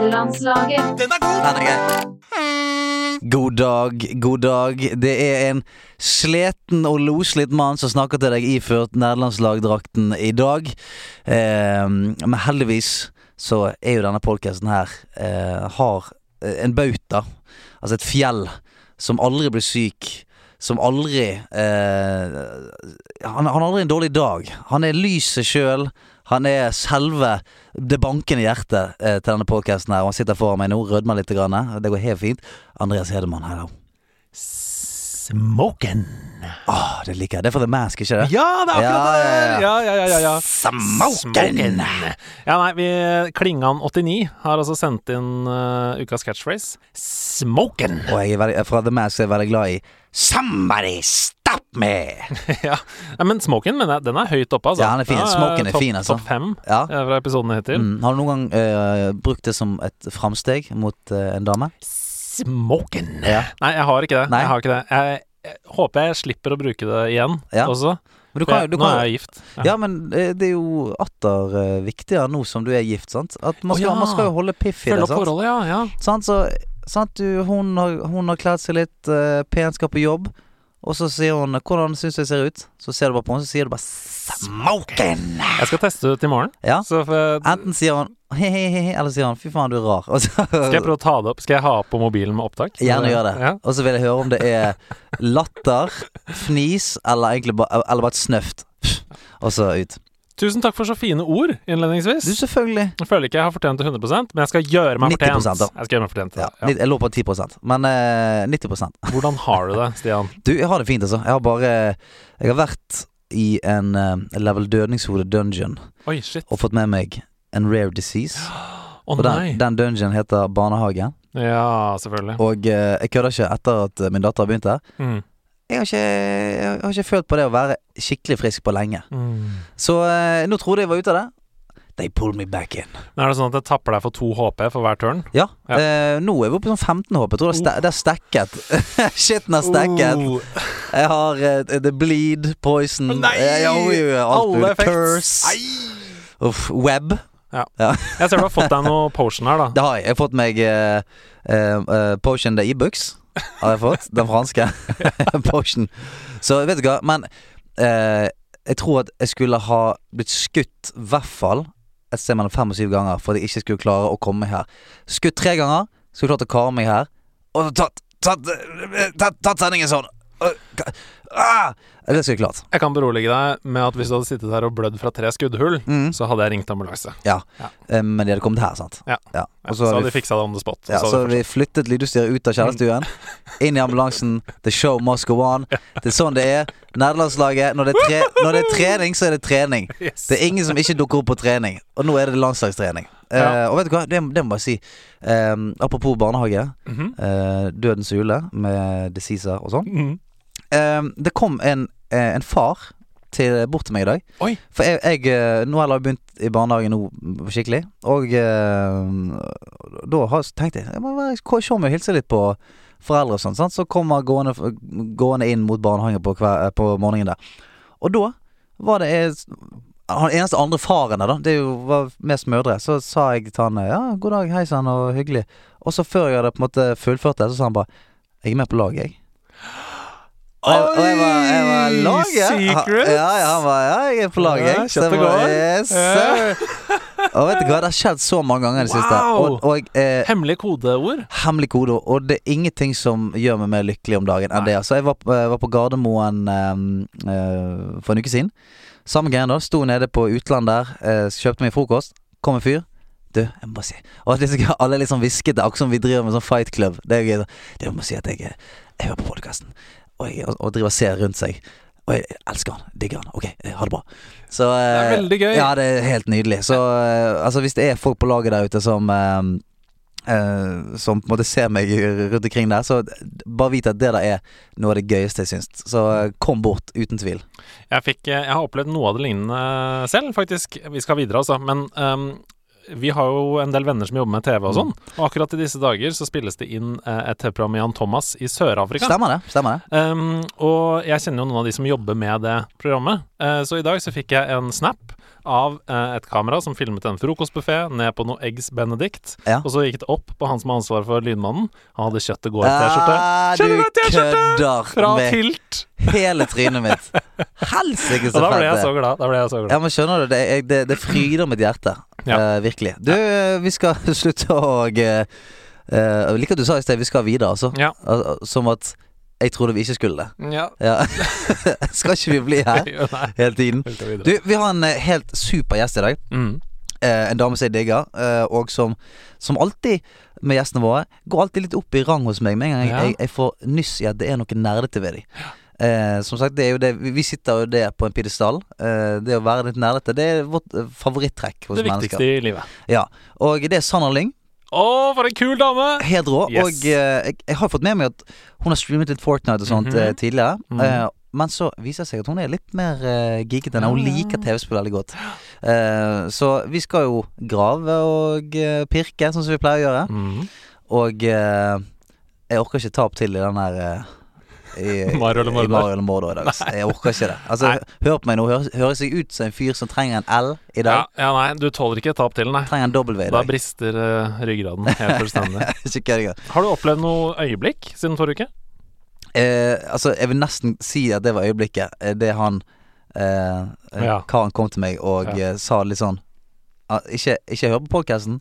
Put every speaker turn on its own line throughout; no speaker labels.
Fredagslaget.
Den er god!
God dag, god dag. Det er en sliten og loslitt mann som snakker til deg iført nederlandslagdrakten i dag. Eh, men heldigvis så er jo denne podkasten her eh, har en bauta, altså et fjell, som aldri blir syk. Som aldri eh, han, han har aldri en dårlig dag. Han er lyset sjøl. Han er selve det bankende hjertet eh, til denne podkasten her. Og han sitter foran meg nå, rødmer litt. Grann, og det går helt fint. Andreas Hedemann, hello.
Smoken.
Åh, det liker jeg. Det er for The Mask, ikke det?
Ja, det er akkurat det der! Ja, ja, ja, ja, ja.
Smoken!
Ja, nei, vi Klingan89 har altså sendt inn eh, ukas catchphrase. Smoken!
Og jeg er veldig, fra The Mask er jeg veldig glad i Somebody stop me!
ja. Nei, men Smoken, men den er høyt oppe, altså.
Ja, den er fin.
eh,
Smoken er
topp-
fin, altså.
Topp fem
Ja.
eh, fra episoden hittil.
Mm, har du noen gang eh, brukt det som et framsteg mot eh, en dame?
Smoken!
Ja.
Nei, jeg har ikke det.
Nei.
Jeg har ikke det. Jeg, jeg håper jeg slipper å bruke det igjen
Ja.
også.
Men du
For
kan, jo-
jeg,
du
nå
kan,
er
jo-
jeg gift.
ja, men eh, det er jo atter eh, viktigere nå som du er gift, sant? At man
Å,
skal,
ja.
man skal jo holde piff i det,
Følge opp
sant?
forholdet, ja. ja.
Sant, så, sant du, hun har, hun har kledd seg litt eh, pent, skal på jobb. Og så sier hun 'Hvordan syns du jeg ser ut?' Så ser du bare på henne, så sier du bare 'Smoken'.
Jeg skal teste det ut i morgen.
Ja.
Så får jeg-
Enten sier hun he-he-he, eller sier hun 'fy faen, du er rar'. Og så,
skal jeg prøve å ta det opp. Skal jeg ha på mobilen med opptak?
Gjerne gjør det.
Ja.
Og så vil jeg høre om det er latter, fnis eller egentlig bare, eller bare et snøft. Og så ut.
Tusen takk for så fine ord innledningsvis.
Du, selvfølgelig.
Jeg føler ikke jeg har fortjent det 100 men jeg skal gjøre meg
90%
fortjent.
da.
Jeg skal gjøre meg fortjent til
Ja,
det, ja.
litt- Jeg lå på 10 men eh, 90
Hvordan har du det, Stian?
Du, jeg har det fint, altså. Jeg har bare Jeg har vært i en eh, level dødningshode dungeon.
Oi, shit.
og fått med meg en rare disease.
Å
Og
nei.
den, den dungeon heter barnehage.
Ja, selvfølgelig.
Og eh, jeg kødder ikke etter at eh, min datter har begynt der.
Mm.
Jeg har, ikke, jeg har ikke følt på det å være skikkelig frisk på lenge.
Mm.
Så eh, nå trodde jeg var ute av det. They pulled me back in.
Men er det sånn at jeg tapper deg for to HP for hver turn?
Ja.
Ja.
eh, nå er vi oppe i sånn 15 håp. Jeg tror det er, ste det er stekket. Shitten er stekket.
Oh,
Jeg har eh, The Bleed, Poison
Nei!
eh, ja, jo, jo, alt
alle
mulig.
effects.
Curse. Uff, web.
Jeg ser du har fått deg noe potion her, da.
Det har jeg. Jeg har fått meg eh, eh, eh, Potion the E-Books. Har jeg fått. Den franske. potion. Så vet du hva, men eh, jeg tror at jeg skulle ha blitt skutt i hvert fall et sted mellom fem og syv ganger for at jeg ikke skulle klare å komme meg her. Skutt tre ganger, skulle klart å kare meg her. Og tatt Tatt, eh, tatt, tatt sendingen sånn. Eh, ka- Ah! Det skulle jeg klart.
Jeg kan berolige deg med at hvis du hadde sittet her og blødd fra tre skuddhull,
Mm.
så hadde jeg ringt ambulanse.
Eh, Men de hadde kommet her, sant?
Ja.
Og
så hadde
vi
de fiksa det on the spot.
Ja, så
så hadde
har
vi... Mm.
vi flyttet lydutstyret ut av kjellerstuen. Inn i ambulansen. The show must go on. Det er sånn det er. Nederlandslaget. Når, det er tre- når det er trening, så er det trening.
Yes.
Det er ingen som ikke dukker opp på trening. Og nå er det landslagstrening. Eh,
Ja.
og vet du hva, det, det må jeg si. Eh, apropos barnehage.
Mhm.
eh, Dødens hule med diseaser og sånn.
Mhm.
Eh, det kom en, eh, en far til, bort til meg i dag.
Oi.
For jeg, jeg eh, Nå har jeg begynt i barnehagen nå mm, skikkelig. Og eh, da har, tenkte jeg Jeg må være- ko- se om jeg hilser litt på foreldre og sånn. sant? Så kommer jeg gående, gående inn mot barnehagen på, kve- eh, på morgenen der. Og da var det jeg, han eneste andre faren der, da. Det er jo, var mest mødre. Så sa jeg til han ja, god dag, hei sann, og hyggelig. Og så før jeg hadde på en måte fullført det, så sa han bare jeg er med på laget, jeg. Og jeg, og jeg var, jeg var
Oi,
laget.
secret?
Ja, ja, han var, ja, jeg er på laget,
Ja,
jeg. Så jeg
kjøtt og
bare,
gård.
yes,
Eh,
sir. Og vet du hva, det har skjedd så mange ganger i det siste.
Wow.
Og, og eh,
Hemmelig kodeord.
Hemmelig kode, og det er ingenting som gjør meg mer lykkelig om dagen enn
Nei.
det. Altså, jeg var, på- jeg var på Gardermoen eh, eh, for en uke siden. Samme greien da. Sto nede på utlandet der, eh, kjøpte meg frokost. Kom en fyr. Du, jeg må bare si Og det er så gøy, alle er litt sånn hviskete, akkurat som vi driver med sånn fight club. Det er gøy. sånn, Du, jeg må si at jeg, eh, jeg hører på podkasten, og, jeg- og, og driver og ser rundt seg. Og jeg elsker han. Digger han. Ok, eh, ha det bra. Så,
Det er
eh,
veldig gøy.
Ja, det er helt nydelig. Så eh, altså, hvis det er folk på laget der ute som eh, eh, som på en måte ser meg rundt omkring der, så bare vit at det der er noe av det gøyeste jeg syns. Så eh, kom bort, uten tvil.
Jeg, fikk, eh, jeg har opplevd noe av det lignende selv, faktisk. Vi skal videre, altså. Men ehm, vi har jo en del venner som jobber med
Mm.
TV og sånn. Og akkurat i disse dager så spilles det inn eh, et TV-program med Jan Thomas i Sør-Afrika.
Stemmer det? stemmer det
Ehm, og jeg kjenner jo noen av de som jobber med det programmet. Eh, så i dag så fikk jeg en snap av eh, et kamera som filmet en frokostbuffé ned på noe Eggs Benedict.
Ja.
Og så gikk det opp på han som har ansvar for Lydmannen. Han hadde kjøttet går-T-skjorte.
Ah,
Kjenner
du
du det, T-skjorte? Fra
kødder med
Tilt!
hele trynet mitt. Helsike,
Og
så
da ble jeg
fett
så
det
glad. Da ble jeg så glad.
ja, men skjønner du, det, jeg, det, det fryder mitt hjerte.
Ja.
Eh, virkelig. Du, eh, vi skal slutte å eh, eh, Like at du sa i sted, vi skal videre, altså.
Ja.
Al- al- Som at jeg trodde vi ikke skulle det.
ja.
Ja. skal ikke vi bli her
Jo, Nei,
hele tiden?
vi skal videre.
Du, vi har en eh, helt super gjest i dag.
Mm.
Eh, en dame som jeg digger, eh, og som, som alltid med gjestene våre går alltid litt opp i rang hos meg med en gang jeg,
Ja.
jeg, jeg får nyss i at det er noe nerdete ved dem. Eh, som sagt, det er jo det, vi vi sitter jo det på en pidestall. Eh, det å være litt nerdete, det er vårt eh, favorittrekk hos
Det
mennesker.
viktigste i livet.
Ja. Og det er Sanna Lyng.
Å, for en kul dame!
Helt rå.
Yes.
Og eh, jeg, jeg har fått med meg at hun har streamet litt Fortnite og sånt
Mhm.
eh, tidligere.
Mhm.
Eh, men så viser det seg at hun er litt mer uh, geeket enn jeg. Hun
Ja.
liker TV-spill veldig godt. Eh, så vi skal jo grave og eh, pirke, sånn som vi pleier å gjøre.
Mm.
Og eh, jeg orker ikke ta opp til i den her eh, i,
Mario eller
i
Mordor.
Mario eller Mordor i dag. ass. Jeg orker ikke det. Altså, hør på meg nå. Høres, høres jeg ut som en fyr som trenger en L i
Ja,
dag?
ja, nei, du tåler ikke et tap til, nei.
Trenger en W i
Da
dag.
brister eh, ryggraden helt fullstendig.
Ikke kødd engang.
Har du opplevd noe øyeblikk siden forrige uke?
Eh, altså, jeg vil nesten si at det var øyeblikket. eh, Det han eh, eh,
Ja.
Karen kom til meg og eh, sa litt sånn ah, Ikke, ikke hør på podkasten.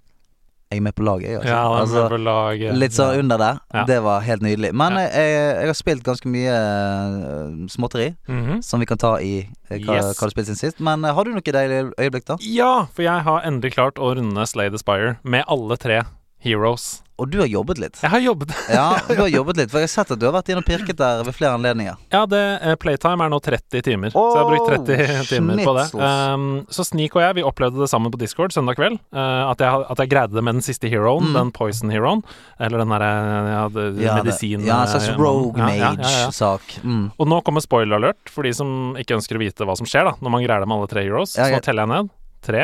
Jeg er med på laget, jeg. Altså.
Ja, den
altså,
ble vel laget-
litt sånn under der.
Ja.
Det var helt nydelig. Men
Ja.
eh, jeg, jeg har spilt ganske mye eh, småtteri,
Mhm.
som vi kan ta i eh, hva,
Yes.
hva du spilte siden sist. Men eh, har du noe deilig øyeblikk, da?
Ja, for jeg har endelig klart å runde Slay the Spire med alle tre heroes.
Og du har jobbet litt.
Jeg har jobbet
Ja, du har jobbet litt, for jeg har sett at du har vært inne og pirket der ved flere anledninger.
Ja, det, eh, playtime er nå 30 timer, så jeg har brukt 30
Åh,
timer på det.
schnitzels.
Um, så Sneak og jeg vi opplevde det sammen på Discord søndag kveld. eh, at, jeg, at jeg greide det med den siste heroen,
Mm.
den poison heroen. Eller den derre ja, det-
Ja, det-
medisin...
Ja, en slags
eh,
rogue
ja, ja, ja, ja.
mage-sak. Mm.
Og nå kommer spoiler alert for de som ikke ønsker å vite hva som skjer da når man greier det med alle tre heroes.
Ja,
Så
ja.
nå teller jeg ned. Tre,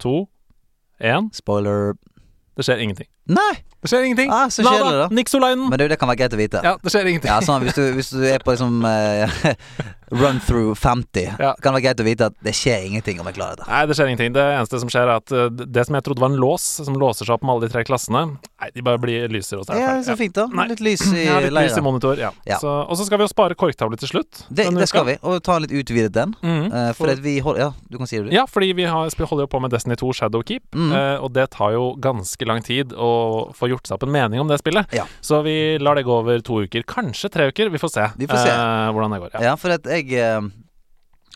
to, én.
Spoiler
Det skjer ingenting.
Nei!
Det skjer ingenting.
Ah, så
Nada.
kjedelig, da.
Nixolainen.
Men du, det kan være greit å vite. Ja,
Ja, det skjer ingenting.
sånn, hvis, du, hvis du er på liksom eh, run through 50,
Ja.
kan det være greit å vite at det skjer ingenting om jeg klarer dette.
Nei, det skjer ingenting. Det eneste som skjer, er at eh, det som jeg trodde var en lås, som låser seg opp med alle de tre klassene Nei, de bare blir lyser og så er det
Ja,
ferdig.
så fint, da.
Nei.
Litt lys i
Ja, litt lys i
leiren.
monitor, ja.
Ja.
Så, og så skal vi jo spare korktavle til slutt.
Det,
denne
det skal
uka.
vi. Og ta en litt utvidet den.
Mhm.
Eh, for
For-
at vi holder Ja, du kan si det, du.
Ja, fordi vi har, vi holder jo på med Destiny 2 Shadowkeep,
Mhm.
eh, og det tar jo ganske lang tid å få gjort seg opp en mening om det spillet.
Ja.
Så vi lar det gå over to uker, kanskje tre uker. Vi får se,
Vi får se.
eh, hvordan det går. Ja.
Ja, for at jeg eh,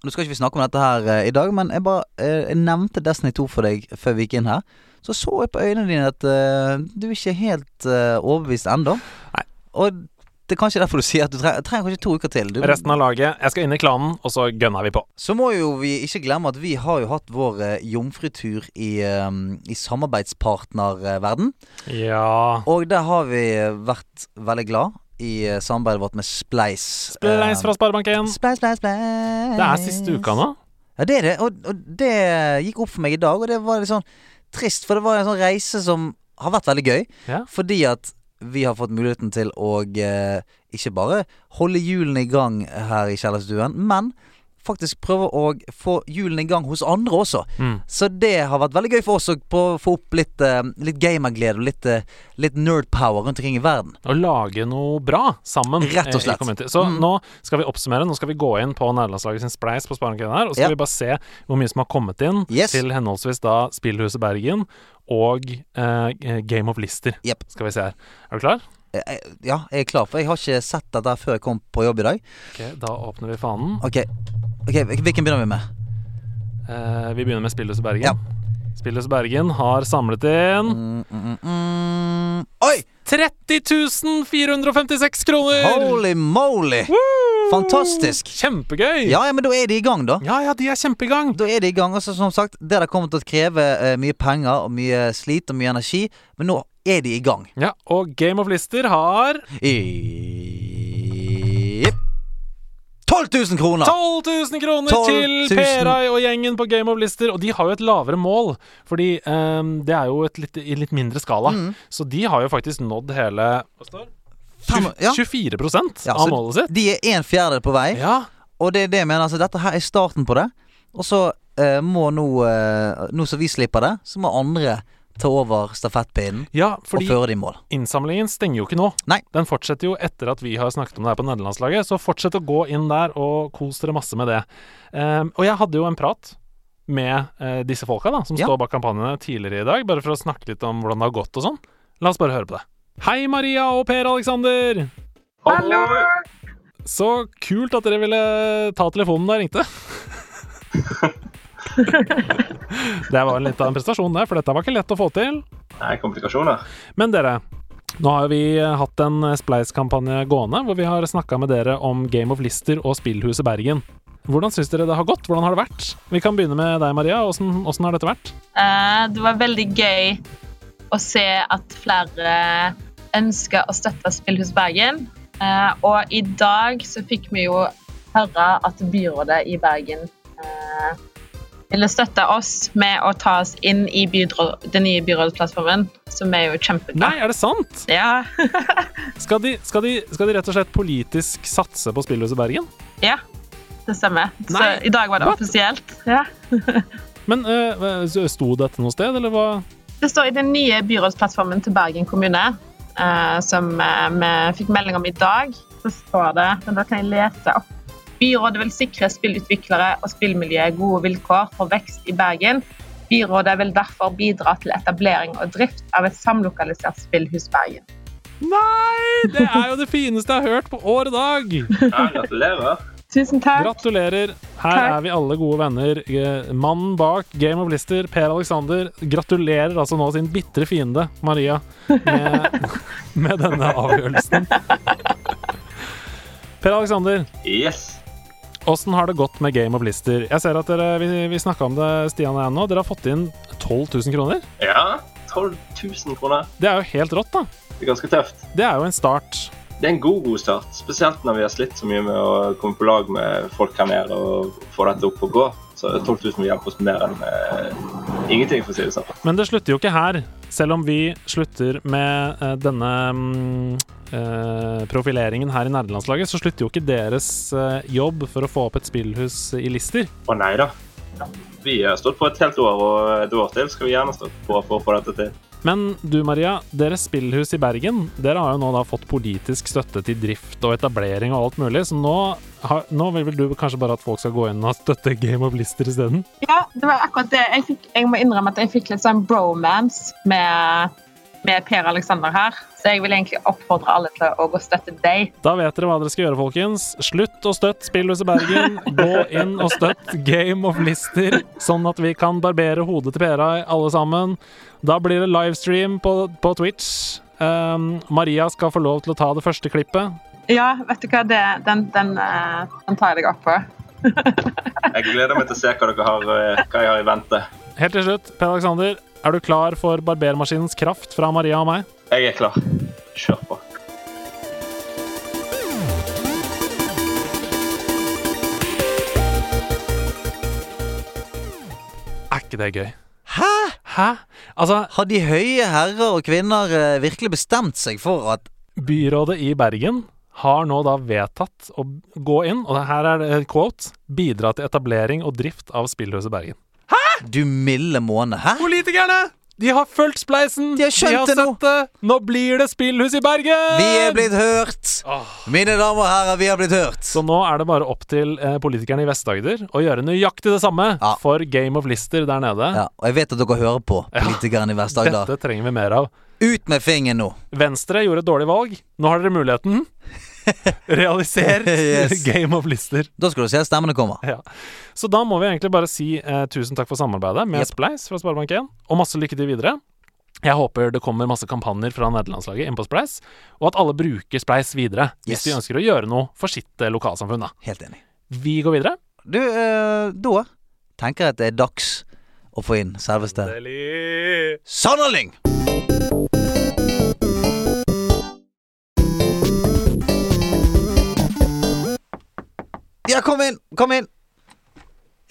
Nå skal ikke vi snakke om dette her eh, i dag, men jeg bare eh, jeg nevnte Destiny 2 for deg før vi gikk inn her. Så så jeg på øynene dine at eh, du er ikke helt eh, overbevist ennå.
Nei.
Og det er kanskje derfor du sier at du trenger, trenger kanskje to uker til. Du,
Resten av laget Jeg skal inn i klanen, og så gønner vi på.
Så må jo vi ikke glemme at vi har jo hatt vår eh, jomfrutur i, eh, i samarbeidspartnerverden.
Ja
Og der har vi eh, vært veldig glad i eh, samarbeidet vårt med Spleis.
Spleis
Eh,
fra Sparebank1.
Spleis, spleis, spleis.
Det er siste uka nå.
Ja, det er det. Og, og det gikk opp for meg i dag, og det var litt sånn trist. For det var en sånn reise som har vært veldig gøy.
Ja.
Fordi at vi har fått muligheten til å eh, ikke bare holde hjulene i gang her i kjellerstuen, men faktisk prøve å få hjulene i gang hos andre også.
Mm.
Så det har vært veldig gøy for oss å prøve å få opp litt, eh, litt gamerglede og litt, eh, litt nerdpower rundt omkring i verden.
Å lage noe bra sammen.
Rett og
eh, i
slett.
community. Så
Mm.
nå skal vi oppsummere. Nå skal vi gå inn på nærlandslaget sin spleis på Sparebanken her, og så
Ja.
skal vi bare se hvor mye som har kommet inn
Yes.
til henholdsvis da Spillhuset Bergen og eh, Game of Lister.
Jepp.
Skal vi se her. Er du klar?
Eh, eh, Ja, jeg er klar, for jeg har ikke sett dette før jeg kom på jobb i dag.
Ok, Da åpner vi fanen.
Ok, ok, Hvilken begynner vi med?
Eh, vi begynner med Spillhuset Bergen.
Ja.
Spillhuset Bergen har samlet inn
Mm, mm, mm. Oi!
30 456 kroner!
Holy moly!
Woo!
Fantastisk.
Kjempegøy!
Ja, ja, men da er de i gang, da.
ja, ja, de er kjempegang.
Da er de i gang. Altså, som sagt, det der kommer til å kreve eh, mye penger og mye slit og mye energi, men nå er de i gang.
Ja, og Game of Lister har
I... 12 000 kroner!
12 000 kroner
12 000.
til Perai og gjengen på Game of Lister. Og de har jo et lavere mål, fordi ehm, det er jo et litt, i litt mindre skala.
Mm.
Så de har jo faktisk nådd hele hva står?
Fem- ja.
24
Ja,
av
så
målet sitt.
De er en fjerdedel på vei,
Ja,
og det er det jeg mener. Altså, dette her er starten på det. Og så eh, eh, må nå eh, Nå som vi slipper det, så må andre ta over stafettpinnen
Ja,
og
fordi
føre det i mål.
innsamlingen stenger jo ikke nå.
Nei.
Den fortsetter jo etter at vi har snakket om det her på nederlandslaget. Så fortsett å gå inn der og kos dere masse med det. Ehm, og jeg hadde jo en prat med eh, disse folka da, som
Ja.
står bak kampanjene tidligere i dag, bare for å snakke litt om hvordan det har gått og sånn. La oss bare høre på det. Hei, Maria og Per Alexander!
Hallo!
Så kult at dere ville ta telefonen da jeg ringte. det var litt av en prestasjon, det, for dette var ikke lett å få til.
Det er komplikasjoner.
Men dere, nå har vi eh, hatt en Spleis-kampanje gående, hvor vi har snakka med dere om Game of Lister og Spillhuset Bergen. Hvordan syns dere det har gått? Hvordan har det vært? Vi kan begynne med deg, Maria. Åssen åssen har dette vært?
Eh, Det var veldig gøy å se at flere ønsker å støtte Spillhus Bergen. Eh, Og i dag så fikk vi jo høre at byrådet i Bergen eh, ville støtte oss med å ta oss inn i bydro- den nye byrådsplattformen, som er jo
Nei,
kjempebra.
er det sant?
Ja.
Skal de, skal de, skal de rett og slett politisk satse på Spillhuset Bergen?
ja, det stemmer. Så
Nei.
i dag var det
What?
offisielt. Ja.
Men eh, sto dette noe sted, eller hva?
Det står i den nye byrådsplattformen til Bergen kommune, eh, som eh, vi fikk melding om i dag, så står det Men da kan jeg lese opp. Byrådet vil sikre spillutviklere og spillmiljøet gode vilkår for vekst i Bergen. Byrådet vil derfor bidra til etablering og drift av et samlokalisert spillhus Bergen.
Nei! Det er jo det fineste jeg har hørt på år og dag!
Ja, gratulerer.
Tusen takk.
Gratulerer. Her
Takk.
er vi alle gode venner. Eh, Mannen bak Game of Lister, Per Alexander, gratulerer altså nå sin bitre fiende, Maria, med, med denne avgjørelsen. Per Alexander,
Yes.
åssen har det gått med Game of Lister? Jeg ser at dere, Vi, vi snakka om det, Stian og jeg nå. Dere har fått inn 12 000 kroner.
Ja, 12 000 kroner.
Det er jo helt rått, da.
Det er ganske tøft.
Det er jo en start.
Det er en god, god start. Spesielt når vi har slitt så mye med å komme på lag med folk her nede og få dette opp og gå. Så 12 000 vil hjelpe oss mer enn eh, ingenting, for å si det sånn.
Men det slutter jo ikke her. Selv om vi slutter med eh, denne mm, eh, profileringen her i nerdelandslaget, så slutter jo ikke deres eh, jobb for å få opp et spillhus i Lister.
Å nei da. Vi har stått på et helt år, og et år til skal vi gjerne stå på for å få dette til.
Men du Maria, deres spillhus i Bergen, dere har jo nå da fått politisk støtte til drift og etablering og alt mulig, så nå, har, nå vil vel du kanskje bare at folk skal gå inn og støtte Game of Lister isteden?
Ja, det var akkurat det. Jeg, fikk, jeg må innrømme at jeg fikk litt sånn bromance med, med Per Alexander her. Så jeg vil egentlig oppfordre alle til å gå og støtte deg.
Da vet dere hva dere skal gjøre, folkens. Slutt å støtte Spillhuset Bergen. Gå inn og støtt Game of Lister, sånn at vi kan barbere hodet til Pera alle sammen. Da blir det livestream på, på Twitch. Ehm, Maria skal få lov til å ta det første klippet.
Ja, vet du hva, det, den, den, eh, den tar jeg deg opp på.
Jeg gleder meg til å se hva, dere har, eh, hva jeg har i vente.
Helt til slutt, Per Alexander, er du klar for barbermaskinens kraft fra Maria og meg?
Jeg er klar. Kjør på.
Er ikke det gøy?
Hæ?
Hæ? Altså,
Har de høye herrer og kvinner eh, virkelig bestemt seg for at
Byrådet i Bergen har nå da vedtatt å gå inn, og her er det et quote, bidra til etablering og drift av Spillhuset Bergen.
Du milde måne, hæ?
Politikerne! De har fulgt spleisen!
De har skjønt det nå.
sett det! Nå blir det spillhus i Bergen!
Vi er blitt hørt!
Åh.
Mine damer og herrer, vi har blitt hørt.
Så nå er det bare opp til eh, politikerne i Vest-Agder å gjøre nøyaktig det samme
Ja.
for Game of Lister der nede.
Ja, og jeg vet at dere hører på politikerne i Vest-Agder.
Dette trenger vi mer av.
Ut med fingeren nå!
Venstre gjorde et dårlig valg. Nå har dere muligheten. Realiser
Yes.
Game of Lister.
Da skal du se at stemmene kommer.
Ja. Så da må vi egentlig bare si eh, tusen takk for samarbeidet med
Yep.
Spleis fra Sparebank1, og masse lykke til videre. Jeg håper det kommer masse kampanjer fra nederlandslaget inn på Spleis, og at alle bruker Spleis videre
Yes.
hvis de ønsker å gjøre noe for sitt eh, lokalsamfunn. Da.
Helt enig.
Vi går videre.
Du, eh, da tenker jeg at det er dags å få inn selveste Sanderling! Ja, kom inn! Kom inn!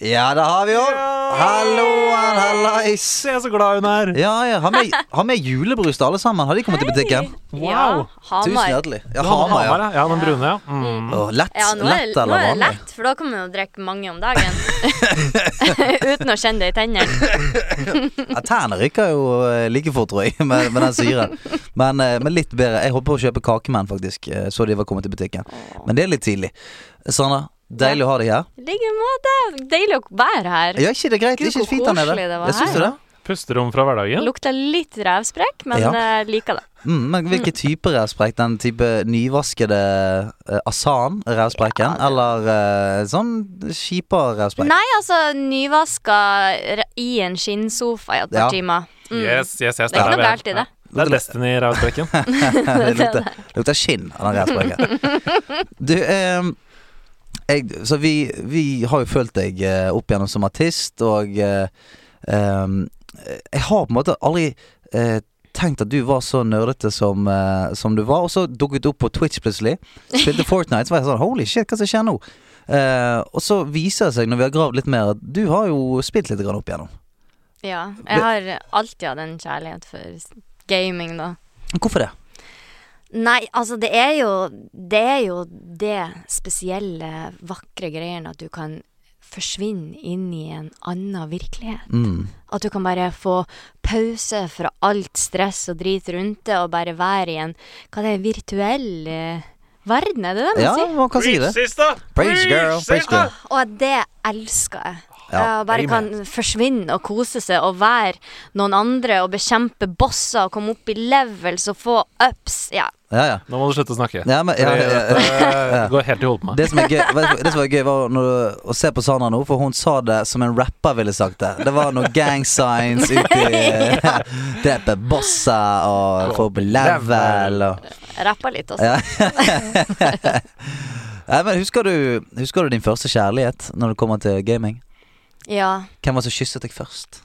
Ja, da har vi henne! Halloan, hallais!
Se så glad hun er!
Ja, ja, Har med, har med julebrus til alle sammen. Har de kommet til butikken?
Wow.
Ja,
Tusen
Hamar.
hjertelig. Ja, Hamar, ja.
ja. den brune, ja. Mm.
Åh, lett,
Ja, nå er,
lett
det- nå
eller
er det
vanlig?
lett, for da kan man jo drikke mange om dagen. Uten å kjenne det i tennene.
Ja, Tærne ryker jo eh, like fort, tror jeg, med, med den syren. Men, eh, men litt bedre. Jeg holdt på å kjøpe kakemenn, faktisk, eh, så de var kommet til butikken. Men det er litt tidlig. Sandra, deilig å ha deg her.
I like måte. Deilig å være her.
Ja, ikke det er greit?
Gud,
Det er ikke
hvor
fint der nede.
koselig det var
Jeg syns
her.
jo det.
Pusterom fra hverdagen.
Lukta litt revsprekk, men
Ja.
eh, liker det.
Mm, men hvilke typer revsprek? Den type nyvaskede eh, asan-revsprekken? Eller eh, sånn kjipa revsprek?
Nei, altså, nyvaska re- i en skinnsofa i et par
Ja.
timer. Mm.
Yes, yes, yes. der
Det er ikke noe
vi.
galt i det.
Det er Destiny-rausbrekken.
det lukter, lukter skinn av den revspreken. Du, eh, jeg, så vi, vi har jo følt deg eh, opp igjennom som artist, og eh, eh, Jeg har på en måte aldri eh, tenkt at du var så nerdete som, eh, som du var, og så dukket du opp på Twitch plutselig. Spilte Fortnite, så var jeg sånn Holy shit, hva som skjer nå? Eh, og så viser det seg, når vi har gravd litt mer, at du har jo spilt litt grann opp igjennom.
Ja.
Det-
Jeg har alltid hatt en kjærlighet for s- gaming, da.
Hvorfor det?
Nei, altså, det er jo Det er jo det spesielle, vakre greien at du kan forsvinne inn i en annen virkelighet.
Mm.
At du kan bare få pause fra alt stress og drit rundt det, og bare være i en Hva det er virtuell eh, verden, er det det man
Ja,
sier?
man kan si det.
Sista!
Praise girl, praise girl.
Og det elsker jeg.
Ja,
jeg bare kan forsvinne og kose seg og være noen andre og bekjempe bosser og komme opp i levels og få ups. Ja.
Ja, ja.
Nå må du slutte å snakke.
Ja, men, ja,
Fordi
ja, ja.
dette går helt i hodet på meg.
Det som er gøy, vet du- det som er gøy var når, å se på Sandra nå, for hun sa det som en rapper ville sagt det. Det var noe gang signs uti Drepe bossa og få på level og
Rappa litt altså. også.
ja. Nei, men husker du, husker du din første kjærlighet når det kommer til gaming?
Ja.
Hvem var det som kysset deg først?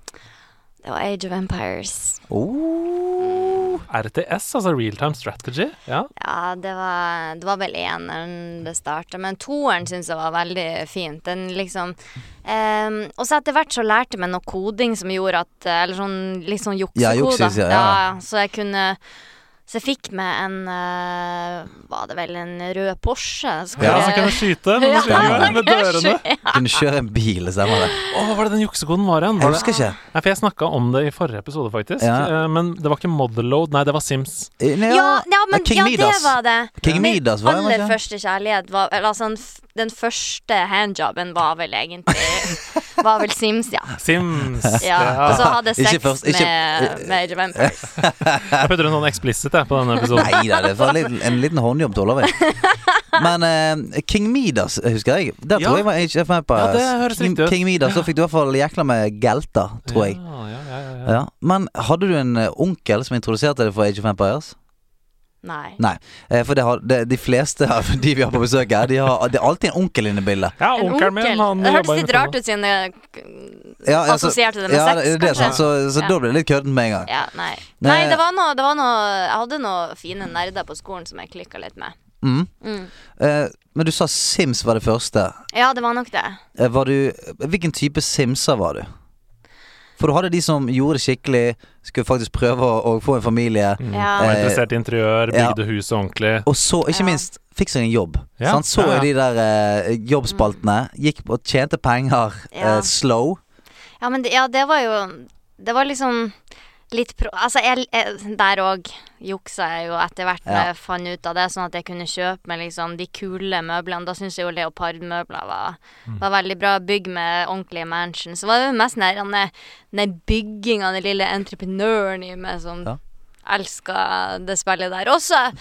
Det var Age of Empires.
Oh.
RTS, altså Real Time Strategy. Ja.
Ja, det var, det var vel eneren det starta, men toeren syns jeg var veldig fint. Den liksom ehm, Og så etter hvert så lærte jeg meg noe koding som gjorde at eh, Eller sånn litt sånn
Ja,
juksekoder.
juksis, ja, ja.
så jeg kunne Så jeg fikk meg en eh, Var det vel en rød Porsche? Så
Ja,
Ja,
hvor
så
jeg-
kan du altså skyte men du
Ja,
svinger
så
med
kan jeg
dørene.
skyte.
Kunne kjøre en bil, stemmer det.
Å, hva var det den juksekoden var igjen?
Jeg
Var det?
husker ikke.
Nei, for jeg snakka om det i forrige episode, faktisk.
Ja.
Eh, Men det var ikke model load, nei, det var Sims.
Eh, nei,
Ja, ja, men
King
ja,
Midas.
det var det.
King
Min
Midas var det, var det
aller
ikke?
første kjærlighet var Eller altså, den f- den første handjobben var vel egentlig Var vel Sims, ja.
Sims.
Ja, altså- og så hadde jeg
Ikke
sex
først- ikke- eh,
med, med Age of Empires.
Jeg putter en sånn explicit jeg, på denne episoden.
Nei da, det var en liten, en liten håndjobb til Olav. jeg. Men eh, King Midas husker jeg. Der
Ja.
tror jeg var HF Empires.
Ja, det høres
King,
riktig ut.
King Midas, så fikk du i hvert fall jækla med gelter, tror jeg.
Ja, ja, ja, ja, ja.
Ja. Men hadde du en eh, onkel som introduserte deg for Age of Empires?
Nei.
Nei. Eh, for det har, det, de fleste av de vi har på besøk her, de har, det er alltid en onkel inne i bildet.
ja
En
onkelen min, han
Det
jobba
hørtes
i
litt rart ut siden jeg k-
Ja, altså-
assosierte det med
ja,
sex,
det, det er sant, så, så
Ja.
da ble det litt kødden med en gang.
Ja, nei. Nei,
Nei.
det var noe, det var noe Jeg hadde noen fine nerder på skolen som jeg klikka litt med.
Mm.
Mm.
Eh, men du sa Sims var det første.
Ja, det var nok det.
Eh, Var du Hvilken type simser var du? For du hadde de som gjorde det skikkelig, skulle faktisk prøve å, å få en familie,
Ja.
Han var
Eh,
interessert i interiør,
ja.
bygde huset ordentlig.
og så, ikke
Ja.
minst, fikk seg en jobb.
Ja,
Sant? Så
ja, ja.
jo de der eh, jobbspaltene. Gikk og tjente penger
Ja.
eh, slow.
Ja, men det, ja, det var jo Det var liksom litt pro... Altså, jeg, jeg, der òg juksa jeg jo etter hvert når
Ja.
jeg fant ut av det, sånn at jeg kunne kjøpe meg liksom de kule møblene. Da syns jeg jo leopardmøbler var, var veldig bra. Bygg med ordentlige mansion. Så var det jo mest den der- den der bygginga, den lille entreprenøren i meg som
Ja.
elska det spillet der. Også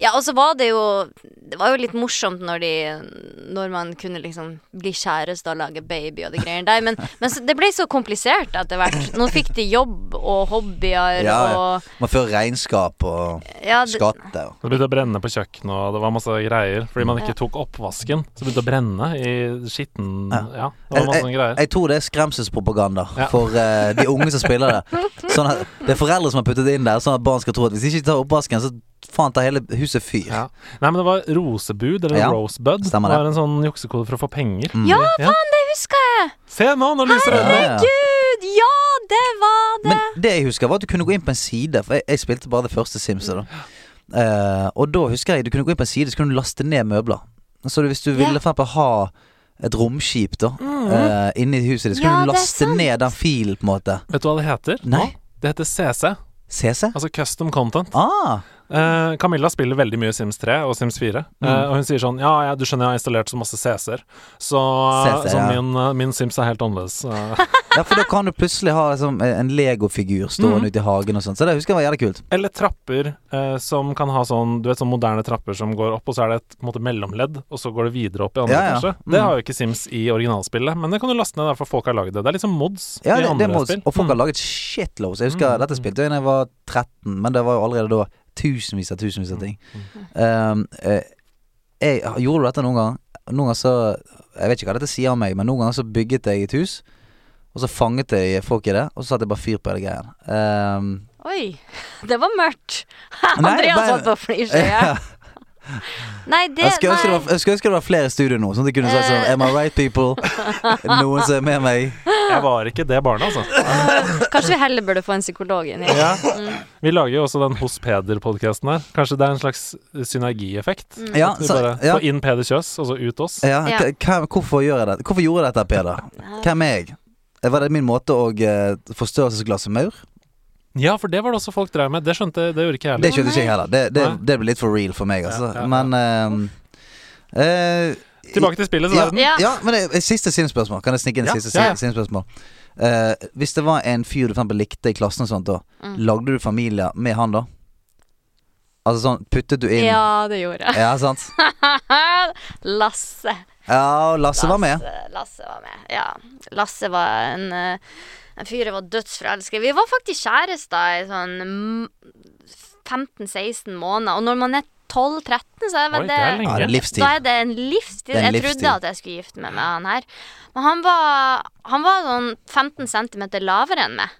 ja, og så var det jo Det var jo litt morsomt når de Når man kunne liksom bli kjæreste og lage baby og de greiene der, men, men så, det ble så komplisert etter hvert. Nå fikk de jobb og hobbyer
Ja, ja.
og
Man fører regnskap og
ja, det-
skatter. og-
Det begynte å brenne på kjøkkenet, og det var masse greier. Fordi
Mm.
man ikke tok oppvasken, så begynte det å brenne i skitten Ja, det var masse
Eh,
sånne greier.
Jeg tror det er skremselspropaganda
Ja.
for eh, de unge som spiller det. Sånn at Det er foreldre som har puttet det inn der, sånn at barn skal tro at hvis de ikke tar oppvasken, så faen tar hele huset fyr.
Ja. Nei, men det var rosebud, eller
Ja,
rosebud.
stemmer
det
det.
var en sånn juksekode for å få penger.
Ja,
Ja.
faen, det husker jeg!
Se nå, nå lyser det
Mm, Ja,
øynene!
ja.
Gud, ja, det var det!
Men det jeg husker, var at du kunne gå inn på en side. For jeg, jeg spilte bare det første Sims. Da. Eh, og da husker jeg du kunne gå inn på en side, så kunne du laste ned møbler. Så du, hvis du ville for eksempel ha et romskip da eh, inni huset ditt, så kunne
Mhm. Ja,
du
det er
laste
sant.
ned den filen, på en måte.
Vet du hva det heter?
Nei.
Nå? Det heter CC,
CC?
altså Custom Content.
Ah,
Eh, Camilla spiller veldig mye Sims 3 og Sims 4,
Mm.
eh, og hun sier sånn Ja, ja, du skjønner, jeg har installert så masse CC-er, så,
CC,
så
ja.
min, eh, min Sims er helt annerledes. eh.
ja, for da kan du plutselig ha liksom, en legofigur stående
Mhm.
ute i hagen og sånn. Så det husker jeg var jævlig kult.
Eller trapper eh, som kan ha sånn Du vet sånn moderne trapper som går opp, og så er det et på en måte, mellomledd, og så går det videre opp i andre
Ja, ja.
etasje.
Mm.
Det har jo ikke Sims i originalspillet, men det kan du laste ned, derfor folk har laget det. Det er liksom mods
Ja,
i
det,
andre
det må,
spill. Mm.
og folk har laget shitloads. Jeg
Mm.
husker dette spilte jeg da jeg var 13, men det var jo allerede da tusenvis av tusenvis
Mm.
av ting. Um, eh, jeg gjorde du dette noen gang. Noen ganger så Jeg vet ikke hva dette sier om meg, men noen ganger så bygget jeg et hus, og så fanget jeg folk i det, og så satte jeg bare fyr på hele greien. Um,
Oi, det var mørkt.
Nei,
Andreas
bare-
holdt på å flire. Ja. Nei, det
jeg skulle ønske det
nei.
var- jeg skulle ønske det var flere i studio nå, sånn at de kunne sagt sånn
Eh.
Am I right, people? Noen som er med meg.
Jeg var ikke det barnet, altså.
Kanskje vi heller burde få en psykolog inn i
Vi lager jo også den Hos Peder-podkasten her. Kanskje det er en slags synergieffekt?
Ja,
At vi
så,
bare
ja,
Få inn Peder Kjøs, og så ut oss.
ja,
Ja.
hva- hva- Hvorfor gjør jeg det? Hvorfor gjorde jeg dette, Peder? Hvem er jeg? Eh, Var det min måte å eh, forstørrelsesglasset maur?
Ja, for det var det også folk drev med. Det skjønte Det gjorde ikke jeg
Det
heller.
skjønte ikke jeg heller. Det, det,
Nei.
det ble litt for real for meg, altså.
Ja, ja, ja.
Men ehm, eh,
Tilbake til spillet, så
ja,
er det
Ja.
ja. men det, siste sinnspørsmål. Kan jeg snike inn
Ja,
et siste
ja, ja.
sinnspørsmål? Eh, hvis det var en fyr du for eksempel likte i klassen og sånt da,
Mm.
lagde du familie med han da? Altså sånn, puttet du inn
Ja, det gjorde jeg.
Ja, sant?
Lasse.
Ja, og Lasse var med.
Lasse, Lasse var med, ja. Lasse var en, eh, en fyr jeg var dødsforelsket i. Vi var faktisk kjærester i sånn mm, 15-16 måneder. Og når man er 12-13, så er
Oi,
vel
det er lenge.
Ja, det er livstid.
Da er det en livstid.
Det er en
jeg
livstid.
trodde at jeg skulle gifte meg med han her. Men han var, han var sånn 15 cm lavere enn meg.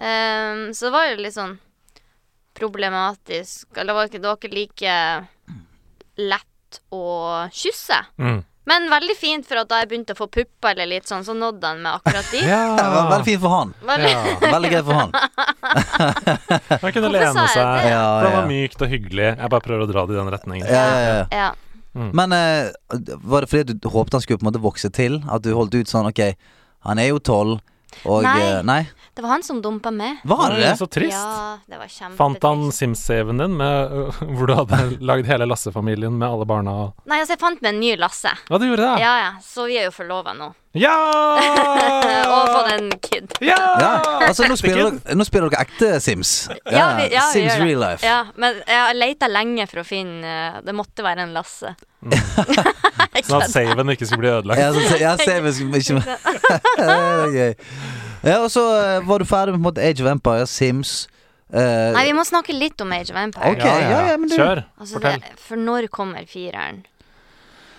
Ehm, så det var jo litt sånn problematisk. Eller det var ikke, det var ikke like lett å kysse.
Mm.
Men veldig fint, for at da jeg begynte å få pupper eller litt sånn, så nådde han meg akkurat dit.
Det var
Ja.
veldig fint for han.
Veldig-
Veldig greit for han.
Han kunne
Hvorfor
lene
sa jeg
seg.
det?
Ja,
For det
ja.
var mykt og hyggelig. Jeg bare prøver å dra det i den retningen.
Ja, ja, ja.
Ja.
Men eh, var det fordi du håpte han skulle på en måte vokse til? At du holdt ut sånn Ok, han er jo tolv, og
Nei.
eh, Nei.
Det var han som dumpa meg.
Var han
Oi,
det?
Så trist.
Ja, det var kjempetrist.
Fant han Sims-saven din, med, hvor du hadde lagd hele Lasse-familien med alle barna? og-
Nei, altså, jeg fant meg en ny Lasse.
Ja, du gjorde
Ah.
det?
Ja, ja. Så vi er jo forlova nå.
Ja!
Ah.
Eh, Og fått en kid.
Ja!
Ja, altså nå spiller, dere, nå spiller dere ekte Sims.
Ja, vi, ja, vi
Sims
gjør det.
real life.
Ja, men jeg har leita lenge for å finne eh, Det måtte være en Lasse. Ikke
Sånn at
sant?
saven ikke skulle bli ødelagt.
Ja, så, så- ja, se, vi skal ikke Det er gøy. Ja, og så eh, var du ferdig med på en måte, Age of Empire, Sims eh,
Nei, vi må snakke litt om Age of Empire.
Ok, ja, ja, men du-
Kjør.
Altså,
Fortell.
det, for når kommer fireren?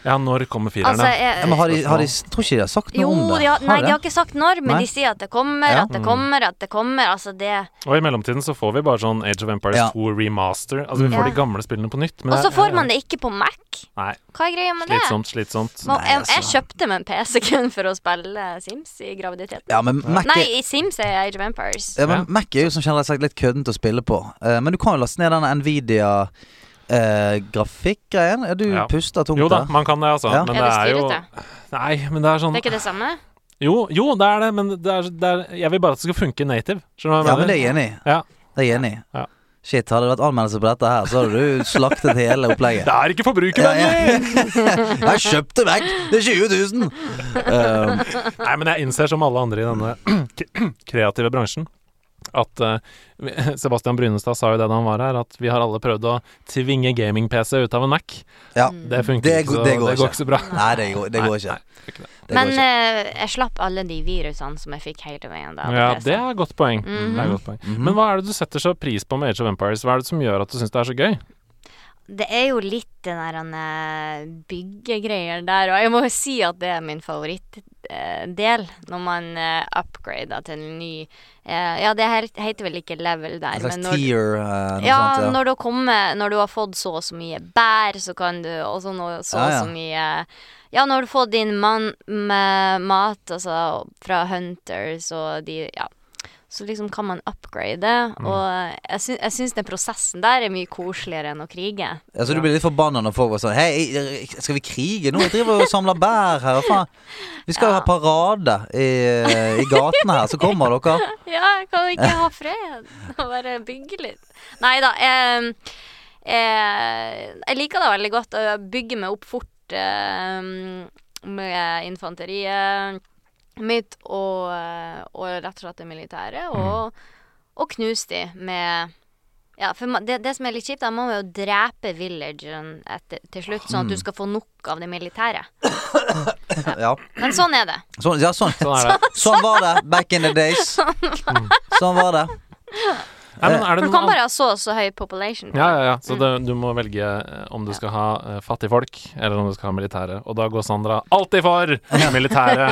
Ja, når kommer fireren?
Altså,
da?
jeg,
ja, Men har de, har de Tror ikke de har sagt noe
Jo,
om det.
de har, nei, de har
det?
ikke sagt når, men
Nei.
de sier at det kommer,
Ja. Mm.
at det kommer, at det kommer. Altså det
Og i mellomtiden så får vi bare sånn Age of Empires
Ja.
2 remaster. Altså, vi
Mm. Ja.
får de gamle spillene på nytt.
Og så får man det ikke på Mac.
Nei,
Hva er greia med det?
slitsomt, slitsomt.
Må-
Nei,
jeg, jeg
altså.
kjøpte meg en PC kun for å spille Sims i graviditeten.
Ja, men Mac
Nei,
er,
i Sims er jeg Age of Empires.
ja, men Mac er jo som generelt sagt litt køddent å spille på. Eh, men du kan jo laste ned den Nvidia eh, grafikkgreien. Ja, du
Ja.
puster tungt
Jo da,
der.
man kan det, altså.
Ja.
Men det
Er det
er jo
styrete?
Nei, men det er sånn
Det er ikke det samme?
Jo, jo, det er det, men det er, det er Jeg vil bare at det skal funke native. Skjønner du
Ja,
hva
men
jeg
det er
mener?
jeg enig i.
Ja.
Det er jeg enig i.
Ja.
Shit, hadde det vært anmeldelse på dette her, så hadde du slaktet hele opplegget.
Det er ikke forbrukervennlig!
Jeg kjøpte vekk! Det er 20 000! Um,
Nei, men jeg innser som alle andre i denne k- kreative bransjen at eh, vi- Sebastian Brynestad sa jo det da han var her, at vi har alle prøvd å tvinge gaming-PC ut av en Mac.
ja.
Det
Mm.
funker
Det
ikke,
går-
så
det går
det går
ikke.
ikke så bra.
Nei, det går, det går ikke.
Mm. Nei, nei, det går ikke.
Det
Men
går ikke.
eh, jeg slapp alle de virusene som jeg fikk hele veien. Da,
Ja,
på PC.
det er Mhm. et godt poeng. Det er et godt poeng.
Mhm.
Men hva er det du setter så pris på med Age of Empires? Hva er det som gjør at du syns det er så gøy?
Det er jo litt den der han, eh, byggegreier der, og jeg må jo si at det er min favoritt eh, del når man eh, upgrader til en ny eh, Ja, det helt- heter vel ikke level der,
En slags
men når,
tier, eh, noe
ja,
sånt.
når, du har kommet, når du har fått så og så mye bær, så kan du også nå så
Ja,
og
ja.
så mye Ja, når du får din man, med mat, altså fra Hunters og de Ja. Så liksom kan man upgrade,
Mm.
og jeg, sy jeg syns den prosessen der er mye koseligere enn å krige.
Ja, så Altså, du blir litt forbanna når folk var sånn Hei, skal vi krige nå? Jeg driver og samler bær her. hva faen? Vi skal jo ha parade i, eh, i gatene her, så kommer dere.
Ja, jeg kan ikke ha fred og bare bygge litt. Nei da. Eh, eh, jeg liker det veldig godt å bygge meg opp fort eh, med infanteriet mitt og, eh, og rett og slett det militære,
Mm.
og, og knuse de med ja, for ma- det, det som er litt kjipt, er at man må jo drepe villagen etter, til slutt, sånn
Mm.
at du skal få nok av det militære.
Ja,
Men sånn er det.
sånn, ja, sånn.
Sånn er det.
sånn var det back in the days. Sånn var det.
Nei, men er
For
det
du
noen
kan bare ha så og så høy population.
Ja, ja, ja. Så det, du må velge eh, om du skal ha eh, fattigfolk, eller om du skal ha militære. Og da går Sandra alltid for militære.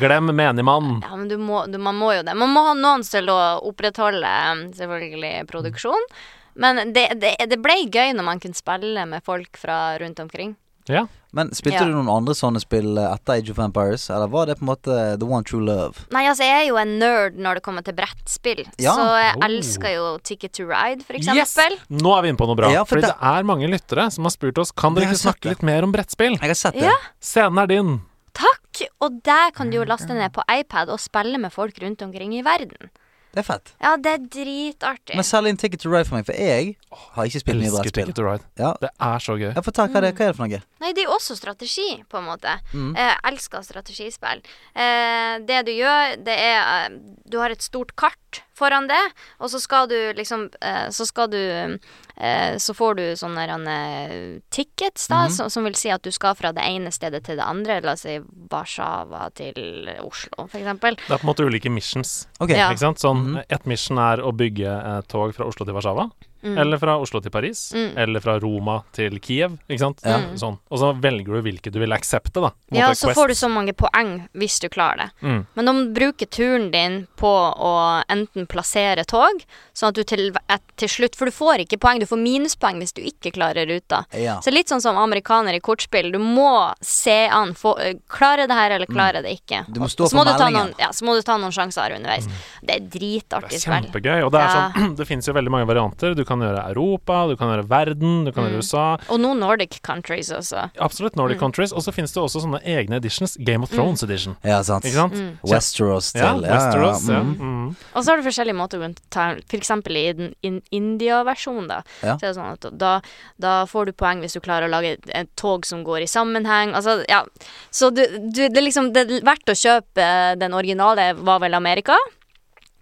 Glem menigmann.
Ja, men du må, du, man må jo det. Man må ha noen til å opprettholde eh, selvfølgelig produksjon. Men det, det, det ble gøy når man kunne spille med folk fra rundt omkring.
Ja.
Men spilte
Ja.
du noen andre sånne spill eh, etter Age of Empires, eller var det på en måte The One True Love?
Nei, altså, jeg er jo en nerd når det kommer til brettspill.
Ja.
Så jeg
Oh.
elsker jo Ticket to Ride, for
Yes!
eksempel.
Nå er vi inne på noe bra.
Ja, for
fordi
det-
det... er mange lyttere som har spurt oss Kan dere
Det har
ikke
jeg sett,
snakke litt mer om brettspill.
Jeg har sett det.
Ja.
Scenen er din.
Takk! Og der kan du jo laste ned på iPad og spille med folk rundt omkring i verden.
Det er fett.
Ja, det er dritartig.
Men selg inn Ticket to Ride for meg, for jeg har ikke spilt mye
Elsker
brettspill.
Ticket to Ride.
Ja.
Det er så gøy.
Jeg får ta, hva, er det, hva er det for noe?
Nei, det er jo også strategi, på en måte. Eh, elsker strategispill. Eh, det du gjør, det er eh, Du har et stort kart foran det, og så skal du liksom eh, Så skal du eh, Så får du sånne der, eh, tickets, da, som, som vil si at du skal fra det ene stedet til det andre. La oss si Warszawa til Oslo, for eksempel.
Det er på en måte ulike missions.
Ok,
Ja. Mm.
Ikke sant? Sånn, Et mission er å bygge eh, tog fra Oslo til Warszawa.
Mm.
Eller fra Oslo til Paris. Eller fra Roma til Kiev. Ikke sant?
Mm.
Sånn. Og så velger du hvilke du vil aksepte, da. På en
Ja,
måte
så
quest.
får du så mange poeng hvis du klarer det.
Mm.
Men de bruker turen din på å enten plassere tog, sånn at du til, et, til slutt For du får ikke poeng, du får minuspoeng hvis du ikke klarer ruta.
Ja.
Så litt sånn som amerikanere i kortspill. Du må se an. Få, øh, klare det her, eller klare det ikke.
Mm. Du må stå
Og så
for
du ta
meldingen.
noen, ja, så må du ta noen sjanser underveis. Det er dritartig spill.
Kjempegøy. Og Mm. det, er
Ja.
sånn, det finnes jo veldig mange varianter. Du kan gjøre Europa, du kan gjøre verden, du kan
Mm.
gjøre USA.
Og nå Nordic countries også.
Absolutt
Mm.
Nordic countries. Og så finnes det også sånne egne editions. Game of Thrones edition.
Ja, sant. Mm.
Ikke sant?
Westeros til
Ja, Westeros. Ja,
mm.
Mm.
Og så har du forskjellige måter å gå inn- ta F.eks. i den in India-versjonen, da.
Ja.
Så er det sånn at da, da får du poeng hvis du klarer å lage et, et tog som går i sammenheng. Altså, ja. Så du, du, det er liksom det er verdt å kjøpe eh, den originale var vel Amerika.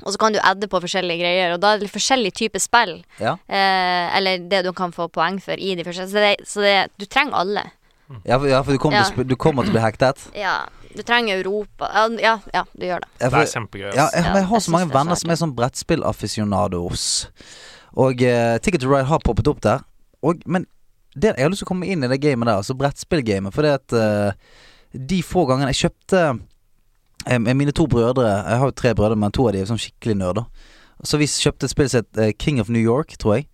Og så kan du adde på forskjellige greier, og da er det forskjellige typer spill.
Ja.
Eh, eller det du kan få poeng for i de forskjellige. Så, det, så det, du trenger alle.
Ja, for, ja, for du, kommer
Ja.
til, å sp- du kommer til å bli hektet.
Ja. Du trenger Europa. Ja, Ja, ja du gjør det.
Ja,
Det
for,
er kjempegøy.
ja,
ass.
jeg, men jeg har
jeg
så
synes
mange
det er så
venner som er sånn brettspill-afficionados. Og eh, Ticket to Ride har poppet opp der. Og, men det, jeg har lyst til å komme inn i det gamet der, altså brettspill-gamet. Fordi at eh, de få gangene jeg kjøpte eh, Mine to brødre Jeg har jo tre brødre, men to av de er sånn skikkelig nerder. Så vi kjøpte et spill som het eh, King of New York, tror jeg.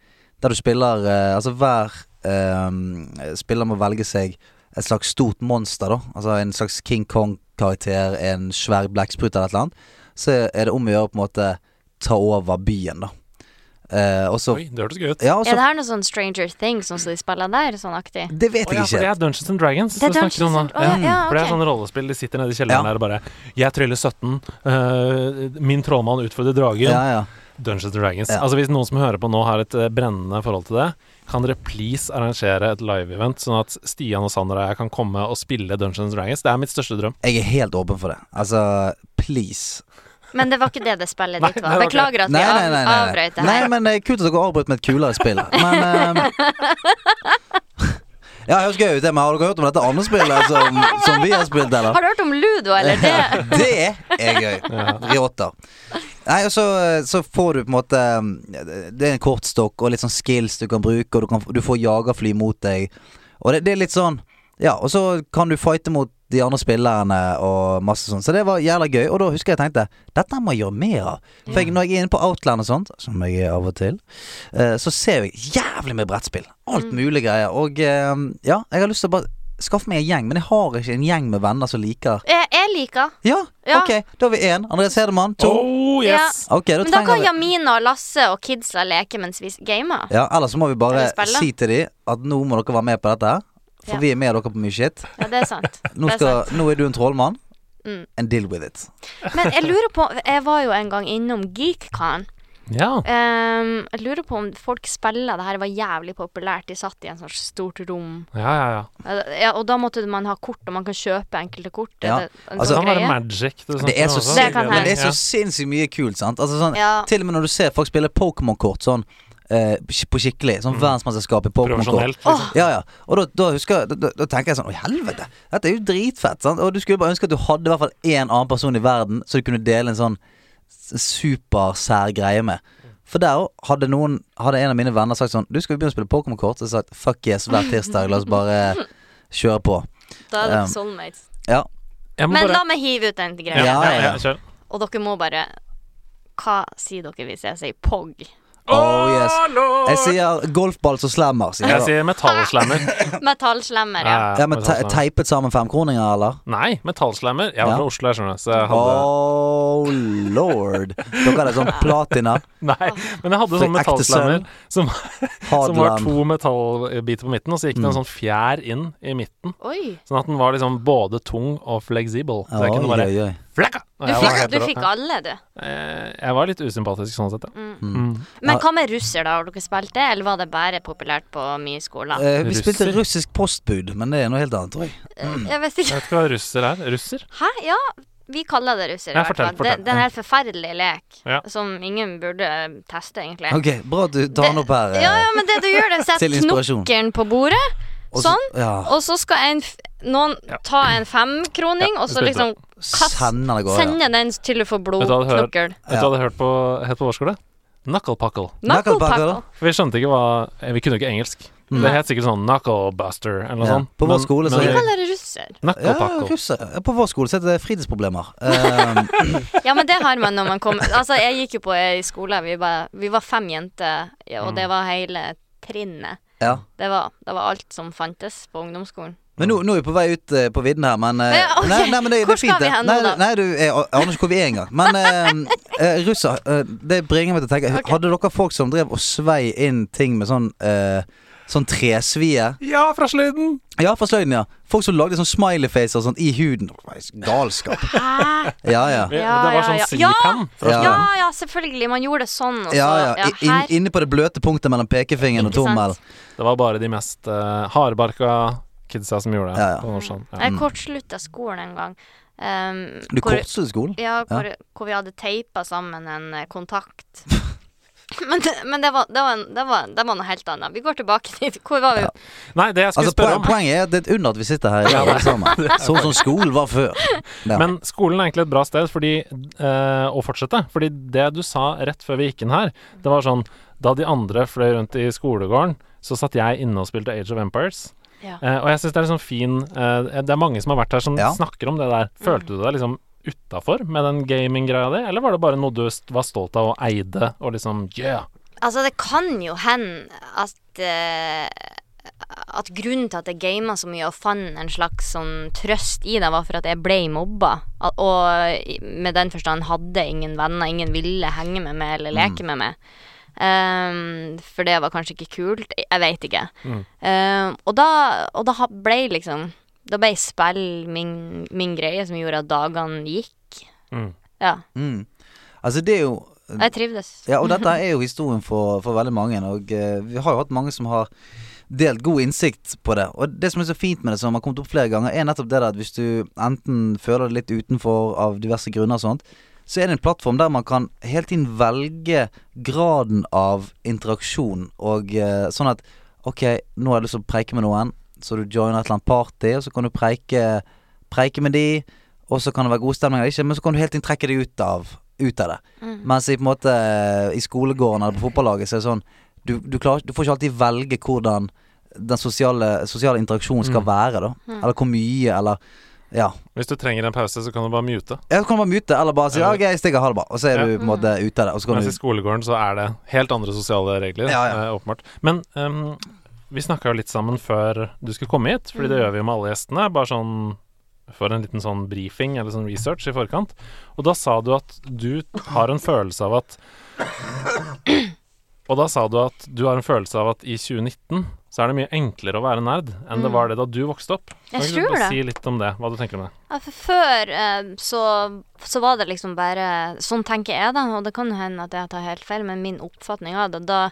Der du spiller eh, Altså hver eh, spiller må velge seg et slags stort monster, da. Altså en slags King Kong-karakter, en svær blekksprut eller et eller annet. Så er det om å gjøre å på en måte ta over byen, da. Eh, og så
Oi, det hørtes gøy ut.
Ja, og så
Er det her noe sånn Stranger Things, sånn som de spiller der? Sånn aktig?
Det vet
Å
jeg
ja, for det
ikke.
er Dungeons and Dragons.
Det er
du snakker om
Dungeons
nå.
and- Å, ja, ja,
For det er
Ah, ok.
sånn rollespill. De sitter nede i kjelleren
Ja.
der og bare 'Jeg tryller 17', øh, 'Min trollmann utfordrer dragen'.
Ja, ja.
Dungeons and Dragons.
Ja.
Altså Hvis noen som hører på nå har et eh, brennende forhold til det, kan dere please arrangere et live-event, sånn at Stian og Sander og jeg kan komme og spille Dungeons and Dragons? Det er mitt største drøm.
Jeg er helt åpen for det. Altså, please.
Men det var ikke det det spillet
Nei,
ditt
det
var.
var ikke
Beklager at vi
sånn- Nei, nei, nei.
av-
nei, nei.
avbrøt det
nei
her.
men eh, Kult at dere avbrøt med et kulere spill. Men eh, Ja, høres gøy ut, det, men har dere hørt om dette andre spillet som, som vi har spilt, eller?
Har du hørt om Ludo, eller det?
det er gøy. Rioter. Nei, og så, så får du på en måte eh, Det er en kortstokk og litt sånn skills du kan bruke, og du, kan, du får jagerfly mot deg. Og det, det er litt sånn Ja, og så kan du fighte mot de andre spillerne og masse sånt. Så det var jævla gøy. Og da husker jeg jeg tenkte dette må jeg gjøre mer av. For jeg, når jeg er inne på Outland og sånt, som jeg er av og til, eh, så ser jeg jævlig mye brettspill. Alt
Mm.
mulig greier. Og eh, ja, jeg har lyst til å bare skaffe meg en gjeng, men jeg har ikke en gjeng med venner som liker
Jeg, jeg liker.
Ja,
Ja.
ok, da har vi én. Andreas Hedemann, to.
Oh, yes!
Ok, da
Men da
trenger
kan
vi
Jamina og Lasse og kidsa leke mens vi gamer.
Ja, ellers så må vi bare
Eller spille.
si til dem at nå må dere være med på dette. For
Ja.
vi er med dere på mye shit.
Ja, det er sant.
Nå,
Det er
skal, nå er du en trollmann.
Mm.
And deal with it.
Men jeg lurer på Jeg var jo en gang innom GeekCon.
Ja.
Ehm, jeg lurer på om folk spiller det her var jævlig populært. De satt i en sånn stort rom. Eh,
Ja, ja, ja.
Ja, og da måtte man ha kort, og man kan kjøpe enkelte kort.
Ja,
Er det en
altså-
Det
sånn
kan være
greie?
magic. du
Det er
snakker om
så,
også.
Det kan
men det er
Ja.
så sinnssykt mye kult, sant. Altså, sånn,
Ja.
Til og med når du ser folk spille Pokémon-kort sånn eh, på skikkelig. Sånn verdensmesterskap i Pokémon-kort.
Profesjonelt. Liksom.
Ja, ja. Og da, da husker jeg da, da, da tenker jeg sånn Å, helvete! Dette er jo dritfett. Sant? Og du skulle bare ønske at du hadde i hvert fall én annen person i verden så du kunne dele en sånn s- supersær greie med. For der òg hadde noen Hadde en av mine venner sagt sånn Du, skal vi begynne å spille Pokémon-kort? Så hadde jeg sagt fuck yes, hver tirsdag. La oss bare kjøre på.
Da er dere
Ehm,
soulmates.
Ja.
Jeg må
Men
bare-
la meg hive ut den greia.
ja, ja,
Ja,
ja,
ja.
kjør.
Og dere må bare Hva sier dere hvis jeg sier POG?
Oh, yes.
lord!
Jeg sier golfball som slammer, sier
Jeg
jeg da.
sier metallslammer.
Metallslemmer, ja.
Ja, men te
metallslammer.
teipet sammen femkroninger, eller?
Nei, metallslammer. Jeg var
Ja.
fra Oslo, jeg skjønner. Så jeg hadde
Oh lord. Dere hadde sånn platina.
Nei, men jeg hadde
For
sånn
ekte
metallslammer som, som var
Hardland.
to metallbiter på midten, og så gikk det
Mm.
en sånn fjær inn i midten.
Oi.
Sånn at den var liksom både tung og fleksibel. Så jeg kunne
Oi,
bare
oi, oi.
flakka!
Du fikk, du fikk Mm. alle, du.
Jeg var litt usympatisk sånn sett, ja.
Men hva med russer, da? Har dere spilt det, eller var det bare populært på mine skoler?
Eh, vi
Russer.
spilte russisk postbud, men det er noe helt annet, tror jeg.
Eh, Jeg vet
Jeg
ikke.
vet ikke hva russer er. Russer?
Hæ? Ja, vi kaller det russer. i
Ja,
hvert
fortell,
fall. Det,
fortell.
det er en helt forferdelig lek
Ja.
som ingen burde eh, teste, egentlig.
Ok, Bra at du tar den opp her. eh,
Ja, ja, men det du gjør, det er å sette
Til inspirasjon.
knokkelen på bordet,
eh, og så-
sånn,
Ja,
og så skal en, f- noen ta en femkroning,
Ja,
og så
spilte
liksom kast-
Sender det går, ja.
sende den til du får
Vet du hva det hører?
blodknokkel.
Vet du hva det hørte på, het på vår skole? Knuckle puckle.
Knuckle
Knucklepuckle.
puckle.
For vi skjønte ikke hva eh, Vi kunne ikke engelsk. Det het sikkert sånn knuckle buster eller noe
Mm. Ja,
sånt.
på vår skole så-
Vi
vi-
kaller det russer.
Knuckle
Ja,
puckle.
russere. Ja, På vår skole så heter det fritidsproblemer. Ehm,
Ja, men det har man når man kommer Altså, jeg gikk jo på ei skole, vi, bare, vi var fem jenter, ja, og
Mm.
det var hele trinnet.
ja.
Det var, det var alt som fantes på ungdomsskolen.
Men nå, nå er vi på vei ut eh, på vidden her, men eh,
Ja, ok.
nei, nei, men det, det
Hvor
er fint,
skal vi
det.
hen nå,
Nei,
da?
nei, du, jeg a- aner ikke hvor vi er engang. Men ehm, eh, russer, eh, det bringer meg til å tenke
Ok.
Hadde dere folk som drev og svei inn ting med sånn eh, Sånn tresvie?
Ja, fra sløyden!
Ja, fra sløyden, ja. Folk som lagde sånn smiley-facer sånn i huden. Galskap.
Hæ?
Ja, ja.
Det
Ja,
var
ja,
sånn
ja.
silikon. fra
Ja.
Ja, ja, selvfølgelig. Man gjorde det sånn, og så
Ja,
ja,
ja. I- inn-
her.
inne på det bløte punktet mellom pekefingeren og
Ikke sant?
tommelen.
Det var bare de mest eh, hardbarka kidsa som gjorde det.
Ja, ja.
På Norsan. Ja.
Jeg kortslutta skolen en gang. ehm,
Du
hvor-
kortsluttet skolen?
Ja, hvor, hvor vi hadde teipa sammen en eh, kontakt. Men, det, men det, var, det, var en, det, var, det var noe helt annet. Vi går tilbake dit. Hvor var vi?
Nei, det jeg skulle
Altså, poen,
spørre om
poenget er at det er et under at vi sitter her i dag alle sammen. Sånn som skolen var før. Ja.
Men skolen er egentlig et bra sted fordi, eh, å fortsette. Fordi det du sa rett før vi gikk inn her, det var sånn Da de andre fløy rundt i skolegården, så satt jeg inne og spilte Age of Empires.
Ja.
Eh, og jeg syns det er en sånn fin eh, Det er mange som har vært her som
Ja.
snakker om det der. Følte du deg liksom utafor med den gaminggreia di, eller var det bare noe du st- var stolt av og eide, og liksom yeah?
Altså, det kan jo hende at eh, At grunnen til at jeg gama så mye og fant en slags sånn trøst i det, var for at jeg ble mobba. Al- Og i- med den forstand hadde ingen venner, ingen ville henge med meg eller leke med meg. Ehm, for det var kanskje ikke kult. Jeg- Jeg veit ikke. Ehm, og da, og da ha- ble liksom Da ble spill min, min greie som gjorde at dagene gikk.
Mm.
Ja.
Altså, det er jo
Og jeg trivdes.
Ja, og dette er jo historien for, for veldig mange, og eh, vi har jo hatt mange som har delt god innsikt på det. Og det som er så fint med det, som har kommet opp flere ganger, er nettopp det der at hvis du enten føler deg litt utenfor av diverse grunner og sånt, så er det en plattform der man kan hele tiden velge graden av interaksjon, og eh, sånn at Ok, nå har jeg lyst til å preike med noen, så du joiner et eller annet party, og så kan du preike, preike med de, og så kan det være god stemning eller ikke, men så kan du helt inn trekke deg ut av, ut av det.
Mm.
Mens i, på en måte, i skolegården eller på fotballaget så er det sånn Du, du, klarer, du får ikke alltid
Mm.
velge hvordan den sosiale, sosiale interaksjonen skal være, da. Eller hvor mye, eller Ja.
Hvis du trenger en pause, så kan du bare mute.
Jeg kan bare mute, eller bare si
Ja.
OK, jeg stikker, ha det bra. Og så er
Ja.
du på en måte
Mm.
ute av det. Og så kan
Mens i
du
skolegården så er det helt andre sosiale regler,
Ja, ja.
eh, åpenbart. Men ehm, vi snakka jo litt sammen før du skulle komme hit, fordi
Mm.
det gjør vi jo med alle gjestene. Bare sånn for en liten sånn briefing eller sånn research i forkant. Og da sa du at du har en følelse av at Og da sa du at du har en følelse av at i 2019 så er det mye enklere å være nerd enn det var det da du vokste opp.
Mm. Jeg
ikke du
tror
bare
det.
si litt om det, hva du tenker om det?
Ja, for før eh, så, så var det liksom bare Sånn tenker jeg, da, og det kan jo hende at jeg tar helt feil, men min oppfatning av det da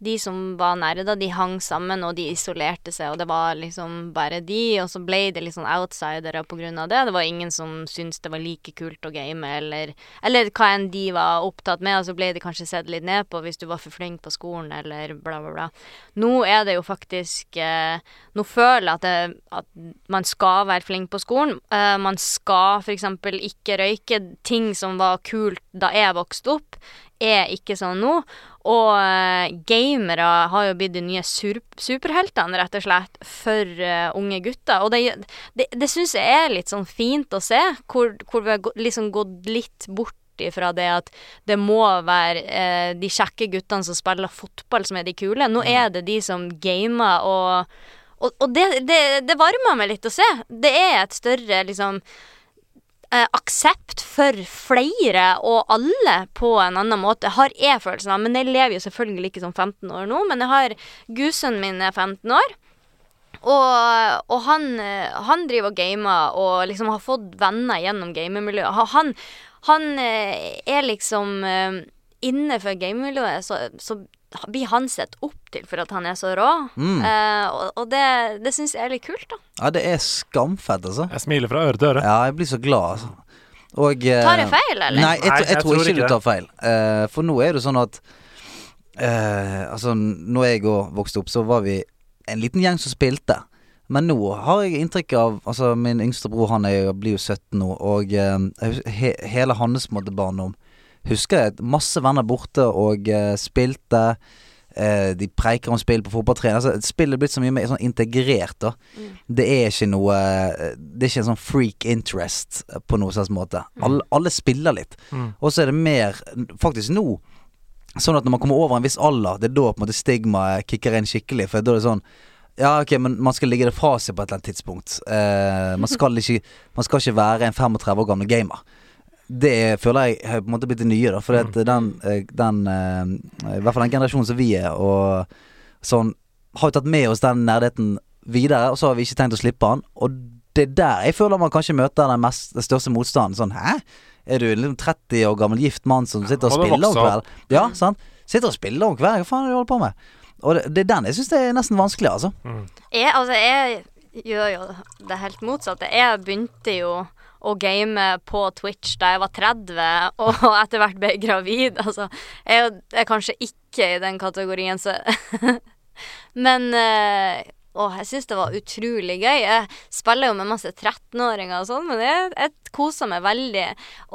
De som var nerder, de hang sammen, og de isolerte seg, og det var liksom bare de, og så ble det litt sånn outsidere på grunn av det. Det var ingen som syntes det var like kult å game, eller, eller hva enn de var opptatt med, og så ble de kanskje sett litt ned på hvis du var for flink på skolen, eller bla, bla, bla. Nå er det jo faktisk eh, Nå føler jeg at, det, at man skal være flink på skolen. Eh, man skal f.eks. ikke røyke. Ting som var kult da jeg vokste opp, er ikke sånn nå. Og eh, gamere har jo blitt de nye sur superheltene, rett og slett, for eh, unge gutter. Og det, det, det syns jeg er litt sånn fint å se, hvor, hvor vi har gå- liksom gått litt bort fra det at det må være eh, de kjekke guttene som spiller fotball, som er de kule. Nå er det de som gamer og Og, og det, det, det varmer meg litt å se. Det er et større liksom eh, aksept for flere og alle på en annen måte, har jeg følelsen av. Men jeg lever jo selvfølgelig ikke som 15 år nå, men jeg har gudsønnen min er 15 år. Og, og han, eh, han driver og gamer og liksom har fått venner gjennom gamermiljøet. Ha- Han, han eh, er liksom eh, Innenfor gamermiljøet så, så blir han sett opp til for at han er så rå.
Mm.
Eh, og, og det, det syns jeg er litt kult, da.
Ja, det er skamfett, altså.
Jeg smiler fra øre til øre.
Ja, jeg blir så glad, altså. Og eh,
Tar jeg feil, eller?
Nei, jeg,
Nei,
tro- jeg,
jeg
tror
tror
ikke
ikke
du
det.
tar feil. Eh, for nå er det sånn at eh, Altså, når jeg òg vokste opp, så var vi en liten gjeng som spilte. Men nå har jeg inntrykk av Altså, min yngste bror han er, jo- blir jo 17 nå, og eh, jeg hus- he, hele hans måte barndom husker jeg at masse venner borte og eh, spilte. Eh, de preiker om spill på fotballtrening. Altså, spillet er blitt så mye mer sånn integrert. da Det er ikke noe Det er ikke en sånn freak interest eh, på noen slags måte. Alle, alle spiller litt. Og så er det mer Faktisk nå Sånn at når man kommer over en viss alder, det er da på en måte stigmaet kicker inn skikkelig. For da er det sånn Ja, ok, men man skal ligge det fra seg på et eller annet tidspunkt. Eh, man, skal ikke, man skal ikke være en 35 år gammel gamer. Det er- føler jeg har på en måte blitt det nye, da. For at den, eh, den eh, I hvert fall den generasjonen som vi er, og sånn Har jo tatt med oss den nerdheten videre, og så har vi ikke tenkt å slippe den. Og det er der jeg føler man kanskje møter den, mest, den største motstanden. Sånn hæ? Er du en liksom 30 år gammel gift mann som sitter og
må du
spiller om
vokse opp.
kvelden? Ja, sant? Sitter og spiller om kvelden, hva faen er det du holder på med? Og det, det er den jeg syns er nesten vanskelig, altså.
Jeg, altså, jeg gjør jo det helt motsatte. Jeg begynte jo å game på Twitch da jeg var 30, og etter hvert ble jeg gravid. Altså, jeg er kanskje ikke i den kategorien, så Men eh, åh, jeg syns det var utrolig gøy. Jeg spiller jo med masse 13-åringer og sånn, men jeg, jeg koser meg veldig.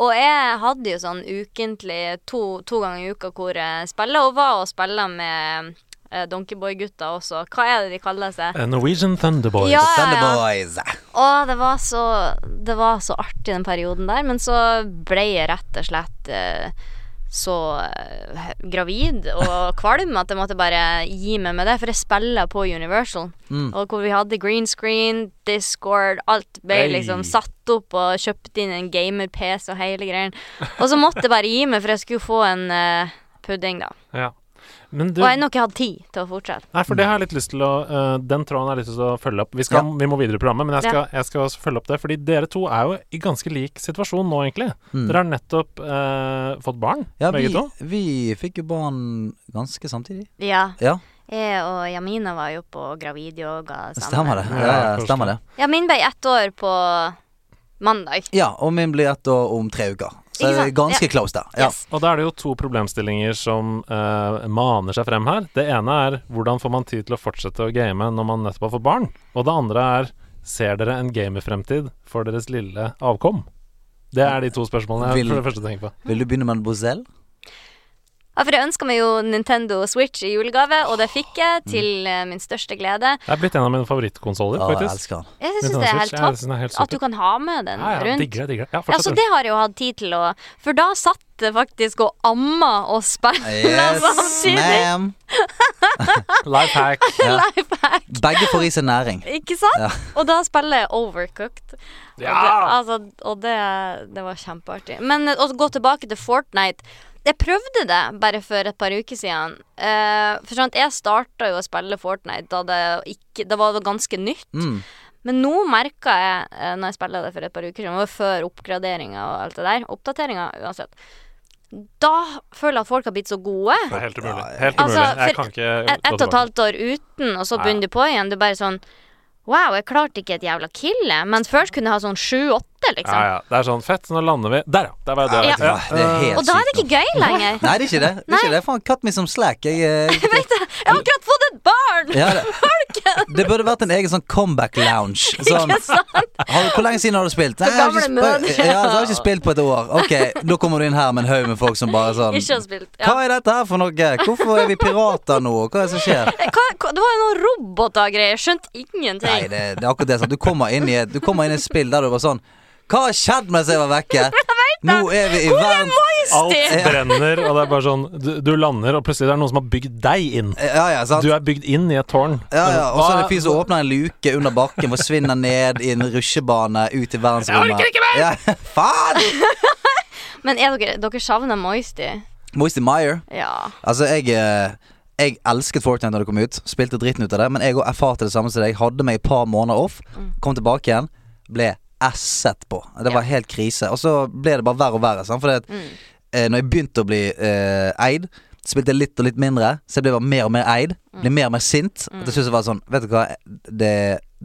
Og jeg hadde jo sånn ukentlig to, to ganger i uka hvor jeg spiller, og var og spiller med eh, Donkeyboy-gutta også. Hva er det de kaller seg?
Eh, Norwegian Thunderboys.
Ja,
Send the
ja, ja.
boys.
Å, det var så Det var så artig den perioden der, men så ble jeg rett og slett eh, så eh, gravid og kvalm at jeg måtte bare gi meg med det, for jeg spiller på Universal. Og hvor vi hadde green screen, Discord, alt ble
Hey.
liksom satt opp og kjøpt inn en gamer-PC og hele greien. Og så måtte jeg bare gi meg, for jeg skulle få en eh, pudding, da.
Ja. Men du,
Og jeg har nok ikke hatt tid til å fortsette.
Nei,
Mm.
for det har jeg litt lyst til å eh, Den tråden har jeg lyst til å følge opp. Vi, skal, vi må videre i programmet, men jeg skal, jeg skal også følge opp det. Fordi dere to er jo i ganske lik situasjon nå, egentlig. Dere har nettopp eh, fått barn,
Mm. Ja, vi,
begge to.
vi fikk jo barn ganske samtidig.
Ja.
Ja,
Jeg og Jamina var jo på gravidyoga sammen.
stemmer det. Ja, ja, stemmer det.
Ja, min ble ett år på mandag.
Ja, og min blir ett år om tre uker. Så
Ikke
det er
sant?
ganske
Ja.
close der. Ja.
Yes.
Og da er det jo to problemstillinger som eh, maner seg frem her. Det ene er hvordan får man tid til å fortsette å game når man nettopp har fått barn? Og det andre er ser dere en gamerfremtid for deres lille avkom? Det er de to spørsmålene jeg
Vil-
for det første tenker på.
Vil du begynne med en bozell?
Ja, for jeg ønska meg jo Nintendo Switch i julegave, og det fikk jeg, til eh, min største glede.
Det er blitt en av mine favorittkonsoller,
Ja, jeg
faktisk.
elsker han.
Jeg syns
Nintendo
det er
Switch,
helt
jeg
topp
synes den er helt
at du
super.
kan ha med den
Ja, ja,
rundt.
digger det, digger det. Ja,
Ja, så
fortsett.
det har jeg jo hatt tid til å For da satt det faktisk og amma og spilte samtidig.
ma'am.
Life hack.
Ja.
Life hack,
Begge får i seg næring.
Ikke sant?
Ja.
Og da spiller jeg Overcooked. Og, det,
Ja!
altså, og det, det var kjempeartig. Men å gå tilbake til Fortnite Jeg prøvde det bare for et par uker siden. Eh, for sånn at jeg starta jo å spille Fortnite da det, ikke, da var det ganske nytt.
Mm.
Men nå merka jeg, eh, når jeg spilla det for et par uker siden, det var før oppgraderinga og alt det der, oppdateringa uansett, da føler jeg at folk har blitt så gode.
Det er helt umulig. Helt
Altså,
umulig. jeg
for
kan ikke
Et,
gå
ett og et
tilbake.
halvt år uten, og så
Ja.
begynner du på igjen. Du bare sånn Wow, jeg klarte ikke et jævla kill. jeg. Mens før kunne jeg ha sånn sju-åtte,
Ja,
liksom.
ja. Det er sånn fett. Nå lander vi Der, ja. Der var jeg
Ja.
der.
Ja, Ah, det er helt
Og da er det
sykt nå.
ikke gøy lenger.
Nei, det er ikke det. det, er ikke det. Faen, cut me som slack. Jeg, eh,
Jeg har akkurat fått et barn!
ja, det. det burde vært en egen sånn comeback lounge. Sånn, har, hvor lenge siden har du spilt? Nei, jeg har ikke,
gamle
sp-
mødre.
ja, så har jeg ikke spilt på et år. Ok, Da kommer du inn her med en haug med folk som bare sånn
Ikke har spilt. Ja.
Hva er dette her for noe? Hvorfor er vi pirater nå? Hva er det som skjer?
Eh, Hva, hva, det var jo noen roboter og greier. Jeg skjønte
Nei, det,
ingenting.
det er akkurat det. Sant? Du kommer inn i et, du kommer inn i et spill der du bare sånn Hva har skjedd mens jeg var vekke? Nå er vi i verden
Alt
Majesty!
brenner, og det er bare sånn du, du lander, og plutselig er det noen som har bygd deg inn.
Ja, ja, sant?
Du er bygd inn i et tårn.
Ja, ja, Og så er det
Hva-
en fyr som åpner en luke under bakken, forsvinner ned i en rusjebane ut i verdensrommet. Jeg orker ikke mer! Ja, faen!
Men er dere, dere savner Moisty?
Moisty Meyer.
Ja.
Altså, jeg eh, jeg elsket Fortnite da det kom ut, spilte dritten ut av det, men jeg også erfarte det samme som deg. Hadde meg et par måneder off, kom tilbake igjen, ble asset på. Det var helt krise. Og så ble det bare verre og verre. Sant? Fordi at eh, når jeg begynte å bli eh, eid, spilte jeg litt og litt mindre, så jeg ble bare mer og mer eid. Ble mer og mer sint. Og til slutt så var det sånn, vet du hva, det,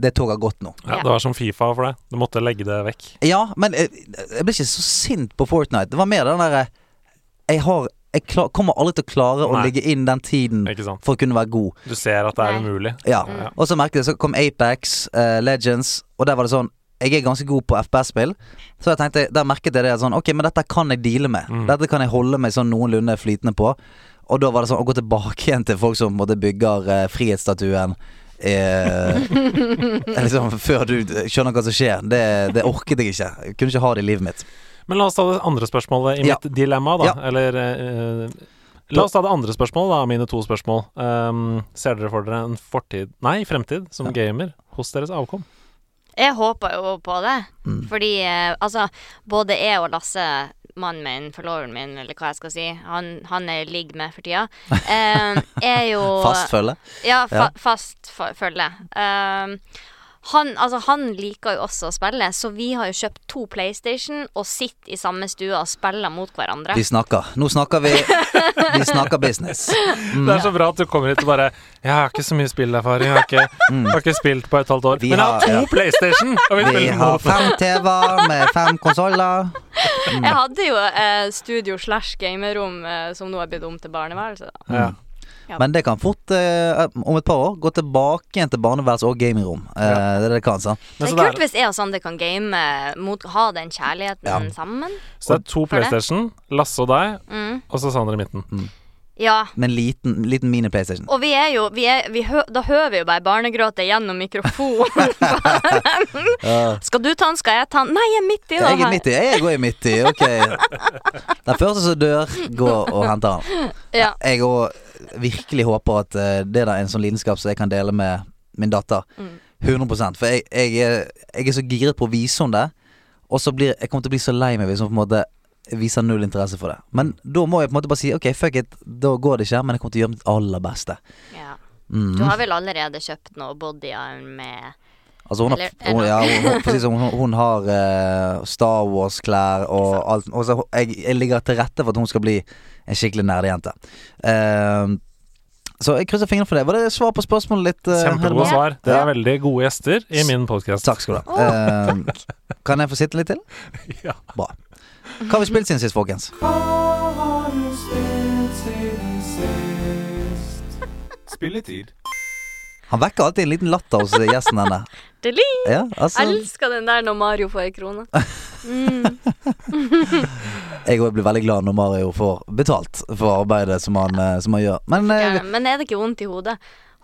det toget har gått nå.
Ja, det var som Fifa for deg. Du måtte legge det vekk.
Ja, men jeg, jeg ble ikke så sint på Fortnite. Det var mer den derre Jeg har Jeg klar, kommer aldri til å klare å
Nei.
ligge inn den tiden
Ikke sant?
for å kunne være god.
Du ser at det er
Nei.
umulig.
Ja.
Ja.
Og så merket jeg så kom Apex, eh, Legends, og der var det sånn Jeg er ganske god på FPS-spill, så jeg tenkte, der merket jeg det sånn Ok, men dette kan jeg deale med. Dette kan jeg holde meg sånn noenlunde flytende på. Og da var det sånn å gå tilbake igjen til folk som på en måte bygger eh, frihetsstatuen. Eh, liksom Før du skjønner hva som skjer. Det, det orket jeg ikke. Jeg kunne ikke ha det i livet mitt.
Men la oss ta det andre spørsmålet i
Ja.
mitt dilemma, da.
Ja.
Eller eh, La oss ta det andre spørsmålet, da, mine to spørsmål. Um, ser dere for dere en fortid Nei, fremtid som gamer hos deres avkom?
Jeg håper jo på det.
Mm.
Fordi eh, altså, både jeg og Lasse, mannen min, forloveren min, eller hva jeg skal si, han, han er i ligg med for tida, eh, er jo
Fast følge.
Ja, fa
Ja.
fast fa- følge. Eh, han, altså, han liker jo også å spille, så vi har jo kjøpt to PlayStation og sitter i samme stue og spiller mot hverandre.
Vi snakker. Nå snakker vi Vi snakker business.
Det
Mm.
er så bra at du kommer hit og bare 'Jeg har ikke så mye spillerfaring. Jeg har ikke, har ikke spilt på et halvt år.'
Mm. Vi
Men jeg
har-
har to
ja.
PlayStation! Og vi
Vi
spiller
har
mot
fem TV-er med fem konsoller.
Jeg hadde jo eh, studio slash gamerom eh, som nå er blitt om til barneværelse. Da.
ja.
Ja.
Men det kan fort, eh, om et par år, gå tilbake igjen til barneværelse og gamingrom. Eh, Det er det det kan, sant?
Men så
Det er
det
kult
er,
hvis jeg og Sander kan game eh, mot ha den kjærligheten sammen.
så det er to PlayStation, Lasse og deg,
Mm.
og så Sander i midten.
Ja.
Men liten, liten mini-PlayStation.
Og vi er jo vi er, vi hø, Da hører vi jo bare barnegråte gjennom mikrofonen.
Ja.
skal du ta den, skal jeg ta den? Nei, jeg er midt i det
jeg er midt i, jeg går i midt i, ok. Den første som dør, gå og hente han.
Ja.
Jeg òg virkelig håper at eh, det der er en sånn lidenskap som jeg kan dele med min datter.
Mm.
100 For jeg, jeg, er, jeg er så giret på å vise henne det, og så blir jeg kommer til å bli så lei meg hvis hun på en måte viser null interesse for det. Men da må jeg på en måte bare si ok, fuck it, da går det ikke, men jeg kommer til å gjøre mitt aller beste.
Ja.
Mm.
Du har vel allerede kjøpt noe bodyarm med
Altså hun har,
Eller-
hun,
eller-
ja, hun, hun, precis, som hun, hun har eh, Star Wars-klær og alt. Og så jeg, jeg ligger til rette for at hun skal bli en skikkelig nerdejente. Uh, så jeg krysser fingrene for det. Var det svar på spørsmålet litt? eh,
Kjempegode
Helma?
svar. Dere er veldig gode gjester i min podkast.
Takk skal du ha. Eh, kan jeg få sitte litt til?
Ja.
Bra. Hva har vi spilt siden sist, folkens?
Spilletid.
Han vekker alltid en liten latter hos gjesten henne.
Deling!
sånn.
Ja, altså,
Elsker den der når Mario får ei krone.
Jeg òg blir veldig glad når Mario får betalt for arbeidet som han, eh, som han gjør. Men eh,
Gjerne. Men er det ikke vondt i hodet?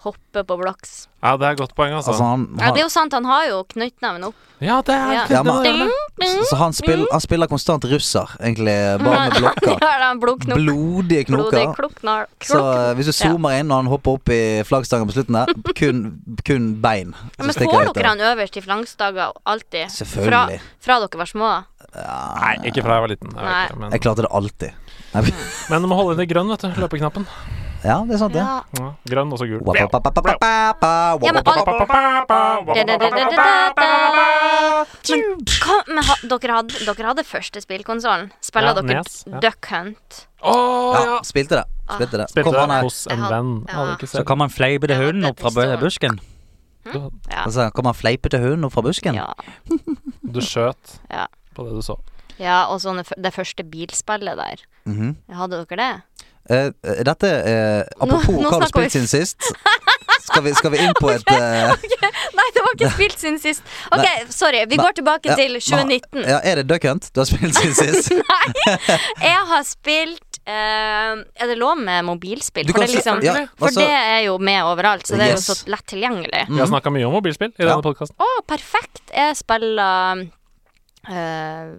Hoppe på blocks.
Ja, det er et godt poeng, altså.
altså, han,
Ja, det er
han,
jo sant, han har jo knyttneven opp.
ja, det er
Ja.
det
Ja, men-
er det.
så han, spill, han spiller konstant russer, egentlig, bare med
Han-
blokker.
Ja, det er en blodknok.
Blodige
Blodig
knoker.
kloknar-
Så eh,
klokk.
hvis du zoomer inn når han hopper opp i flaggstangen på slutten der, kun, kun bein.
Ja,
som
Men
stikker
får
ut
dere
der.
han øverst i flankstager alltid?
Selvfølgelig.
Fra, fra dere var små?
Nei, ikke fra jeg var liten. Jeg vet
Nei.
ikke, men,
Jeg klarte det alltid. Nei,
men du må holde inn i grønn, vet du. Løpeknappen.
Ja, det er sant, det.
Ja.
Ja. Grønn, også gul.
Wapapapapapa,
Ja, men
wapapapa.
al- Da-da-da-da-da-da. Men hva- men ha- dere hadde, dere hadde første spillkonsollen. Spiller
Ja,
dere
Nes, ja.
Duck Hunt?
Å, ja!
Ja, spilte det. Spilte det.
Spilte
Kom, han
det
her.
hos en
Jeg hadde-
venn.
ja.
Hadde ikke
Så
sett.
kan man fleipe det hunden opp fra bø- busken.
Ja.
Altså, kom han fleipete hunden opp fra busken?
Ja.
Du skjøt
Ja.
på det du så.
ja, og sånn det f- det første bilspillet der.
Mhm.
Hadde dere det?
Eh, eh, dette eh, Apropos
nå
hva du har
snakker vi-
spilt siden sist. Skal vi, skal vi inn på et eh,
Nei, det var ikke spilt siden sist. OK, sorry. Vi
Nei.
går tilbake
ja,
til
hva-
2019.
Ja, er det Duck Hunt du har spilt siden sist?
Jeg har spilt eh, Er det lov med mobilspill?
Du
For,
kan
det, er liksom,
si- ja,
for
altså-
det er jo med overalt, så det er jo
Yes.
så lett tilgjengelig.
Vi har snakka mye om mobilspill i
Ja.
denne podkasten.
Å, perfekt! Jeg spiller eh,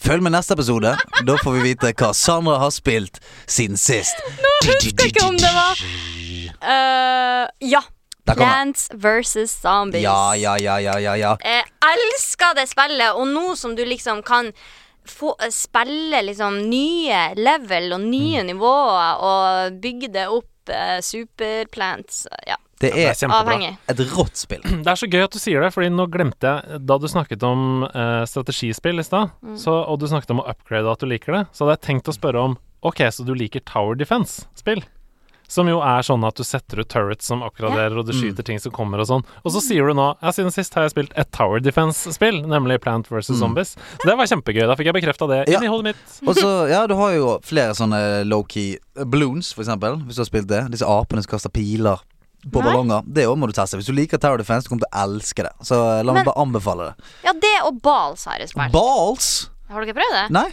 Følg med neste episode. Da får vi vite hva Sandra har spilt siden sist. Nå
husker jeg ikke om det var- eh, Ja.
Der kommer den.
Plants versus Zombies.
Ja, ja, ja, ja, ja, ja.
Jeg Eh, elsker det spillet, og nå som du liksom kan få, eh, spille liksom nye level og nye nivåer og bygge det opp eh, superplants Ja,
Det
Det
er
er kjempebra.
avhengig.
et rått spill.
Det er så gøy at du sier det, Fordi nå glemte jeg Da du snakket om eh, strategispill i stad,
Mm.
så- og du snakket om å upgrade og at du liker det, så hadde jeg tenkt å spørre om Ok, så du liker Tower Defense-spill? Som jo er sånn at du setter ut turrets som oppgraderer, og du
Mm.
skyter ting som kommer og sånn. Og
Mm.
så sier du nå Ja, siden sist har jeg spilt et Tower Defense-spill, nemlig Plant vs. Zombies. Så det var kjempegøy. Da fikk jeg bekrefta
Mm.
det
Ja.
inni hodet mitt.
Og så, ja, du har jo flere sånne low-key balloons, for eksempel. Hvis du har spilt det. Disse apene som kaster piler på
Nei.
ballonger. Det òg må du teste. Hvis du liker Tower Defense, du kommer til å elske det. Så eh, la meg
Men-
bare anbefale det.
Ja, det og balls har jeg spilt.
Balls?
Har dere prøvd det?
Nei?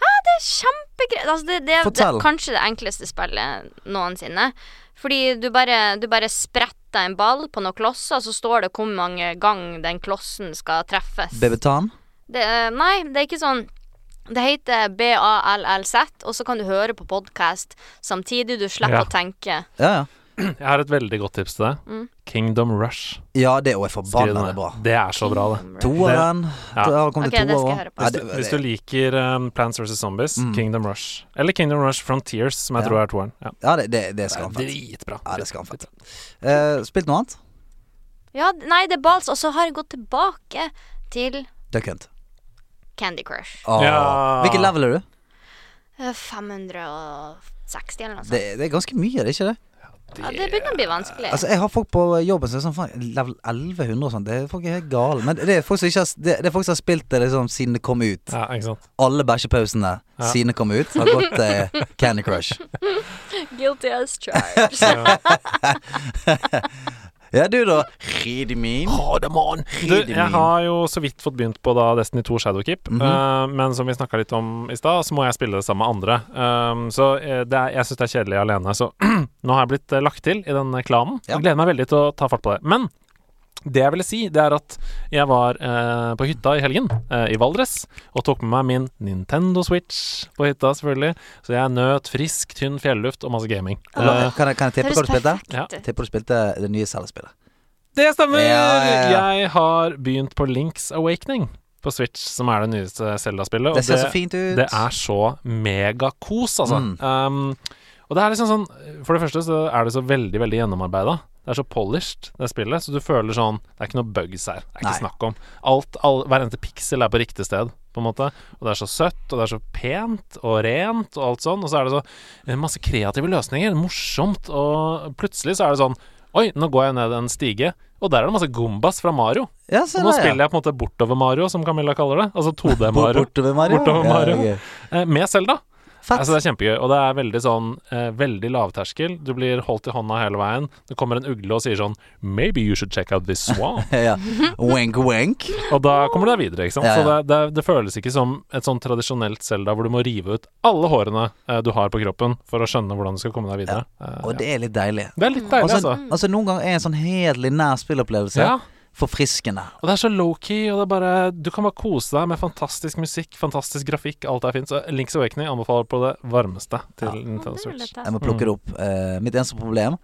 Det er kjempegreit. Altså, det, det, det
Fortell.
er kanskje det enkleste spillet noensinne. Fordi du bare, du bare spretter en ball på noen klosser, så står det hvor mange gang den klossen skal treffes.
Bebetan?
Det, nei, det er ikke sånn Det heter BALLZ, og så kan du høre på podkast samtidig. Du slipper
Ja.
å tenke.
Ja, ja.
Jeg har et veldig godt tips til deg.
Mm.
Kingdom Rush.
Ja, det òg er
Skriv det
forbanna
ned.
bra.
Det er så bra, det.
Toeren.
Ja.
Det har kommet til
Ok, det skal
toer
jeg
òg.
høre på.
Ja,
Hvis
det- Mm.
du, hvis du liker um, Plants vs. Zombies, Kingdom Rush Eller Kingdom Rush Frontiers, som jeg
Ja.
tror er toeren. Ja.
ja, det, det, det er skamfett.
Dritbra.
Ja, det er skamfett. Eh, spilt noe annet?
Ja, nei, det er balls. Og så har jeg gått tilbake til
Duck Hunt.
Candy Crush.
Åh.
Ja.
Hvilken level er du?
Eh, 560 eller noe sånt.
Det, det er ganske mye, er det ikke det?
ja, det begynner å bli vanskelig.
Altså, jeg har folk på jobben som er sånn faen, level 1100 og sånn. Det er folk er helt gale. Men det er folk som, ikke har, det, det er folk som har spilt det liksom siden det kom ut.
Ja, ikke sant.
Alle bæsjepausene siden det kom ut, har gått eh, Candy Crush.
Guilty as charged.
Ja, du da? Read min.
Du, jeg har jo så vidt fått begynt på da Destiny 2 Shadowkeep, eh, men som vi snakka litt om i stad, så må jeg spille det sammen med andre. Um, så eh, det er, jeg syns det er kjedelig alene, så nå har jeg blitt eh, lagt til i denne klanen.
Ja.
Jeg gleder meg veldig til å ta fart på det. Men det jeg ville si, det er at jeg var eh, på hytta i helgen, eh, i Valdres, og tok med meg min Nintendo Switch på hytta, selvfølgelig. Så jeg nøt frisk, tynn fjelluft og masse gaming.
Kan
Eh,
jeg, kan jeg tippe hva du spilte?
Ja.
ut.
Tipper du spilte det nye Zelda-spillet.
Det stemmer!
Ja, ja, ja.
Jeg har begynt på Links Awakening på Switch, som er det nyeste Zelda-spillet. og
Det ser så fint ut.
det er så megakos, altså.
Mm.
Um, og det er liksom sånn For det første så er det så veldig, veldig gjennomarbeida. Det er så polished, det spillet, så du føler sånn Det er ikke noe bugs her. Det er ikke
Nei.
snakk om. Alt, all, hver eneste piksel er på riktig sted, på en måte. Og det er så søtt, og det er så pent og rent og alt sånn. Og så er det så eh, masse kreative løsninger. Morsomt. Og plutselig så er det sånn Oi, nå går jeg ned en stige, og der er det masse gombas fra Mario.
Ja, se
Og nå
der, ja.
spiller jeg på en måte bortover Mario, som Camilla kaller det. Altså 2D-Mario.
Bortover Mario.
Bortover
Ja,
Mario.
det er gøy.
Eh, med Selda.
Fett.
Altså, det er kjempegøy, og det er veldig sånn eh, Veldig lavterskel. Du blir holdt i hånda hele veien. Det kommer en ugle og sier sånn Maybe you should check out this swan.
ja. Wink, wink.
Og da kommer du deg videre, ikke sant.
Ja, ja.
Så det, det, det føles ikke som et sånn tradisjonelt Zelda hvor du må rive ut alle hårene eh, du har på kroppen for å skjønne hvordan du skal komme deg videre. Eh,
Og det er litt deilig.
ja. det er litt deilig,
Altså,
altså.
altså Noen ganger er en sånn helt linær spillopplevelse
Ja.
forfriskende.
Og det er så low-key, og det er bare Du kan bare kose deg med fantastisk musikk, fantastisk grafikk, alt er fint. Så Links Awakening anbefaler på det varmeste til Nintendo Switch.
Jeg må plukke det opp. Eh, mitt eneste problem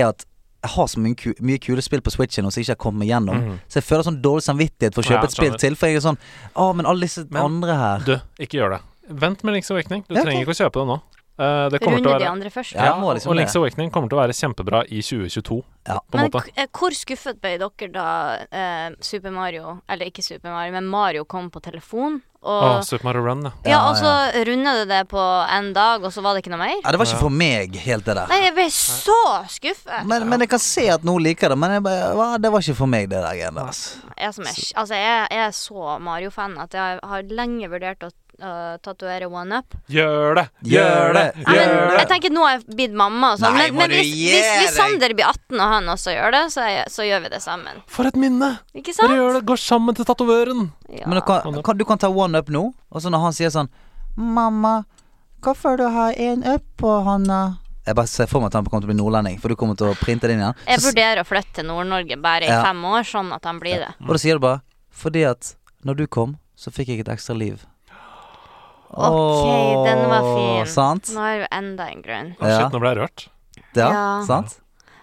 er at jeg har så mye, ku mye kule spill på Switchen som jeg ikke har kommet meg gjennom. Så jeg føler sånn dårlig samvittighet for å kjøpe
Mm. Ja,
et spill
skjønner.
til. For jeg er sånn Å, men alle disse
Men-
andre her
Du, ikke gjør det. Vent med Links Awakening. Du
Ja, ok.
trenger ikke å kjøpe det nå. Eh, det kommer til å
Runde de
være
andre først.
Ja, jeg må liksom
og
det.
Links Awakening kommer til å være kjempebra i 2022,
Ja.
på en
Men
måte.
k- eh, hvor skuffet ble dere da eh, Super Mario, eller ikke Super Mario, men Mario kom på telefon? Og,
Å, Super Mario Run, ja.
ja, og så runda du det på en dag, og så var det ikke noe mer?
Ja, det var ikke for meg, helt det der.
Nei, jeg ble så skuffet.
Men, men jeg kan se at noen liker det, men jeg, bare- hva, det var ikke for meg, det der greiene der. Altså.
Jeg, som er, sj- altså, jeg, jeg er så Mario-fan at jeg har lenge vurdert å uh, tatovere one up.
Gjør det!
Gjør det!
Nei, men,
Gjør
jeg tenker nå har jeg blitt mamma og sånn,
Nei,
men,
må
men
du
hvis,
gi
hvis, hvis
deg.
Sander blir 18 og han også gjør det, så, er jeg, så gjør vi det sammen.
For et minne!
Ikke
Dere
sant?
gjør det! Går sammen til tatovøren!
Ja.
Men du kan, kan, du kan ta one up nå, og så når han sier sånn Mamma, hvorfor du har en up på hånda? Jeg bare ser for meg at han kommer til å bli nordlending, for du kommer til å printe det inn igjen.
Jeg
Så s-
vurderer å flytte til Nord-Norge bare i
Ja.
fem år, sånn at han blir det.
Og da sier du bare Fordi at når du kom, så fikk jeg et ekstra liv.
Ok, den var fin.
Sant?
Nå har vi enda en grunn.
Å,
Ja.
Shit, nå ble jeg rørt.
Ja,
Ja.
sant?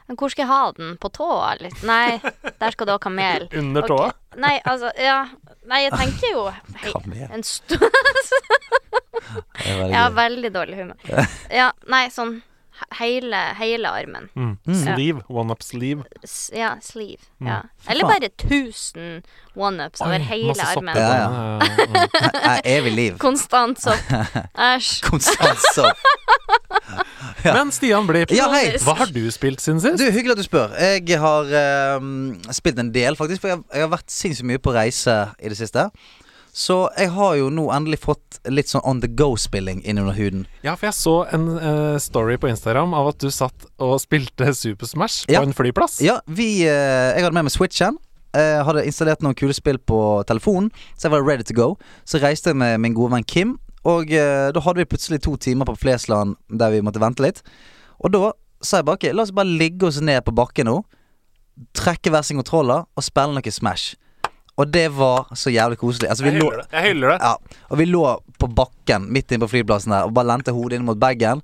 Men hvor skal jeg ha den? På tåa? Litt? Nei, der skal du ha kamel.
Under
Ok.
tåa.
Nei, altså, ja. Nei, jeg tenker jo hei,
Kamel.
en stor
Det er veldig
Jeg har
gøy.
veldig dårlig humor. Ja, nei, sånn he- hele, hele armen.
Mm. Sleeve. One up sleeve.
S ja, sleeve. Ja.
Mm. Fy
Eller
faen.
bare 1000 one-ups over
Oi,
hele
masse sopp.
armen.
Ja, ja.
Ja, ja.
Nei, Evig liv.
Konstant sopp. Æsj.
Konstant sopp. Ja.
Men Stian Blipp,
Ja, hei.
hva har du spilt siden sist?
Du, Hyggelig at du spør. Jeg har ehm, spilt en del, faktisk. For jeg, jeg har vært sinnssykt mye på reise i det siste. Så jeg har jo nå endelig fått litt sånn on the go-spilling innunder huden.
Ja, for jeg så en eh, story på Instagram av at du satt og spilte Super Smash
Ja.
på en flyplass.
Ja, vi, eh, jeg hadde med meg Switchen. eh, hadde installert noen kule spill på telefonen, så jeg var ready to go. Så reiste jeg med min gode venn Kim, og eh, da hadde vi plutselig to timer på Flesland der vi måtte vente litt. Og da sa jeg bare ok, la oss bare ligge oss ned på bakken nå, trekke hver sin kontroller og spille noe Smash. Og det var så jævlig koselig. Altså, vi
Jeg
lå,
hyller det. Jeg hyller det.
ja, og vi lå på bakken midt inne på flyplassen der og bare lente hodet inn mot bagen.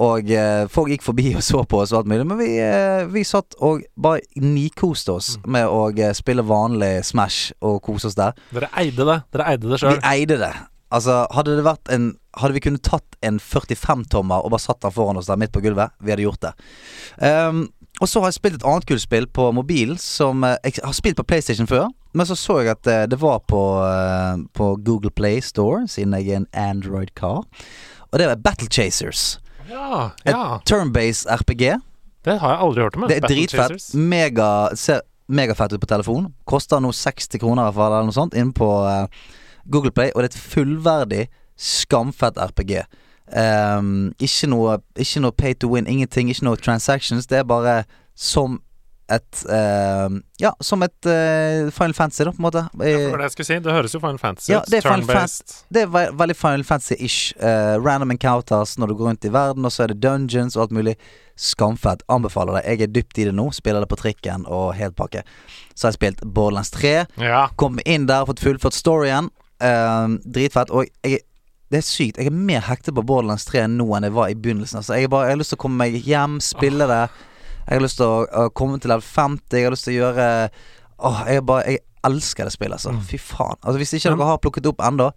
Og eh, folk gikk forbi og så på oss og alt mulig, men vi, eh, vi satt og bare nikoste oss med å eh, spille vanlig Smash og kose oss der.
Dere eide det. Dere eide det
Vi
sjøl.
eide det. Altså, hadde det vært en Hadde vi kunnet tatt en 45-tommer og bare satt den foran oss der midt på gulvet, vi hadde gjort det. Ehm, og så har jeg spilt et annet kult spill på mobilen som eh, Jeg har spilt på PlayStation før, men så så jeg at eh, det var på, eh, på Google Play Store, siden jeg er en Android-kar. Og det var Battle Chasers.
Ja,
Et
ja.
turn-based RPG.
Det har jeg aldri hørt om. jeg.
Det er
Battle
dritfett.
Chasers.
Mega, ser megafett ut på telefon. Koster nå 60 kroner i hvert fall, eller noe sånt, inne på eh, Google Play. Og det er et fullverdig, skamfett RPG. Ehm, ikke, noe, ikke noe pay to win, ingenting. Ikke noe transactions. Det er bare som et ehm, Ja, som et eh, Final Fantasy, da, på en måte.
Ja, for det var det jeg skulle si. Det høres jo Final Fantasy
Ja,
ut.
det er Final
Turn-based.
Det er ve veldig Final Fantasy-ish. Eh, random encounters når du går rundt i verden, og så er det dungeons og alt mulig. Skamfett. Anbefaler det. Jeg er dypt i det nå. Spiller det på trikken og helt pakke. Så har jeg spilt Borderlands 3.
Ja.
Kom inn der, fått fullført storyen. Eh, dritfett. Og jeg det er sykt. Jeg er mer hektet på Borderlands 3 nå enn jeg var i begynnelsen. Altså, jeg, er bare, jeg har lyst til å komme meg hjem, spille det. Jeg har lyst til å, å komme til level 50. Jeg har lyst til å gjøre Åh, jeg, er bare, jeg elsker det spillet, altså.
Mm.
Fy faen. Altså, hvis ikke dere har plukket det opp ennå,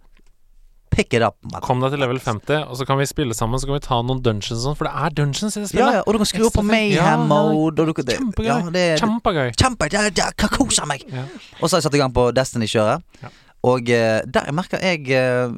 pick it up. Man.
Kom deg til level 50, og så kan vi spille sammen. Så kan vi ta noen dungeons og sånn, for det er dungeons i det
Ja, ja,
spillet.
og du kan skru opp på
Ekstra fint. Ja, ja,
Mayhem-mode. og du kan- det-
Kjempegøy.
Ja, det, det,
Kjempegøy.
kjempe, ja, ja, jeg koser meg.
Ja.
Og så har jeg satt i gang på Destiny-kjøret.
Ja.
Og eh, der merker jeg eh,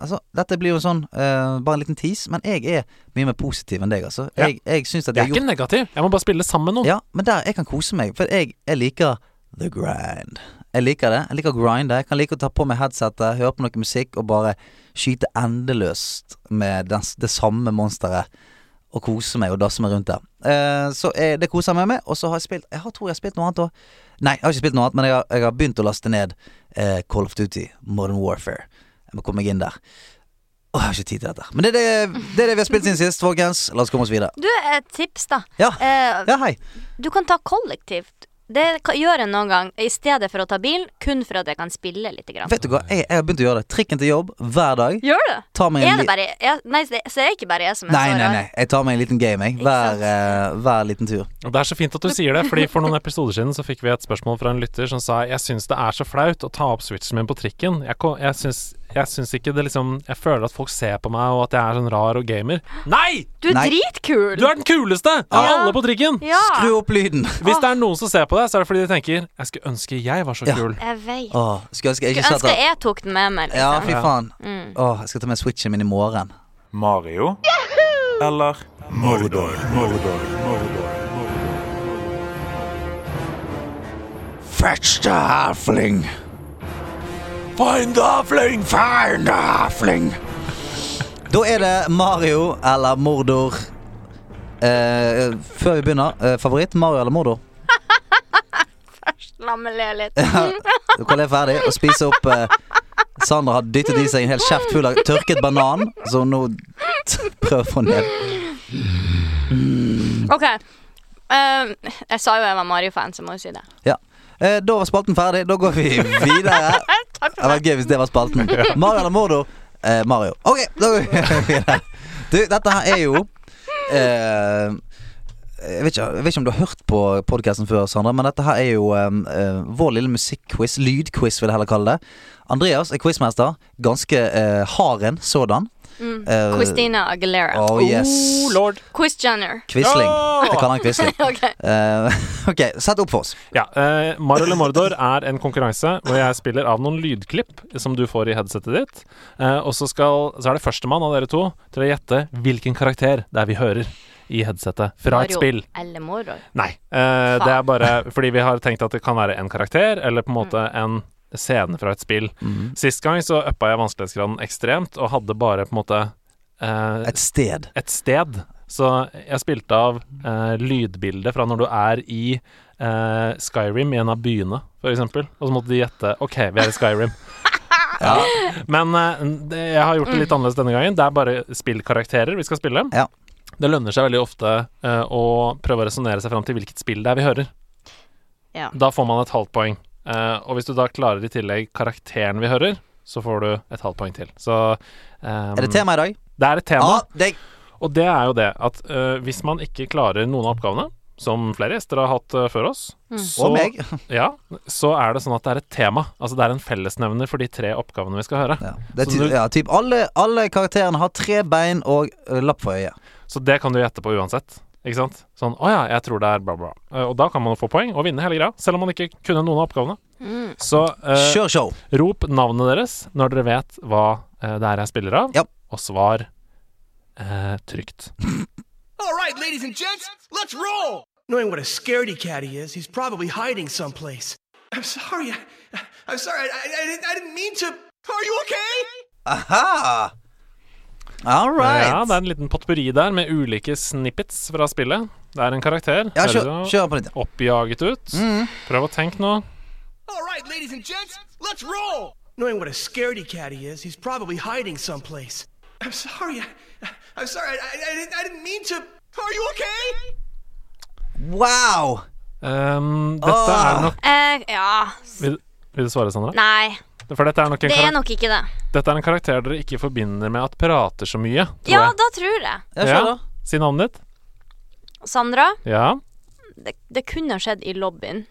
Altså, dette blir jo en sånn eh, Bare en liten tease, men jeg er mye mer positiv enn deg, altså.
Ja.
Jeg, jeg syns at
Jeg
jeg
er ikke negativ. Jeg må bare spille sammen med noen.
Ja, men der jeg kan kose meg, for jeg, jeg liker the grind. Jeg liker det. Jeg liker å grinde. Jeg kan like å ta på meg headsetet, høre på noe musikk og bare skyte endeløst med den, det samme monsteret. Og kose meg og dasse meg rundt der. Eh, så eh, det koser jeg meg med. Og så har jeg spilt Jeg har, tror jeg har spilt noe annet òg. Nei, jeg har ikke spilt noe annet, men jeg har, jeg har begynt å laste ned eh, Call of Duty Modern Warfare. Jeg må komme meg inn der. Åh, jeg har ikke tid til dette. Men det er det, det, er det vi har spilt siden sist, folkens. La oss komme oss videre.
Du, et tips, da.
Ja.
Eh,
Ja, hei.
Du kan ta kollektivt. Det ka- gjør jeg noen gang, i stedet for å ta bilen, kun for at jeg kan spille litt. Grann.
Vet du hva, jeg, jeg har begynt å gjøre det. Trikken til jobb hver dag.
Gjør du?
Tar meg en
Er det
li-
bare ja, Nei, det- så er det ikke bare jeg som er
Nei,
så
nei,
rar.
nei. Jeg tar meg en liten game, jeg.
Ikke
Hver,
sant?
eh, hver liten tur.
Og Det er så fint at du sier det, Fordi for noen episoder siden så fikk vi et spørsmål fra en lytter som sa Jeg syns det er så flaut å ta opp switchen min på trikken. Jeg, ko- jeg, syns, jeg syns ikke det liksom Jeg føler at folk ser på meg, og at jeg er sånn rar og gamer. Nei!
Du er
Nei.
dritkul!
Du er den kuleste av
Ja.
alle på trikken!
ja.
Skru opp lyden.
Hvis det er noen som ser på deg, så er det fordi de tenker Jeg skulle ønske jeg var så
Ja.
kul.
Jeg vet.
Åh, skulle ønske jeg ikke
Skulle
satt
ønske
der.
jeg tok den med meg.
Ja,
Liksom.
fy faen.
Mm.
Åh, jeg skal ta med switchen min i morgen.
Mario eller Mordor. Mordor. Mordor.
Fetch the halfling. Find the halfling, find the halfling. Da er det Mario eller Mordor. Eh, før vi begynner, eh, favoritt Mario eller Mordor?
La meg le litt.
Karl er ferdig og spiser opp eh, Sandra har dyttet i seg en hel kjeft full av tørket banan, som hun nå prøver å få ned.
OK. Um, jeg sa jo jeg var Mario-fan, så må jeg si det.
Eh, da var spalten ferdig. Da går vi videre.
Takk
Det
for
var
meg.
gøy hvis det var spalten. Mario eller Mordo? Eh, Mario. OK, da går vi videre. Du, dette her er jo eh, jeg, vet ikke, jeg vet ikke om du har hørt på podkasten før, Sandra, men dette her er jo eh, eh, vår lille musikkquiz. Lydquiz, vil jeg heller kalle det. Andreas er quizmester. Ganske eh, hard en sådan.
Mm.
Eh,
Christina Aguilera.
Oh yes.
Oh, lord.
Quiz Jenner.
Quisling.
Ja!
Jeg kaller han Quisling.
Ok.
Eh, OK, sett opp for oss.
Ja, eh, Mario eller Mordor er en konkurranse hvor jeg spiller av noen lydklipp som du får i headsetet ditt. Eh, og så, skal, så er det førstemann av dere to til å gjette hvilken karakter det er vi hører i headsetet fra et
Mario
spill.
Eller Moro.
Nei. Eh, det er
Faen.
bare fordi vi har tenkt at det kan være en karakter, eller på en måte en scene fra et spill. Sist gang så uppa jeg vanskelighetsgraden ekstremt, og hadde bare på en måte eh,
Et sted.
et sted. Så jeg spilte av eh, lydbildet fra når du er i eh, Skyrim i en av byene, f.eks. Og så måtte de gjette OK, vi er i Skyrim.
Ja. Mm.
Men eh, det- jeg har gjort det litt annerledes denne gangen. Det er bare spillkarakterer vi skal spille.
Ja.
Det lønner seg veldig ofte eh, å prøve å resonnere seg fram til hvilket spill det er vi hører.
Ja.
Da får man et halvt poeng. Eh, og hvis du da klarer i tillegg karakteren vi hører, så får du et halvt poeng til. Så ehm,
Er det tema i dag?
Det er et tema.
Ja, det
Og det er jo det at øh, hvis man ikke klarer noen av oppgavene, som flere gjester har hatt øh, før oss, så,
Mm. Og meg.
Ja, så er det sånn at det er et tema. Altså det er en fellesnevner for de tre oppgavene vi skal høre.
Ja, det er
Så
ty
du-
ja typ alle, alle karakterene har tre bein og ø, lapp for øyet.
Så det kan du gjette på uansett. Ikke sant? Sånn 'Å ja, jeg tror det er bla, bla'. Eh, Og da kan man jo få poeng og vinne hele greia, selv om man ikke kunne noen av oppgavene.
Mm.
Så eh,
Kjør show!
rop navnet deres når dere vet hva eh, det er jeg spiller av,
Ja.
og svar eh, trygt.
All right, ladies and gents, let's roll! Knowing what a scaredy cat he is, he's probably hiding someplace. I'm sorry. I, I'm sorry. I, I, I, didn't, I didn't mean to. Are you okay?
Aha! All
Ja,
right.
det er en liten potpurri der med ulike snippets fra spillet. Det er en karakter.
Ja,
Høres
kjør,
jo
kjør Mm. på nytt.
Oppjaget ut. Prøv å tenke nå.
All right, ladies and gents, let's roll! Knowing what a scaredy cat he is, he's probably hiding someplace. I'm sorry. I, I'm sorry. I, I, I, didn't, I didn't mean to. Are you okay?
Wow!
Ehm, dette
Åh.
er nok
Eh, ja
vil, vil du svare, Sandra?
Nei,
For dette er nok en,
det er
karak
nok ikke det.
dette er en karakter dere ikke forbinder med at prater så mye. Tror
Ja,
jeg.
da tror jeg.
Ja, kjør, da.
Si navnet ditt.
Sandra,
Ja.
det, det kunne ha skjedd i lobbyen.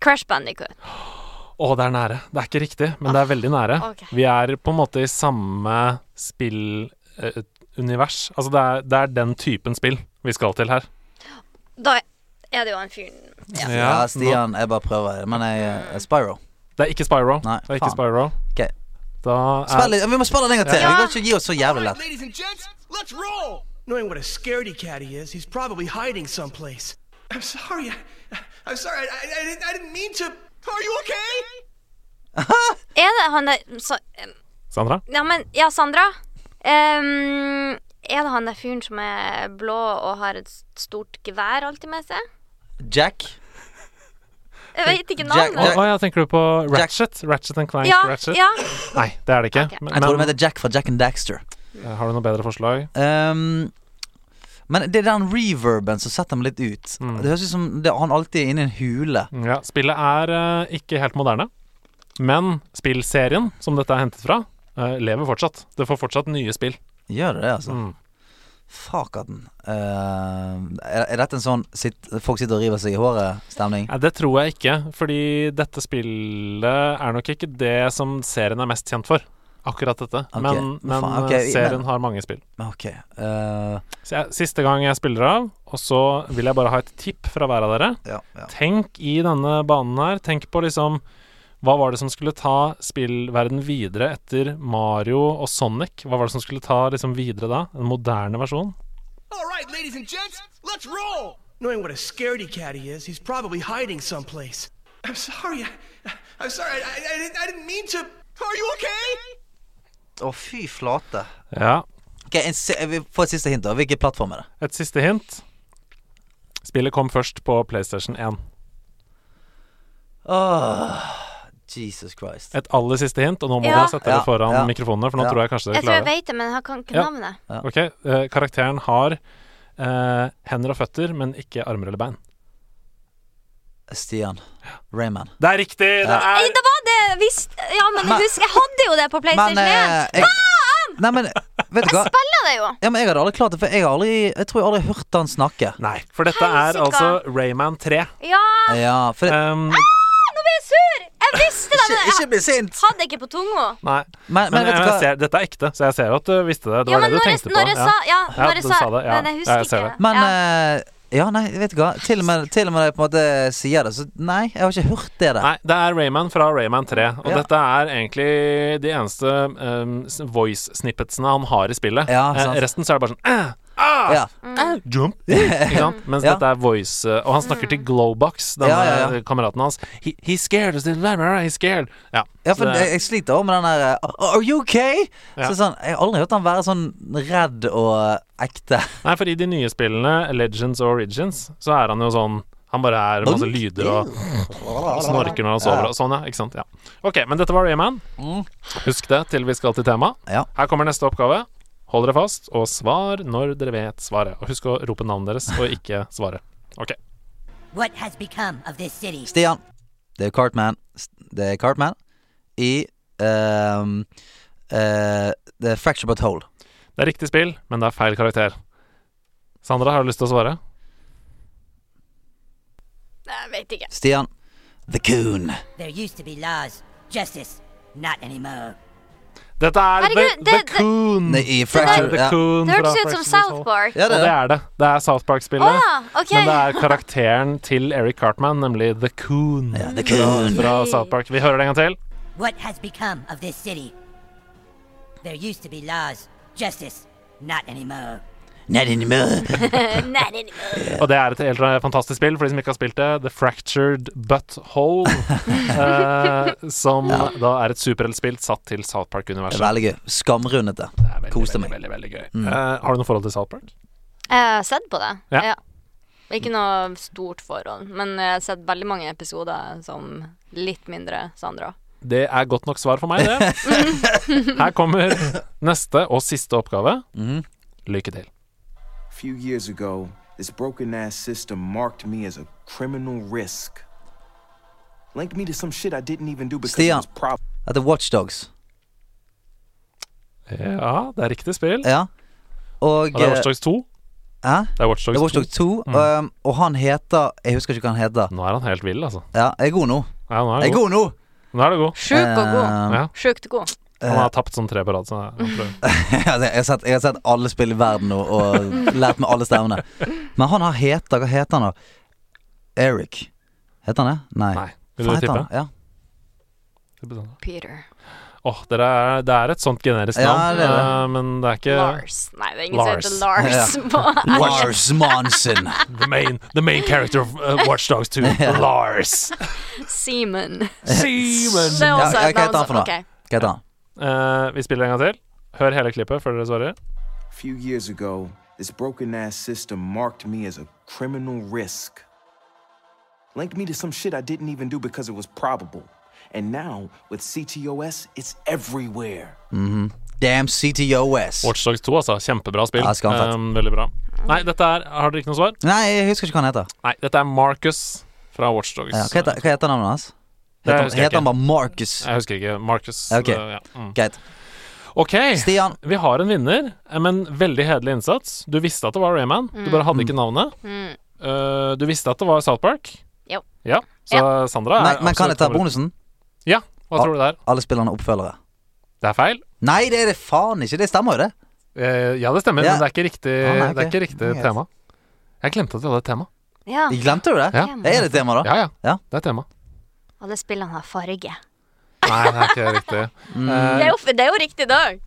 Crash Bandicoot.
Å, det er nære. Det er ikke riktig, men
Ah.
det er veldig nære.
ok.
Vi er på en måte i samme spillunivers. altså, det er, det er den typen spill vi skal til her.
Da er det jo han fyren
Ja,
nå-
Stian, jeg bare prøver. Men jeg eh, Spyro.
Det er ikke Spyro.
Nei,
det er ikke
faen.
Spyro.
Ok.
Da er
Spill, litt- vi må spille den en gang til. Vi
Ja.
kan ikke gi oss så
All
jævlig
right,
lett.
ladies and gents, let's roll! Knowing what a scaredy cat he is, he's probably hiding someplace. I'm sorry. I, I'm sorry. I, I, I, didn't, I didn't mean to. Are you okay?
Er det han der så,
Sandra?
Ja, men Ja, Sandra. Ehm, er det han der fyren som er blå og har et stort gevær alltid med seg?
Jack?
Jeg vet ikke
Jack-
Å
navnet.
å ja, tenker du på Ratchet? Ratchet and Clank
Ja,
Ratchet?
ja.
Nei, det er det ikke.
Ok.
Men,
Jeg tror de
men,
heter Jack fra Jack and Daxter.
eh, har du noe bedre forslag?
Ehm, men det er den reverben som setter meg litt ut.
Mm.
Det høres ut som det, han alltid er inne i en hule.
Ja, spillet er eh, ikke helt moderne, men spillserien som dette er hentet fra, eh, lever fortsatt. Det får fortsatt nye spill.
Gjør det det, altså?
Mm.
Fakaten. Ehm, er, er dette en sånn sitt, folk sitter og river seg i håret-stemning?
Nei, det tror jeg ikke, fordi dette spillet er nok ikke det som serien er mest kjent for. Akkurat dette.
Ok,
Men,
men
men
faen, ok,
eh,
men-
serien har mange spill.
Men Ok. eh,
Så jeg, siste gang jeg spiller av, og så vil jeg bare ha et tipp fra hver av dere.
ja, ja.
Tenk i denne banen her. Tenk på liksom Hva var det som skulle ta spillverden videre etter Mario og Sonic? Hva var det som skulle ta liksom videre da? En moderne versjon?
All right, ladies and gents, let's roll. Knowing what a scaredy cat he is, he's probably hiding someplace. I'm sorry. I, I'm sorry. I, I, I, didn't, I didn't mean to. Are you okay?
Å, fy flate.
Ja.
Ok, en, se- vi får et siste hint, da. Hvilken plattform er det?
Et siste hint. Spillet kom først på PlayStation 1.
Åh, Jesus Christ.
Et aller siste hint, og nå må
Ja.
dere sette dere
Ja,
foran
ja.
mikrofonene, for nå
Ja.
tror jeg kanskje dere
Jeg tror jeg
klarer det.
vet det, men jeg kan ikke
Ja.
navnet.
Ok, eh, Karakteren har eh, hender og føtter, men ikke armer eller bein.
Stian. Rayman.
Det er riktig! Det
Ja.
Nei,
er
det var det visst Ja, men jeg husker Jeg hadde jo det på PlayStation
eh,
1.
jeg, Nei, men vet du hva?
Spiller det jo.
Ja, men Jeg hadde aldri klart det, for jeg, har aldri, jeg tror jeg aldri har hørt han snakke.
Nei, for dette er
Helsika.
altså Rayman 3.
Ja,
Ja, for det,
Um,
nå blir jeg sur! Jeg visste det, men
ikke, ikke
jeg
bli sint!
hadde ikke på tunga.
nei.
Men,
Men
men vet du
jeg
hva?
ser, dette er ekte, så jeg ser jo at du visste det. Det
Ja,
var det
men
du
når jeg,
tenkte på.
når jeg sa Ja, når jeg
du
sa
sa det, ja.
Men jeg
Ja,
husker
jeg ser
ikke.
det.
Men
ja.
eh, ja, nei, vet du hva. Til og med, til og med når jeg på en måte sier det, så nei, jeg har ikke hørt det der.
Nei, det er Rayman fra Rayman 3. Og
Ja.
dette er egentlig de eneste um, s- voice-snippetsene han har i spillet.
Ja,
Eh,
sant.
resten så er det bare sånn "Ah, ah,
Ja.
Mm.
ah, Jump! Ikke sant? Mens
Ja.
dette er voice eh, Og han
Mm.
snakker til Glowbox, denne
Ja, ja, ja.
eh, kameraten hans. He, he's scared. He's scared. Ja,
Ja,
så
for
det-
jeg, jeg sliter også med den der eh, Are you okay?
Ja.
Så sånn, Jeg har aldri hørt han være sånn redd og ekte.
Nei, for i de nye spillene, Legends og Origins, så er han jo sånn Han bare er masse lyder og snorker når han sover og sånn, ja. Ikke sant. Ja. Ok, men dette var Rayman. Husk det til vi skal til tema.
Mm. Ja.
Her kommer neste oppgave. Hold dere fast, og svar når dere vet svaret. Og husk å rope navnet deres, og ikke svaret. Ok.
What has become of this city?
Stian. Det er Cartman. Det er Cartman i ehm, eh, The Fracture But Hole.
Det er riktig spill, men det er feil karakter. Sandra, har du lyst til å svare?
Jeg vet ikke.
Stian. The Coon.
There used to be laws, justice, not anymore.
Dette er
Herregud,
The,
det-
the Coon!
Nei, I Fracture
Mm. The
ja.
Coon
Det
fra
hørtes ut som
Fractions Hall.
South Park.
ja, det
Og det
er det.
er det. Det er South
Å
Park-spillet.
ja, OK.
Men det er karakteren til Eric Cartman, nemlig The Coon.
Ja, The Coon.
Fra South Park. Vi hører det en gang til.
What has become of this city? There used to be laws, justice, not anymore.
Not anymore.
Nei, nei, nei.
Og det er et helt eh, fantastisk spill for de som ikke har spilt det. The Fractured Butthole. eh, som da er et superheltspill satt til South
Det
Park-universet.
er veldig gøy. Skamrundete.
Det er veldig,
Koste
veldig,
meg.
Veldig, veldig gøy.
Mm.
Eh, har du noe forhold til South Park?
Jeg har sett på det.
Ja.
Ja. Ikke noe stort forhold, men jeg har sett veldig mange episoder som litt mindre Sandra.
Det er godt nok svar for meg, det. Her kommer neste og siste oppgave.
Mm.
Lykke til.
few years ago, this broken ass system marked me as a criminal risk. Linked me to some shit I didn't even do because it
Stian.
was prob-
Dette er Watchdogs.
Ja, det er riktig spill.
Ja. Og
Og det er
eh,
Watchdogs Mm. 2.
Hæ?
Det er Watch
Det
Dogs
er Watchdog
2.
2, ehm, og han heter Jeg husker ikke hva han heter.
Nå er han helt vill, altså.
Ja, jeg er god nå.
Ja, nå
Jeg
er det
er god
god.
Eh. nå!
Nå er det god.
Sjuk og god.
Ehm,
Ja.
Sjukt god.
Han har tapt sånn tre på rad. Så han prøver.
Altså, jeg, har sett, jeg har sett alle spill i verden nå og lært meg alle stemmene. Men han har heter Hva heter han, da? Eric. Heter han det? Nei.
Nei.
Faen,
Vil du
heter
tippe? sånn.
han- Ja.
Peter.
Åh, dere er, det er et sånt generisk
Ja,
navn,
det er det.
eh, men det er ikke
Lars. Nei, det er ingen som heter
Lars.
Lars på
Lars Monsen.
eh, the main, the main character of uh, Watch Dogs 2. Lars.
Seaman.
Seaman.
Det er
Ja,
også
ja,
et
hva heter
navn
han for noe?
som- ok.
Hva heter han?
Eh, vi spiller en gang til. Hør hele klippet før dere svarer.
few years ago, this broken ass system marked me as a criminal risk. Linked me to some shit I didn't even do because it was probable. And now, with CTOS, it's everywhere.
Mhm. Damn CTOS.
Watch Dogs 2, altså. Kjempebra spill.
Ja, skal han fett.
Eh, veldig bra. Nei, dette er Har dere ikke noe svar?
Nei, jeg husker ikke hva han heter.
Nei, dette er Marcus fra Watch Dogs.
Ja, hva, heter hva heter navnet hans?
Det
Heter,
husker jeg
heter han
ikke.
bare Marcus?
Jeg husker ikke. Marcus.
Ok.
det- ja. mm.
Greit.
OK,
Stian.
vi har en vinner, eh, men veldig hederlig innsats. Du visste at det var Rayman, du bare hadde ikke navnet.
Mm.
Eh, du visste at det var South Park.
Jo.
Ja, så Sandra er
Men, men kan
absolutt
jeg ta
nummer-
bonusen?
Ja, hva
Ja.
tror du det er?
Alle spillerne er oppfølgere.
Det er feil.
Nei, det er det faen ikke. Det stemmer jo, det.
Eh, ja, det stemmer,
Ja.
men det er ikke riktig,
Ah, nei,
det er ikke
ok.
riktig
Nei,
tema. Jeg glemte at vi hadde et tema.
Ja.
Jeg glemte jo det.
Ja.
Det er det tema, da.
Ja, ja,
Ja.
Det er et tema.
Alle spillene har farge.
Nei, det er ikke riktig.
Det er
Eh,
jo, det er jo riktig dag.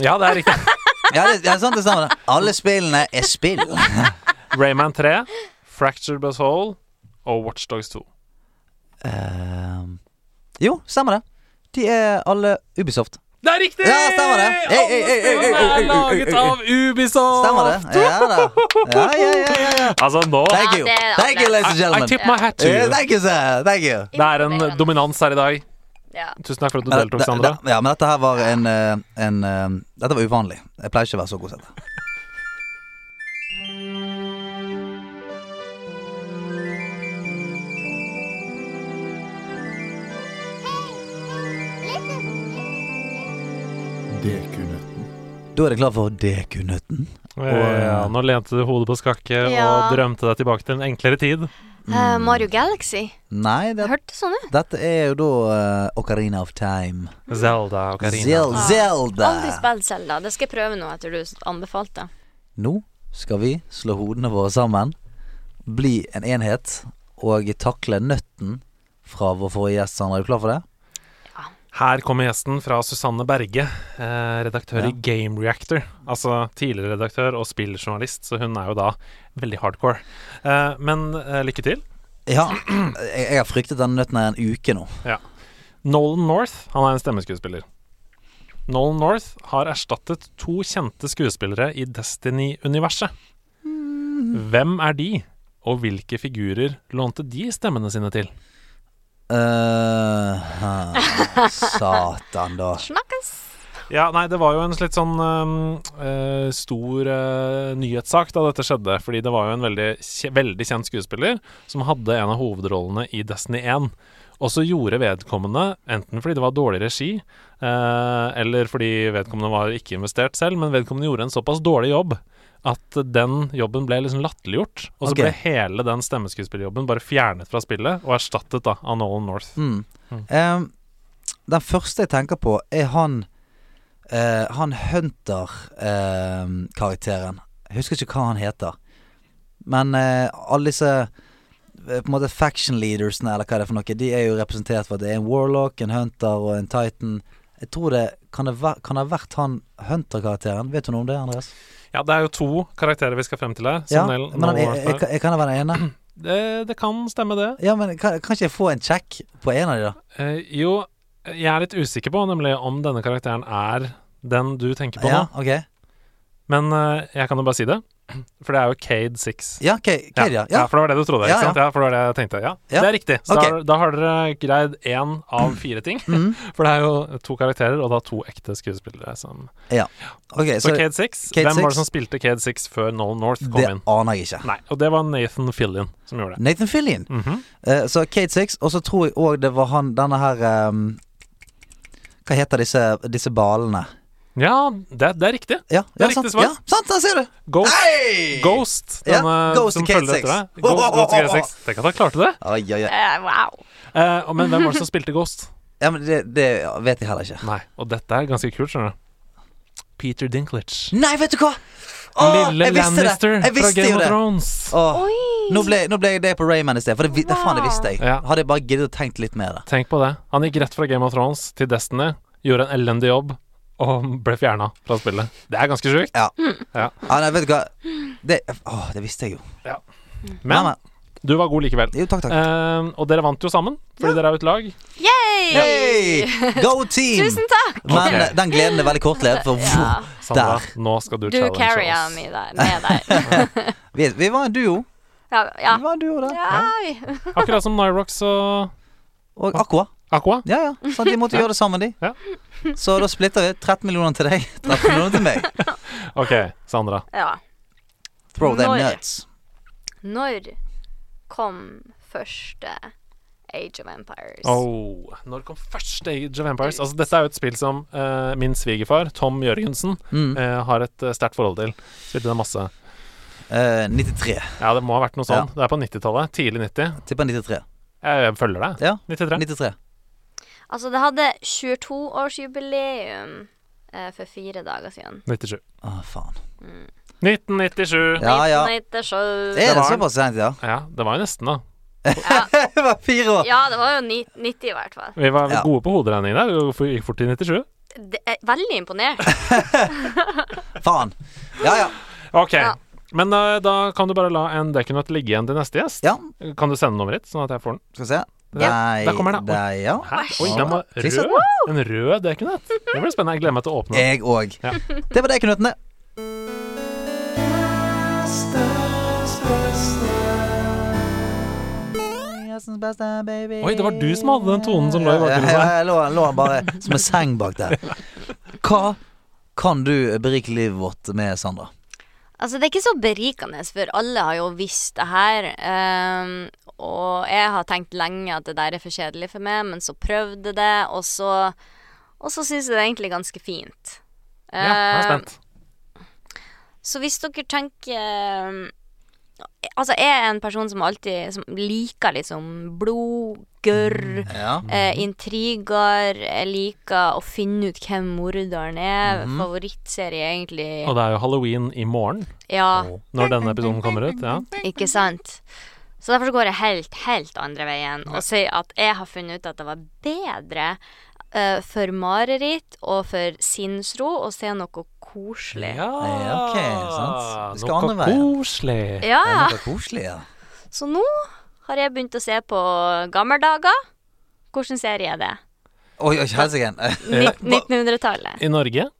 ja, det er riktig.
Ja, det, ja, sant, det stemmer. det. Alle spillene er spill.
Rayman 3, Fractured Bus Hole og Watchdogs 2.
Ehm, jo, stemmer det. De er alle Ubisoft.
Det er riktig!
Ja, stemmer det. Ei, ei, ei, ei, ei, ei, ei,
Alle spillene er
ei, ei,
laget
ei.
av Ubisoft!
Stemmer det. Ja da. Ja, ja, ja, ja, ja.
Altså, nå
Thank you.
Ja, det er
Thank you, ladies and
I, I
gentlemen.
tip my hat to
Eh,
you.
Thank you, sir. Thank you.
Det er en eh, dominans her i dag.
Ja.
Tusen takk for at du
Men Eh,
deltok,
det-
Sandra.
det- Ja, men dette her var en, eh, en eh, Dette var uvanlig. Jeg pleier ikke å være så god til dette. Da er det klart for DQ-nøtten.
ja, Eh, nå lente du hodet på skakke
Ja.
og drømte deg tilbake til en enklere tid.
Eh, Mario Galaxy.
Nei,
Det
det,
hørtes sånn ut.
dette er jo da eh, Ocarina of Time.
Zelda og Karina.
Zel
Ah. Aldri
Zelda.
spilt Zelda. Det skal jeg prøve nå etter du anbefalte.
Nå skal vi slå hodene våre sammen, bli en enhet og takle nøtten fra vår forrige gjest. Sandra, er du klar for det?
Her kommer gjesten fra Susanne Berge, eh, redaktør
Ja.
i Game Reactor. Altså tidligere redaktør og spilljournalist, så hun er jo da veldig hardcore. Eh, men eh, lykke til.
Ja. Jeg, jeg har fryktet denne nøtten her en uke nå.
Nolan North, han er en stemmeskuespiller. Nolan North har erstattet to kjente skuespillere i Destiny-universet. Hvem er de, og hvilke figurer lånte de stemmene sine til?
Eh, satan, da.
Snakkes.
Ja, nei, det var jo en litt sånn um, eh, stor eh, nyhetssak da dette skjedde. Fordi det var jo en veldig, kje- veldig kjent skuespiller som hadde en av hovedrollene i Destiny 1. Og så gjorde vedkommende, enten fordi det var dårlig regi, eh, eller fordi vedkommende var ikke investert selv, men vedkommende gjorde en såpass dårlig jobb at den jobben ble liksom latterliggjort. Og så
Ok.
ble hele den stemmeskuespillerjobben bare fjernet fra spillet og erstattet da av Nolan North.
Mm. Eh, den første jeg tenker på, er han eh, Han Hunter-karakteren. jeg husker ikke hva han heter. Men eh, alle disse eh, på en måte faction leadersene, eller hva det er for noe, de er jo representert for at det er en warlock, en hunter og en titan. Jeg tror det Kan det, væ- kan det ha vært han hunter-karakteren? Vet du noe om det, Andreas?
Ja, det er jo to karakterer vi skal frem til her. som
Ja,
Nolan-
men han,
Nolan
jeg,
North
jeg,
er.
jeg, kan jeg være den ene?
Det, det kan stemme, det.
Ja, men kan, kan ikke jeg få en check på en av de, da?
Eh, jo, jeg er litt usikker på nemlig om denne karakteren er den du tenker på
Ja,
nå.
ok
Men eh, jeg kan jo bare si det, for det er jo Cade Six.
Ja, K- Kadia. Ja.
for det var det du trodde.
Ja,
ikke
ja.
sant? Ja, for det var det jeg tenkte. Ja,
Ja.
Det er riktig. Så
Ok. Mm.
da, da har dere greid én av fire ting. For det er jo to karakterer, og da to ekte skuespillere. Som.
Ok,
Så,
så
Cade Six,
Cade
hvem
Six.
var det som spilte Cade Six før Nolan North kom
det Mm.
inn?
aner jeg ikke.
Nei, og det var Nathan Fillion som gjorde det.
Nathan Fillion.
Mhm.
Eh, så Kate Six, og så tror jeg òg det var han denne her ehm, Hva heter disse, disse balene?
Ja, det, det er riktig.
Ja, ja,
Det er
sant,
riktig svar.
Ja, sant, der ser du!
Ghost,
Hey!
Ghost
Ja,
denne
Ghost
som
til Cade
følger
Six.
etter deg. Ghost, Ghost til Cade Six. Tenk at han klarte det!
Oi, oi, oi.
Eh, wow.
Eh, og- men hvem var det som spilte Ghost?
Ja, men det, det vet jeg heller ikke.
Nei, og dette er ganske kult, skjønner du. Peter Dinklage.
Nei, vet du hva! Åh,
Lille
jeg visste
Lannister
det! Jeg
fra
visste
Game
jo
of
det!
Thrones.
Åh,
Oi.
nå, ble, nå ble jeg det på Rayman i sted, for det, vi- det faen, det visste jeg.
Ja.
Hadde jeg bare giddet å tenkt litt mer. da.
Tenk på det. Han gikk rett fra Game of Thrones til Destiny, gjorde en elendig jobb og ble fjerna fra spillet. Det er ganske sjukt.
Ja.
Ja.
Ja, nei, vet du hva. Det, åh, det visste jeg jo.
Men
Nei,
Du var god likevel. Eh, og dere vant jo sammen, fordi dere er jo et lag.
Yay!
Hey! Go team!
Tusen takk!
Men eh, den gleden er veldig kortlevd, for
Sandra,
der.
nå skal du,
Du
challenge
carrya
oss.
mi der, med der.
Vi, vi var en duo.
Ja, ja.
Vi var en duo der.
ja. vi-
Akkurat som Nyrox og
Og Aqua.
Aqua.
Ja, ja. Så de måtte gjøre det sammen, de.
Ja.
Så da splitter vi 13 millioner til deg, 13 millioner til meg.
OK, Sandra.
ja.
Throw them
Når?
nuts.
Når kom første Age of Empires?
Oh, når kom første Age of Empires? Altså, dette er jo et spill som eh, min svigerfar, Tom Jørgensen,
Mm.
eh, har et eh, sterkt forhold til. Spilte det masse.
Eh, 93.
Ja, det må ha vært noe sånn. Det er på 90-tallet. Tidlig 90.
Tipper 93.
Jeg, jeg følger deg.
Ja,
93.
93.
Altså, det hadde 22-årsjubileum eh, for fire dager siden.
97.
Å, faen.
1997.
Ja, ja.
1997.
Er
var
det
den.
såpass sent, ja?
Ja, det var jo nesten, da.
Det var fire år.
Ja, det var jo ni 90 i hvert fall.
Vi var
Ja.
gode på hoderegning der. Vi gikk fort til 97.
Det er veldig imponert.
Faen. Ja, ja.
OK.
Ja.
Men eh, da kan du bare la en Dekunut ligge igjen til neste gjest.
Ja.
Kan du sende nummeret ditt, sånn at jeg får den?
Skal vi se.
Ja,
Nei,
der kommer den, da.
Der, ja.
Hæ? Oi, den var
Chris,
rød. En rød Dekunut. Det blir spennende. Jeg gleder meg til å åpne den.
Jeg òg.
Ja.
Det var det, Knutene. Jazzens beste, baby.
Oi, det var du som hadde den tonen som lå i bakgrunnen
Ja,
der.
jeg lå, lå bare som en seng bak der. Hva kan du berike livet vårt med, Sandra?
Altså, det er ikke så berikende, for alle har jo visst det her. ehm, og jeg har tenkt lenge at det der er for kjedelig for meg, men så prøvde jeg det, og så Og så syns jeg det er egentlig ganske fint.
Ja, jeg er
Ehm,
spent.
Så hvis dere tenker ehm, Altså, jeg er en person som alltid som liker liksom blod, gørr,
Ja.
eh, intriger. Jeg liker å finne ut hvem morderen er. Favorittserie, egentlig.
Og det er jo halloween i morgen,
Ja.
når denne episoden kommer ut. Ja.
Ikke sant? Så derfor så går jeg helt, helt andre veien og sier at jeg har funnet ut at det var bedre eh, for mareritt og for sinnsro å se noe koselig.
Ja, ok, sant. Vi skal andre
Noe
veien.
koselig.
Ja,
Det var koselig, ja.
så nå har jeg begynt å se på gammeldager. Hvilken serie er det?
Oi, oi, helsike.
Ni- 1900-tallet.
I Norge,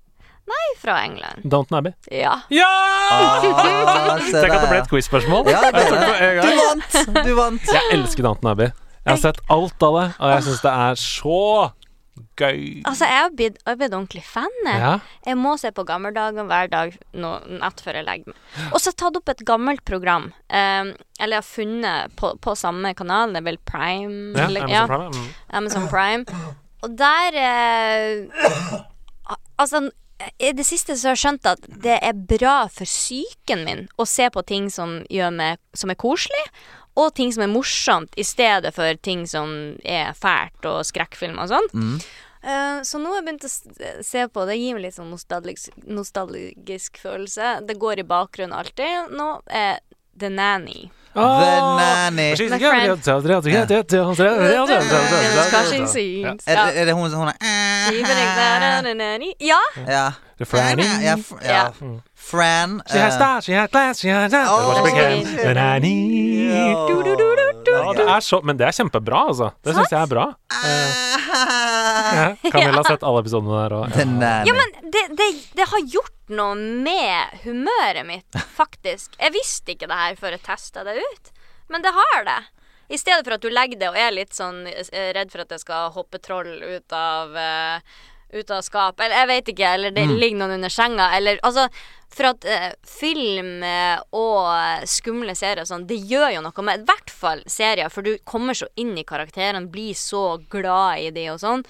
Fra England.
Downton Abbey.
Ja.
Ja!
Ah, se
Tenk at det
der,
ble
ja.
et quiz-spørsmål.
Ja, det
Jeg tok
er det.
det en
Du
gang.
vant! Du vant.
Jeg elsker Downton Abbey. Jeg har sett alt av det, og jeg syns det er så gøy.
Altså, jeg har blitt, jeg har blitt ordentlig fan. jeg.
Ja.
Jeg må se på gammeldagen hver dag nå, natt før jeg legger meg. Og så har jeg tatt opp et gammelt program. eh, eller jeg har funnet på, på samme kanal, det er vel Prime?
Ja,
eller,
Amazon Prime, mm.
Amazon Prime. Og der eh, Altså, i det siste så har jeg skjønt at det er bra for psyken min å se på ting som, gjør meg, som er koselig, og ting som er morsomt, i stedet for ting som er fælt og skrekkfilm og sånn.
Mm.
Eh, så nå har jeg begynt å s- se på det. Gir meg litt sånn nostalgisk, nostalgisk følelse. Det går i bakgrunnen alltid. Nå er The Nanny.
The nanny.
She's
My
a girl,
friend.
yeah, yeah, yeah, yeah, yeah, yeah, yeah, yeah, yeah, yeah, yeah.
Er,
Ja.
er det hun som hun er
Ja,
Ja.
The Franny.
Ja, fr- ja. Fran. eh,
She has style, she has class, she has that.
Oh,
Watch me again.
shit.
The nanny. Ja, det er så, men det er kjempebra, altså. Det syns jeg er bra. Eh. Camilla har sett alle episodene der og
Den er
Ja, men det, det, det har gjort noe med humøret mitt, faktisk. Jeg visste ikke det her før jeg testa det ut, men det har det. I stedet for at du legger det og er litt sånn eh, redd for at det skal hoppe troll ut av eh, ut av skap, eller jeg vet ikke, eller det
Mm.
ligger noen under senga, eller altså For at eh, film eh, og eh, skumle serier og sånn, det gjør jo noe med I hvert fall serier, for du kommer så inn i karakterene, blir så glad i de og sånn.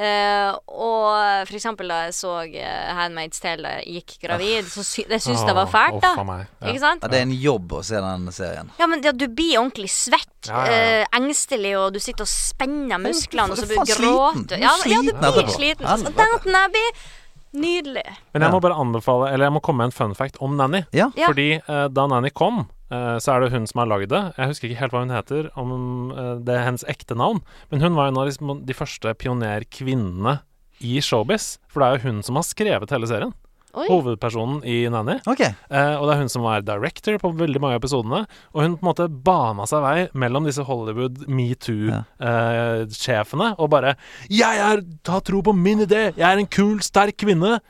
Eh, og for eksempel da jeg så eh, Handmaid's Tale da jeg gikk gravid, så sy jeg syns det var
Åh,
fælt, da.
uff a meg, ja.
Ikke sant?
Ja, det er en jobb å se den serien.
Ja, men ja, du blir ordentlig svett,
Ja, ja, ja.
eh, engstelig, og du sitter og spenner musklene, og så
Du er
blir du
faen sliten.
gråter.
Du er
Ja, men- ja, du
sliten
blir
etterpå.
sliten.
Helvete.
Så Downton Abbey, nydelig.
Men jeg må bare anbefale Eller jeg må komme med en fun fact om Nanny.
Ja.
Ja.
Fordi eh, da Nanny kom, eh, så er det hun som har lagd det. Jeg husker ikke helt hva hun heter, om eh, det er hennes ekte navn. Men hun var en av liksom, de første pionerkvinnene i showbiz. For det er jo hun som har skrevet hele serien.
Oi.
hovedpersonen i Nanny.
Ok.
Eh, og det er hun som er director på veldig mange av episodene. Og hun på en måte bana seg vei mellom disse Hollywood metoo-sjefene og bare 'Jeg er, har tro på min idé! Jeg er en kul, sterk kvinne!'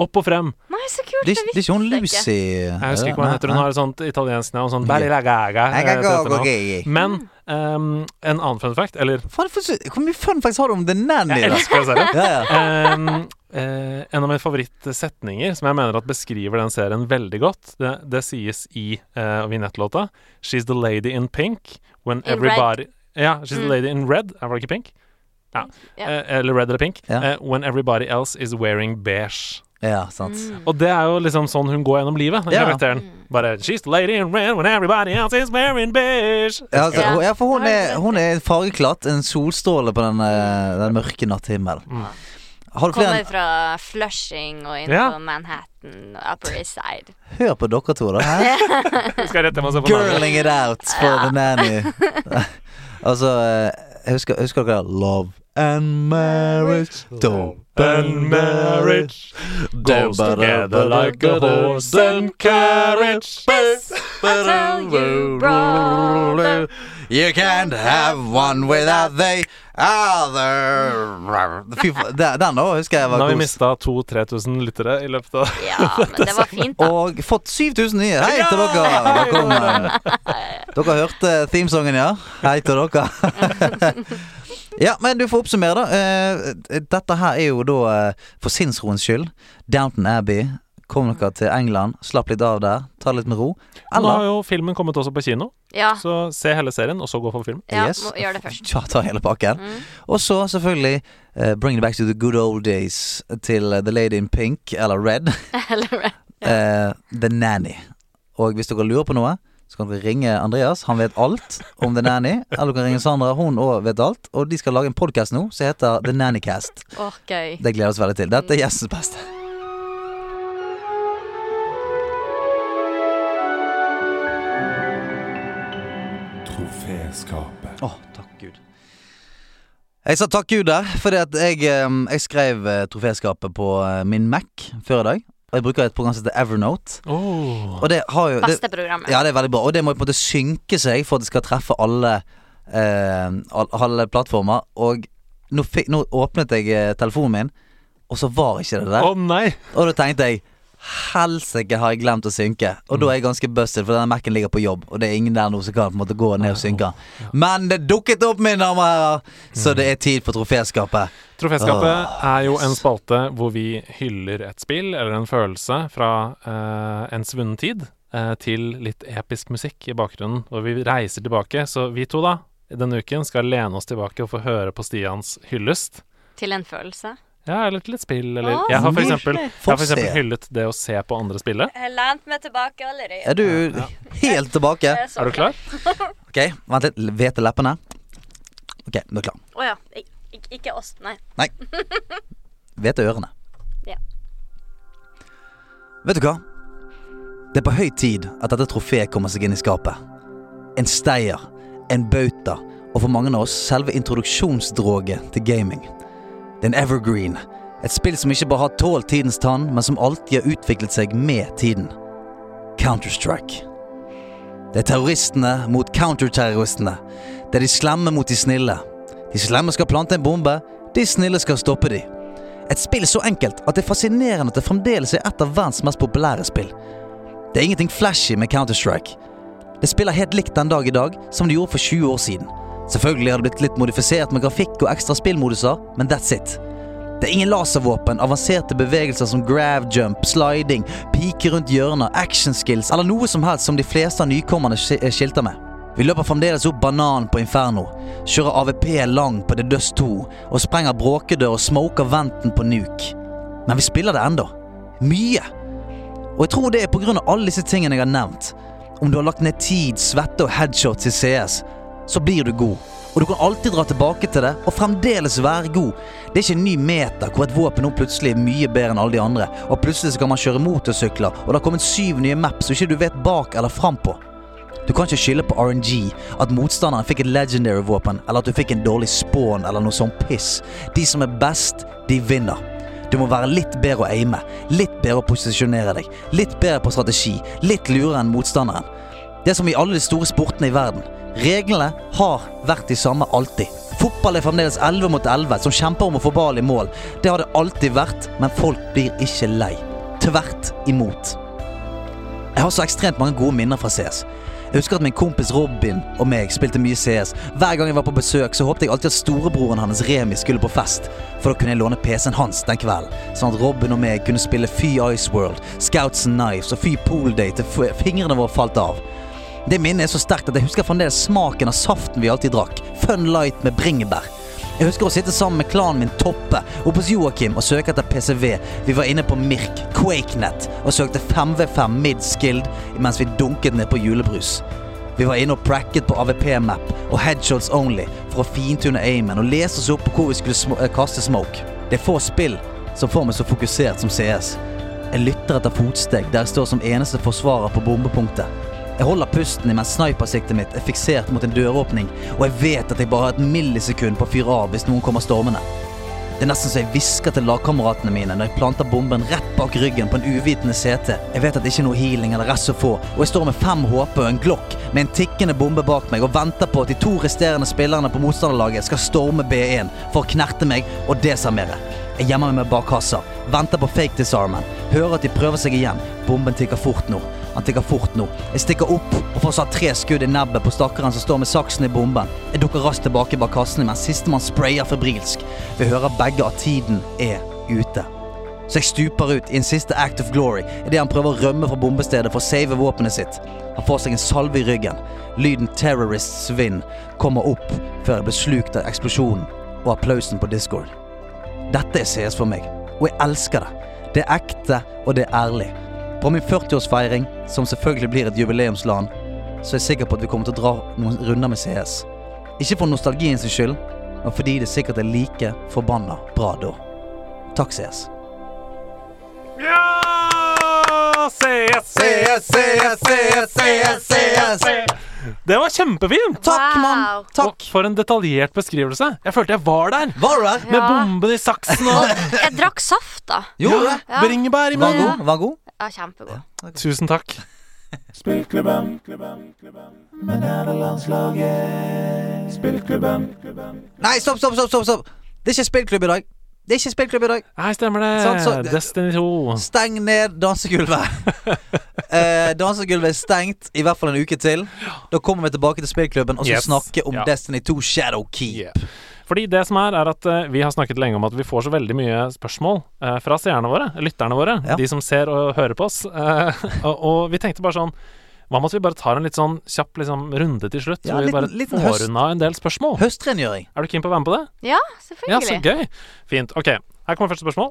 Opp og frem.
Nei, så kult.
Det er ikke- det er ikke hun Lucy eh,
Jeg husker ikke hva hun heter. Hun har et sånt italiensk navn. Sånn Barilla Gaga. eh,
Gaga,
til etternavn.
Gaga.
Men ehm, en annen fun fact, eller
Faen, for, så- Hvor mye fun facts har du om The Nanny?
jeg
da?
elsker den serien.
Ja, ja.
Ehm, eh, en av mine favorittsetninger som jeg mener at beskriver den serien veldig godt, det, det sies i uh, vignettlåta She's the lady in pink when
In
everybody Ja, she's the
Mm.
lady in red. Eh, Var det ikke pink? Ja.
Ja.
Eh, eller red eller pink.
Ja.
Eh, when everybody else is wearing beige.
ja, sant.
Mm.
Og det er jo liksom sånn hun går gjennom livet, den
Ja.
karakteren. Bare She's the lady in red when everybody else is wearing beige.
Ja, altså,
Ja.
hun- ja, for hun
Ja, det
er,
vet
hun er fargeklatt, en solstråle på den, eh, den mørke natthimmelen.
Mm.
Har du
Kommer
flere
fra Flushing og inn
Ja.
på Manhattan og Upper East Side.
Hør på dere to, da. Hæ?
Vi skal rett hjem og se på navnet.
Girling it out for the nanny. altså, eh, jeg husker, husker dere Love and marriage, don't
And marriage goes together like a horse and carriage.
Until you roll the-
You can't have one without the other Fy faen, den- Den òg husker jeg
Nå
var
har vi
god.
mista 2000-3000 lyttere i løpet av
Ja, men det var fint, da.
Og fått 7000 nye. Hei til dere! Velkommen. Dere hørte themesongen, ja? Hei til dere. Ja, men du får oppsummere, da. Eh, Dette her er jo da eh, for sinnsroens skyld. Downton Abbey. Kom dere til England, slapp litt av der, ta litt med ro.
Nå har
Eller
jo filmen kommet også på kino,
Ah.
Ja,
så se hele serien, og så gå for film.
ja
Yes.
må gjøre det først. Mm.
Ja, ta hele pakken. Og så selvfølgelig eh, Bring it back to the good old days til eh, The Lady in Pink, eller Red.
Eller
eh, The Nanny. Og hvis dere lurer på noe, så kan dere ringe Andreas. Han vet alt om The Nanny. Eller dere kan ringe Sandra. Hun òg vet alt. Og de skal lage en podkast nå som heter The Nannycast.
Åh, gøy.
Det gleder vi oss veldig til. Dette er gjestens beste.
Troféskapet.
Å, takk Gud. Jeg sa takk Gud der, fordi at jeg, ehm, jeg skrev eh, troféskapet på eh, min Mac før i dag. Og jeg bruker et program som heter Evernote.
Oh.
Og det har jo det,
Beste programmet.
Ja, det er veldig bra. Og det må på en måte synke seg for at det skal treffe alle, eh, al- alle plattformer. Og nå, fikk, nå åpnet jeg eh, telefonen min, og så var ikke det
Å
der.
nei!
Og da tenkte jeg Helsike, har jeg glemt å synke? Og da er jeg ganske busted, for denne Mac-en ligger på jobb. Og det er ingen der nå som kan på en måte gå ned og synke. Men det dukket opp, mine damer og herrer! Så det er tid for troféskapet.
Troféskapet
Åh,
er jo en
yes.
spalte hvor vi hyller et spill eller en følelse fra eh, en svunnen tid eh, til litt episk musikk i bakgrunnen, og vi reiser tilbake. Så vi to, da, denne uken skal lene oss tilbake og få høre på Stians hyllest.
Til en følelse.
Ja, eller til et spill, eller
Åh,
Jeg har for
koselig.
eksempel, jeg
Få
har for eksempel
se.
hyllet det å se på andre spille.
Jeg lente meg tilbake allerede.
Er du helt tilbake?
Er du klar?
Ok, Vent litt. Hvete leppene. Ok, nå er jeg klar.
Å ja. Ik- ik- Ikke oss, nei.
Hvete ørene.
Ja.
Vet du hva? Det er på høy tid at dette trofeet kommer seg inn i skapet. En steier, en bauta og for mange av oss selve introduksjonsdroget til gaming. Det er en evergreen, et spill som ikke bare har tålt tidens tann, men som alltid har utviklet seg med tiden. Counter-Strike. Det er terroristene mot counterterroristene. Det er de slemme mot de snille. De slemme skal plante en bombe, de snille skal stoppe de. Et spill så enkelt at det er fascinerende at det fremdeles er et av verdens mest populære spill. Det er ingenting flashy med Counter-Strike. Det spiller helt likt den dag i dag som det gjorde for 20 år siden. Selvfølgelig har det blitt litt modifisert med grafikk og ekstra spillmoduser, men that's it. Det er ingen laservåpen, avanserte bevegelser som grav jump, sliding, pike rundt hjørner, action skills eller noe som helst som de fleste av nykommerne sk- eh, skilter med. Vi løper fremdeles opp banan på Inferno, kjører AVP lang på The Dust 2 og sprenger bråkedør og smoker venten på Nuke. Men vi spiller det ennå. Mye. Og jeg tror det er pga. alle disse tingene jeg har nevnt. Om du har lagt ned tid, svette og headshots i CS, så blir du god. Og du kan alltid dra tilbake til det og fremdeles være god. Det er ikke en ny meter hvor et våpen nå plutselig er mye bedre enn alle de andre, og plutselig så kan man kjøre motorsykler, og det har kommet syv nye maps som ikke du vet bak eller fram på. Du kan ikke skylde på RNG, at motstanderen fikk et legendary våpen, eller at du fikk en dårlig spawn eller noe sånt piss. De som er best, de vinner. Du må være litt bedre å aime, litt bedre å posisjonere deg, litt bedre på strategi, litt lurere enn motstanderen. Det er som i alle de store sportene i verden. Reglene har vært de samme alltid. Fotball er fremdeles 11 mot 11, som kjemper om å få ball i mål. Det har det alltid vært, men folk blir ikke lei. Tvert imot. Jeg har så ekstremt mange gode minner fra CS. Jeg husker at min kompis Robin og meg spilte mye CS. Hver gang jeg var på besøk, så håpte jeg alltid at storebroren hans Remi skulle på fest. For da kunne jeg låne PC-en hans den kvelden, sånn at Robin og meg kunne spille Fy Ice World, Scouts and Knives og Fy Pool Day til f- fingrene våre falt av. Det minnet er så sterkt at jeg husker fremdeles smaken av saften vi alltid drakk. Fun Light med bringebær. Jeg husker å sitte sammen med klanen min Toppe oppe hos Joakim og søke etter PCV. Vi var inne på Mirk, QuakeNet og søkte 5v5 mid-skilled mens vi dunket ned på julebrus. Vi var inne og pracket på AVP-map og headshots only for å fintune aimen og lese oss opp på hvor vi skulle sm eh, kaste smoke. Det er få spill som får meg så fokusert som CS. Jeg lytter etter fotsteg der jeg står som eneste forsvarer på bombepunktet. Jeg holder pusten imens snipersiktet mitt er fiksert mot en døråpning, og jeg vet at jeg bare har et millisekund på å fyre av hvis noen kommer stormende. Det er nesten så jeg hvisker til lagkameratene mine når jeg planter bomben rett bak ryggen på en uvitende CT. Jeg vet at det ikke er noe healing eller rest å få, og jeg står med fem HP og en Glock med en tikkende bombe bak meg og venter på at de to resterende spillerne på motstanderlaget skal storme B1 for å knerte meg og desarmere. Jeg gjemmer meg bak kassa, venter på fake disarmen, hører at de prøver seg igjen. Bomben tikker fort nå. Han tikker fort nå. Jeg stikker opp og får satt tre skudd i nebbet på stakkaren som står med saksen i bomben. Jeg dukker raskt tilbake bak kassene mens sistemann sprayer febrilsk. Vi hører begge at tiden er ute. Så jeg stuper ut i en siste act of glory idet han prøver å rømme fra bombestedet for å save våpenet sitt. Han får seg en salve i ryggen. Lyden 'Terrorists Vind' kommer opp før jeg blir slukt av eksplosjonen og applausen på Discord. Dette er CS for meg, og jeg elsker det. Det er ekte, og det er ærlig. På min 40-årsfeiring, som selvfølgelig blir et jubileumsland, så er jeg sikker på at vi kommer til å dra noen runder med CS. Ikke for nostalgien sin skyld, men fordi det sikkert er like forbanna bra da. Takk, CS.
Ja! CS,
CS, CS, CS, CS, CS.
Det var kjempefint!
Takk, mann! Takk!
Og for en detaljert beskrivelse. Jeg følte jeg var der.
Var du der?
Med bomben i saksen og
Jeg drakk saft, da.
Gjorde du det?
Ja.
bringebær i
Var
munnen.
god? Var god?
Ja, kjempegod.
Tusen takk.
Spillklubben. Men er det landslaget? Spillklubben.
Nei, stopp, stopp, stopp! stopp, stopp. Det er ikke spillklubb i dag. Det er ikke spillklubb i dag.
Nei, stemmer det.
Sant, Sånn, så-
Destiny 2.
Steng ned dansegulvet. Eh, dansegulvet er stengt i hvert fall en uke til. Da kommer vi tilbake til spillklubben og så
Yes.
snakke om
Ja.
Destiny 2 Shadow Key.
Yeah. Fordi det som er, er at eh, vi har snakket lenge om at vi får så veldig mye spørsmål eh, fra seerne våre, lytterne våre,
Ja.
de som ser og hører på oss. Eh, og, og vi tenkte bare sånn Hva om at vi bare tar en litt sånn kjapp liksom, runde til slutt?
Ja,
hvor vi
liten-
bare
liten høst.
får unna en del spørsmål.
Høstrengjøring.
Er du keen på å være med på det?
Ja,
Ja, så
selvfølgelig.
gøy. Fint. Ok, her kommer første spørsmål.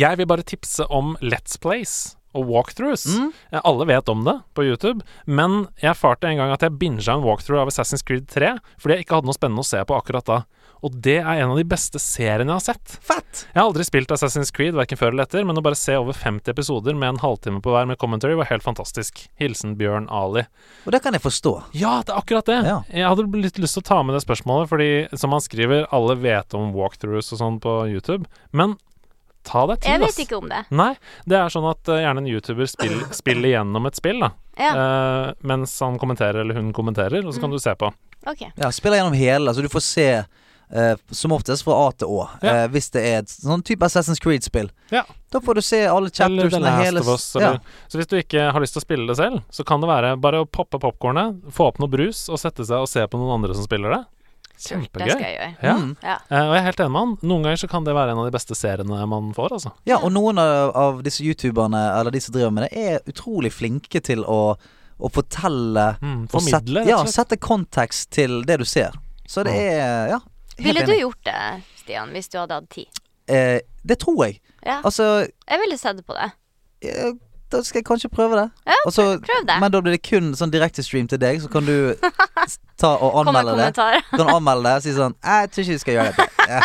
Jeg vil bare tipse om Let's Plays og walkthroughs. Eh, Alle vet om det på YouTube, men jeg erfarte en gang at jeg binga en walkthrough av Assassin's Creed 3 fordi jeg ikke hadde noe spennende å se på akkurat da. Og det er en av de beste seriene jeg har sett.
Fett!
Jeg har aldri spilt Assassin's Creed verken før eller etter, men å bare se over 50 episoder med en halvtime på hver med commentary var helt fantastisk. Hilsen Bjørn Ali.
Og det kan jeg forstå.
Ja, det er akkurat det.
Ja.
Jeg hadde litt lyst til å ta med det spørsmålet, fordi som han skriver, alle vet om walkthroughs og sånn på YouTube, men ta deg tid,
Jeg vet ikke om det.
Nei, det er sånn at eh, gjerne en YouTuber spill, spiller gjennom et spill, da.
Ja, Mm.
eh, mens han kommenterer eller hun kommenterer, og så kan du se på.
ok.
Ja, Spiller gjennom hele, så du får se eh, som oftest fra A til Å.
Ja.
eh, hvis det er et sånn type Assassin's Creed-spill.
Ja.
Da får du se alle
Eller The
chaptersene.
Last
hele-
of Us.
ja.
Eller. Så hvis du ikke har lyst til å spille det selv, så kan det være bare å poppe popkornet, få opp noe brus og sette seg og se på noen andre som spiller det.
Det skal
Kjempegøy.
jeg gjøre.
Ja.
Mm.
Ja.
Eh, og jeg er helt enig med han. Noen ganger så kan det være en av de beste seriene man får, altså.
Ja, og noen av, av disse youtuberne Eller de som driver med det, er utrolig flinke til å, å fortelle
Mm,
og
formidle,
sette,
rett og
ja,
slett.
sette kontekst til det du ser. Så det
Ja.
er Ja. helt
Ville du
enig.
gjort det, Stian, hvis du hadde hatt tid?
Eh, det tror jeg.
Ja.
Altså
Jeg ville sett på det.
eh, Da skal jeg kanskje prøve det.
Ja,
Altså,
prøv det.
Men da blir det kun sånn direktestream til deg, så kan du s- ta og
Kom med
anmelde det.
kommentarer.
Du kan anmelde det og si sånn «Nei, Jeg tror ikke du skal gjøre dette. Ja,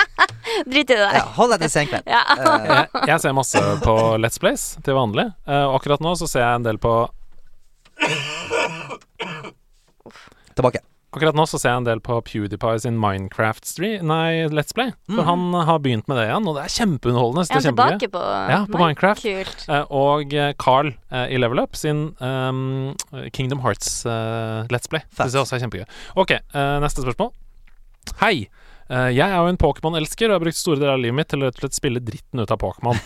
Drit i det
ja,
der.
hold deg til senkveld.
Ja.
Eh,
jeg, jeg ser masse på Let's Plays til vanlig. Eh, og akkurat nå så ser jeg en del på
tilbake.
Akkurat nå så ser jeg en del på PewDiePie sin Minecraft stream Nei, Let's Play. For
Mhm.
han eh, har begynt med det igjen, og det er kjempeunderholdende. så
Er han
det er kjempegøy.
tilbake på
Ja, på Minecraft.
Kult.
Eh, Og eh, Carl eh, i Level Up sin ehm, Kingdom Hearts eh, Let's Play. Synes jeg også er kjempegøy. Ok, eh, neste spørsmål. Hei. Eh, jeg er jo en Pokémon-elsker og har brukt store deler av livet mitt til å rett og slett spille dritten ut av Pokémon.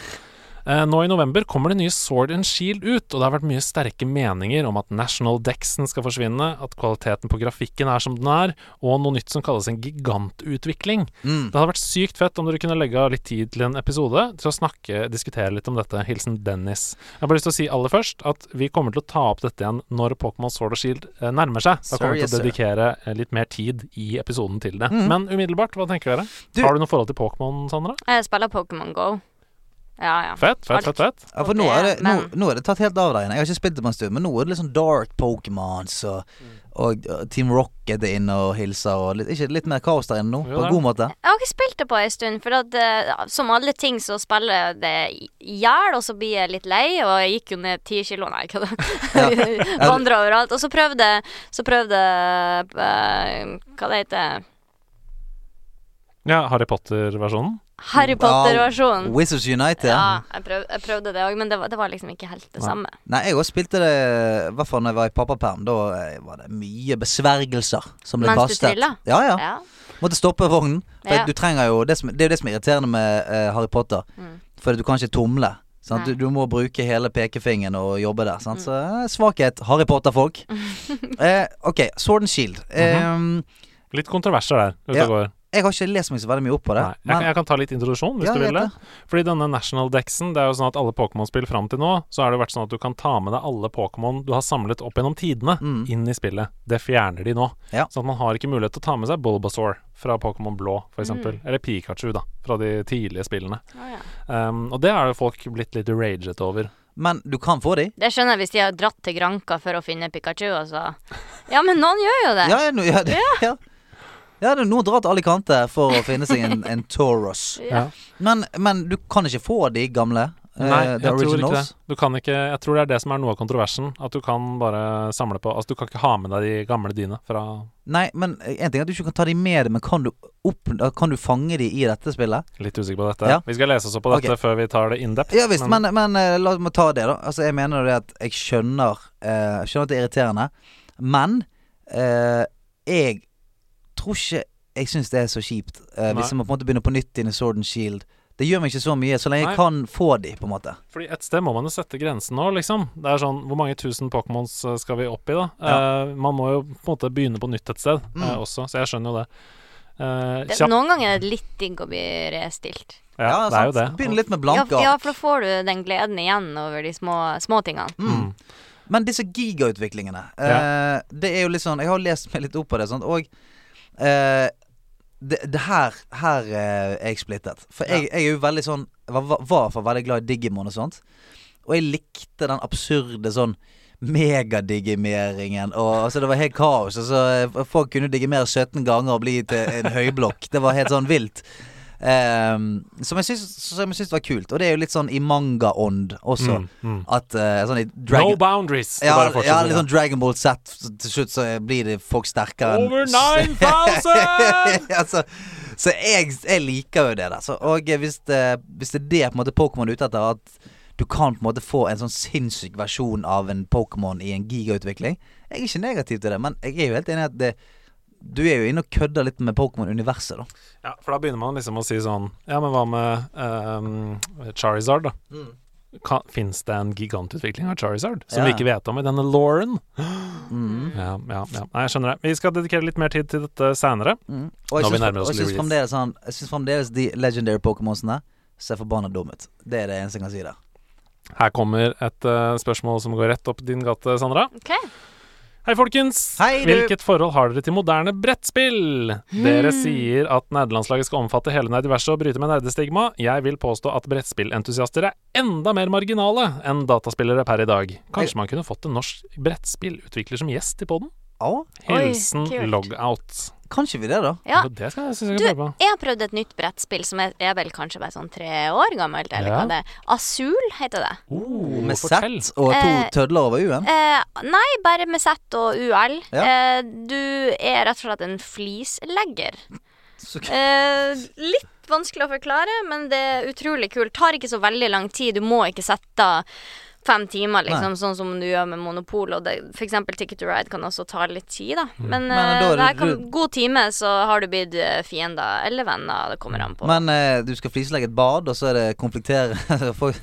Eh, Nå i november kommer det nye Sword and Shield ut, og det har vært mye sterke meninger om at National Dexen skal forsvinne, at kvaliteten på grafikken er som den er, og noe nytt som kalles en gigantutvikling.
Mm.
Det hadde vært sykt fett om dere kunne legge av litt tid til en episode til å snakke, diskutere litt om dette. Hilsen Dennis. Jeg har bare lyst til å si aller først at vi kommer til å ta opp dette igjen når Pokémon Sword og Shield eh, nærmer seg. Da
Sir,
kommer vi
yes,
til
sir.
å dedikere eh, litt mer tid i episoden til det.
Mm.
Men umiddelbart, hva tenker dere? Har du noe forhold til Pokémon, Sandra?
Jeg spiller Pokémon Go. Ja, ja.
Fett, fett, fett, fett.
Ja, for nå er, det, nå,
Men-
nå er det tatt helt av der inne. Jeg har ikke spilt det på en stund, men nå er det litt sånn dark Pokémons og, og, og Team Rocket er inne og hilser og litt, ikke, litt mer kaos der inne nå,
Jo,
på
det
en
er
god måte.
Jeg har ikke spilt det på en stund, for at, eh, som alle ting så spiller jeg det i hjel, og så blir jeg litt lei, og jeg gikk jo ned ti kilo, nei, hva da? Vandra overalt. Og så prøvde så prøvde eh, Hva det heter
Ja, Harry Potter-versjonen?
Harry Potter-versjonen.
Wow, Wizards Unite, ja.
Ja, jeg prøvde, jeg prøvde det òg, men det var, det var liksom ikke helt det
Nei.
samme.
Nei, jeg også spilte det I hvert fall når jeg var i pappaperm. Da eh, var det mye besvergelser som ble
Mens du
kastet.
trillet?
Ja, ja.
Ja.
Måtte stoppe vognen. For
Ja.
du trenger jo det, som, det er jo det som er irriterende med eh, Harry Potter.
Mm.
For du kan ikke tumle. Sant? Du,
Nei. Mm.
du må bruke hele pekefingeren og jobbe der. Sant? Så eh, svakhet. Harry Potter-folk. eh, ok, Sword and Shield.
Mhm.
Eh,
Litt kontroverser der ute
Ja.
og går.
Jeg har ikke lest meg så veldig mye opp på det.
Nei, jeg, kan- jeg kan ta litt introduksjon, hvis
Ja,
du
jeg
vil
vet
det. Fordi denne National Dexen, det er jo sånn at alle Pokémon-spill fram til nå, så har det vært sånn at du kan ta med deg alle Pokémon du har samlet opp gjennom tidene,
Mm.
inn i spillet. Det fjerner de nå. Sånn at man har ikke mulighet til å ta med seg Bulbasaur fra Pokémon Blå, f.eks. eksempel
Mm.
Eller Pikachu, da, fra de tidlige spillene.
Å, ja.
Um, og det har jo folk blitt litt raget over.
Men du kan få de.
Det skjønner jeg hvis de har dratt til Granka for å finne Pikachu, altså. Ja, men noen gjør jo det.
Ja, ja, nå- ja, det-
Ja.
ja. Ja, det er noen drar til alle kanter for å finne seg en, en Tauros.
Ja.
Men, men du kan ikke få de gamle. eh,
Nei,
the
jeg tror ikke det.
originals.
Du kan ikke, jeg tror det er det som er noe av kontroversen. At du kan bare samle på Altså, du kan ikke ha med deg de gamle dine fra
Nei, men en ting er at du ikke kan ta de med deg, men kan du, opp, kan du fange de i dette spillet?
Litt usikker på dette.
Ja.
Vi skal lese oss opp på dette
Ok.
før vi tar det in depth.
Ja visst, men, men eh, la oss ta det, da. Altså, jeg mener det at jeg skjønner eh, Skjønner at det er irriterende, men eh, jeg tror ikke jeg syns det er så kjipt eh,
Nei.
hvis jeg må på en måte begynne på nytt inn i Sword and Shield. Det gjør meg ikke så mye, så lenge
Nei.
jeg kan få de, på en måte.
Fordi et sted må man jo sette grensen nå, liksom. Det er sånn, Hvor mange tusen Pokémons eh, skal vi opp i, da? Eh, man må jo på en måte begynne på nytt et sted
Mm.
eh, også, så jeg skjønner jo det. Eh,
Det,
kjapt.
noen ganger er det litt digg å bli restilt.
Ja, det er jo det.
Begynn litt med
Ja,
blanke.
ja, for da får du den gleden igjen over de små, små tingene.
Mm. Men disse gigautviklingene, eh, det er jo litt sånn Jeg har lest meg litt opp på det, sant? og eh, det, det her, her eh, er jeg splittet. For jeg, jeg er jo veldig sånn var, var- var for veldig glad i Digimon og sånt. Og jeg likte den absurde sånn megadigimeringen. Og altså, det var helt kaos. Altså, eh, folk kunne digimere 17 ganger og bli til en høyblokk. Det var helt sånn vilt. Ehm, som jeg syns som jeg syns var kult. Og det er jo litt sånn i manga-ånd også.
Mm, mm.
At eh, sånn i Dragon
No boundaries! Det
ja,
bare fortsetter,
ja,
ja.
litt sånn Dragon Ball Z. så Til slutt så blir det folk sterkere enn-
Over 9000!
ja, så så jeg, jeg liker jo det der. Så, og hvis det, hvis det er det på en måte Pokémon er ute etter, at du kan på en måte få en sånn sinnssyk versjon av en Pokémon i en gigautvikling Jeg er ikke negativ til det, men jeg er jo helt enig i at det du er jo inne og kødder litt med Pokémon-universet, da.
Ja, for da begynner man liksom å si sånn Ja, men hva med ehm, Charizard, da?
Mm.
Kan- Fins det en gigantutvikling av Charizard som
Ja. Mm.
vi ikke vet om i denne Lauren? Ja, ja, ja. Nei, jeg skjønner det. Vi skal dedikere litt mer tid til dette senere.
Og jeg
Når Mm. vi
syns-
nærmer oss
og jeg syns
Luris.
fremdeles, han- jeg syns fremdeles de legendary Pokémonsene ser forbanna dumme ut. Det er det eneste jeg kan si der.
Her kommer et eh, spørsmål som går rett opp din gate, Sandra.
Ok.
Hei, folkens!
Hei, du.
Hvilket forhold har dere til moderne brettspill? Dere sier at nerdelandslaget skal omfatte hele nerdiverset og bryte med nerdestigma. Jeg vil påstå at brettspillentusiaster er enda mer marginale enn dataspillere per i dag. Kanskje man kunne fått en norsk brettspillutvikler som gjest i poden?
Å?
Hilsen
Oi, kult.
logout.
Kan ikke vi det, da?
Ja.
Det skal jeg, synes jeg
Du,
skal
jeg
prøve på.
har prøvd et nytt brettspill som er, er vel kanskje bare sånn tre år gammelt, eller
Ja.
hva det er. Asul heter det.
Oh,
Med
fortell.
Z og to
Eh,
tødler over U-en?
Eh, nei, bare med Z og UL.
Ja.
Eh, du er rett og slett en flislegger.
Så-
Eh, litt vanskelig å forklare, men det er utrolig kult. Tar ikke så veldig lang tid. Du må ikke sette av fem timer, liksom, sånn som du gjør med Monopol. Og det, for eksempel Ticket to Ride kan også ta litt tid, da.
Mm.
Men,
Men
eh,
da er
det her
det
kan,
du-
god time, så har du blitt eh, fiender eller venner. Det kommer an på.
Men eh, du skal flislegge et bad, og så er det konfliktere folk-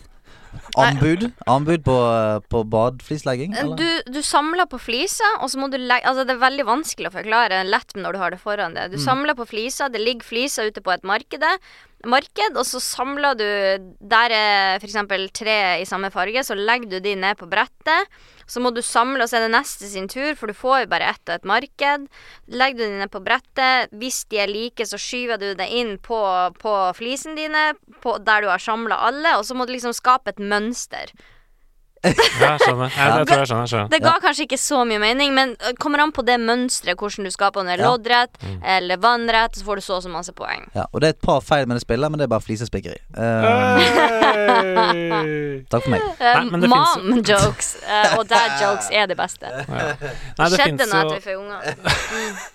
Anbud? Anbud på, eh, på badflislegging? eller?
Eh, Du, du samler på fliser, og så må du legge Altså, det er veldig vanskelig å forklare lett når du har det foran deg. Du samler på fliser, det ligger fliser ute på et markede, marked, og så samler du Der er f.eks. tre i samme farge, så legger du de ned på brettet. Så må du samle, og så er det neste sin tur, for du får jo bare ett og et marked. Legger du de ned på brettet. Hvis de er like, så skyver du det inn på, på flisene dine, på, der du har samla alle, og så må du liksom skape et mønster.
Ja, jeg skjønner. Jeg, jeg tror jeg skjønner. Jeg skjønner.
Det ga kanskje ikke så mye mening, men øh, kommer an på det mønsteret, hvordan du skaper den.
Ja.
Loddrett
Mm.
eller vannrett, så får du så og så masse poeng.
Ja, og det er et par feil med det spillet, men det er bare flisespikkeri. Eh,
Hey!
takk for meg.
Eh,
men det finnes jo-
Mom jokes eh, og dad jokes er det beste.
Nei, det
Skjedde
finnes
når jeg
jo-
treffer unger.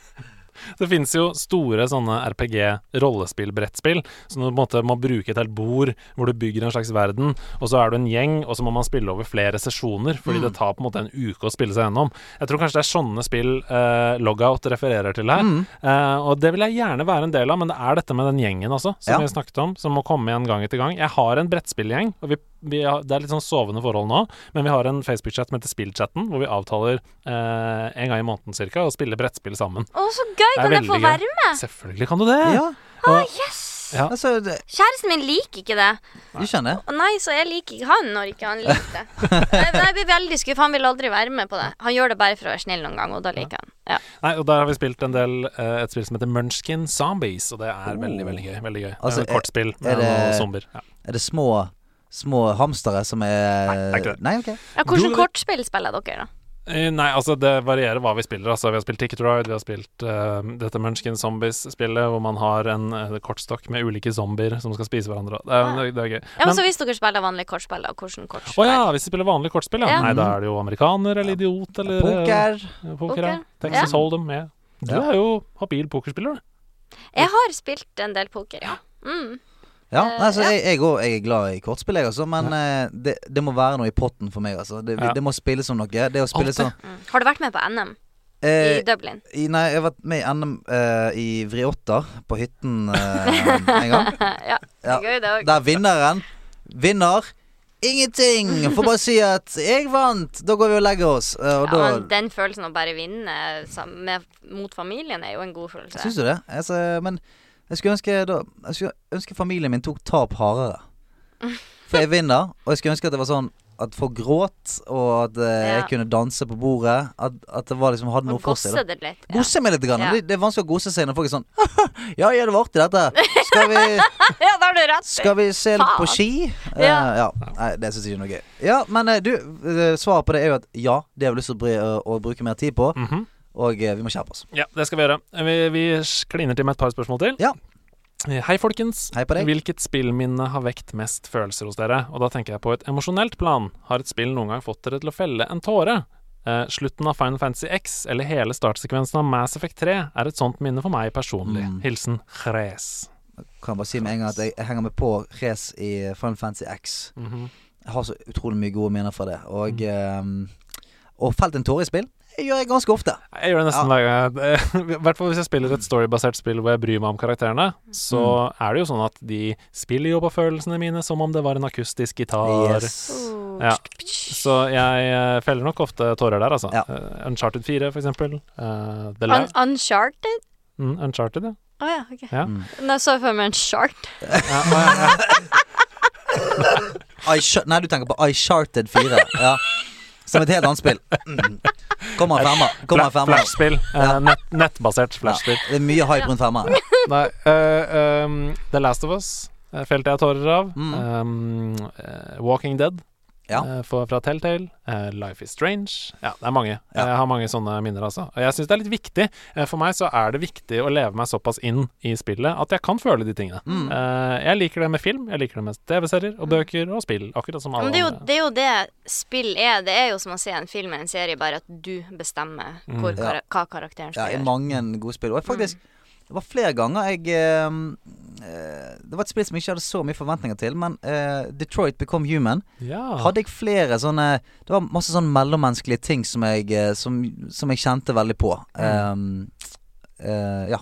Det finnes jo store sånne RPG-rollespill-brettspill, som du på en måte må bruke et helt bord hvor du bygger en slags verden, og så er du en gjeng, og så må man spille over flere sesjoner, fordi det tar på en måte en uke å spille seg gjennom. Jeg tror kanskje det er sånne spill eh, Logout refererer til her, eh, og det vil jeg gjerne være en del av, men det er dette med den gjengen også, som
Ja.
vi snakket om, som må komme igjen gang etter gang. Jeg har en brettspillgjeng, og vi, vi har, det er litt sånn sovende forhold nå, men vi har en Facebook-chat som heter Spillchatten, hvor vi avtaler eh, en gang i måneden cirka, og spiller brettspill sammen.
Å, så gøy!
Det er
Kan jeg få
veldig gøy.
være med?
Selvfølgelig kan du det.
Ja,
Og- Ja.
altså det,
Kjæresten min liker ikke det.
Du skjønner?
Å nei, så jeg liker ikke han når ikke han liker det. Jeg, jeg blir veldig skuffet. Han vil aldri være med på det. Han gjør det bare for å være snill noen gang, og da liker han. Ja.
Nei, og der har vi spilt en del eh, et spill som heter Munchkin Zombies, og det er veldig, veldig gøy. Veldig gøy.
Oh. Altså,
det er et kortspill
er
med noen
det-
zombier. Ja.
Er det små, små hamstere som er Nei,
det er ikke det. Eh.
Nei, ok.
Ja, hvordan
Du-
kortspill spiller dere, da?
Eh, Nei, altså det varierer hva vi spiller. Altså, vi har spilt Ticket to Ride, vi har spilt eh, dette Munchkin Zombies-spillet hvor man har en eh, kortstokk med ulike zombier som skal spise hverandre. Det er, det er, det er gøy.
Ja, men,
Men-
så hvis dere spiller vanlige kortspill, da, hvordan
Å
kortspill?
ja, hvis de spiller vanlig kortspill, ja.
Ja.
Nei, da er det jo amerikaner eller idiot eller eh,
Poker.
poker ja.
Poker.
Texas
Ja.
Hold'em. Ja. Du
Ja.
er jo habil pokerspiller, du.
Jeg har spilt en del poker, ja. Mm.
Ja,
Eh,
nei, så jeg, jeg, også, jeg er glad i kortspill, jeg også, men eh, det, det må være noe i potten for meg. Altså. Det, vi-
Ja.
det må spilles som noe. Det å spille
Alltid.
sånn
Mm. Har du vært med på NM i
eh,
Dublin?
i, Nei, jeg har vært med i NM eh, i Vriotter, på hytten eh, en gang.
ja, det
Ja.
er gøy, det òg.
Der vinneren vinner ingenting! Får bare si at 'jeg vant', da går vi og legger oss. Eh, og
Ja,
da
men den følelsen å bare vinne sam- med, mot familien er jo en god følelse.
Syns du det? Altså, men jeg skulle ønske da Jeg skulle ønske familien min tok tap hardere. For jeg vinner, og jeg skulle ønske at det var sånn at folk gråt, og at eh, jeg
Ja.
kunne danse på bordet. At, at det var liksom hadde
Man
noe for seg.
gosser
da.
det litt. Ja.
Gose meg litt. Grann.
Ja.
Det, det er vanskelig å gose seg når folk er sånn Ja, ja, det var artig, dette. Skal vi,
ja, da har du rett.
skal vi se litt på
Faen.
ski? Eh,
Ja.
ja. Nei, det syns jeg ikke er noe gøy. Ja, men eh, du, eh, svaret på det er jo at ja, det har vi lyst til å, bry, å, å bruke mer tid på,
Mhm.
og eh, vi må skjerpe oss.
Ja, det skal vi gjøre. Vi, vi kliner til med et par spørsmål til.
Ja.
Hei, folkens.
Hei på deg.
Hvilket spillminne har vekt mest følelser hos dere? Og da tenker jeg på et emosjonelt plan. Har et spill noen gang fått dere til å felle en tåre? Eh, slutten av Final Fantasy X eller hele startsekvensen av Mass Effect 3 er et sånt minne for meg personlig.
Mm.
Hilsen Chres.
kan bare si med en gang at jeg, jeg henger meg på race i Final Fantasy X. Jeg har så utrolig mye gode minner fra det. Og, ehm, og felt en tåre i spill det gjør jeg ganske ofte.
Jeg gjør det nesten hver gang. jeg- I hvert fall hvis jeg spiller et storybasert spill hvor jeg bryr meg om karakterene, så
Mm.
er det jo sånn at de spiller jo på følelsene mine som om det var en akustisk gitar.
Oh.
Yes.
Ja. Så jeg eh, feller nok ofte tårer der, altså.
Ja.
Eh, Uncharted 4, for eksempel. Eh, The La
Un Uncharted?
mm, Uncharted, ja.
Å ja, ok.
Ja.
Mm.
Nå så jeg for meg en shart.
I Sh- Nei, du tenker på I Charted 4. Ja. Som et helt annet spill. Mm. Kommer en femmer. Kommer en
Fla-
femmer.
Flashspill. Eh, nett, nettbasert flashspill.
Det er mye hype rundt femmeren.
Nei, eh,
Mm.
um, The Last of Us eh, felte jeg tårer av. Um, eh, Ehm, Walking Dead eh, for, fra Telltale. eh, Life Is Strange. Ja, det er mange. Jeg har mange sånne minner, altså. Og jeg syns det er litt viktig. Eh, for meg så er det viktig å leve meg såpass inn i spillet at jeg kan føle de tingene.
Mm.
Eh, jeg liker det med film, jeg liker det med TV-serier og bøker og spill, akkurat som
Men
alle
det er, jo,
andre.
det er jo det spill er. Det er jo som å se en film eller en serie, bare at du bestemmer
Mm.
hvor,
Ja.
kar hva karakteren
Ja,
skal
i
gjøre.
mange gode spill. Og jeg faktisk Det var flere ganger jeg eh, eh, Det var et spill som jeg ikke hadde så mye forventninger til, men eh, Detroit Become Human
Ja.
hadde jeg flere sånne Det var masse sånne mellommenneskelige ting som jeg, eh, som, som jeg kjente veldig på.
Mm.
Eh, eh, ja.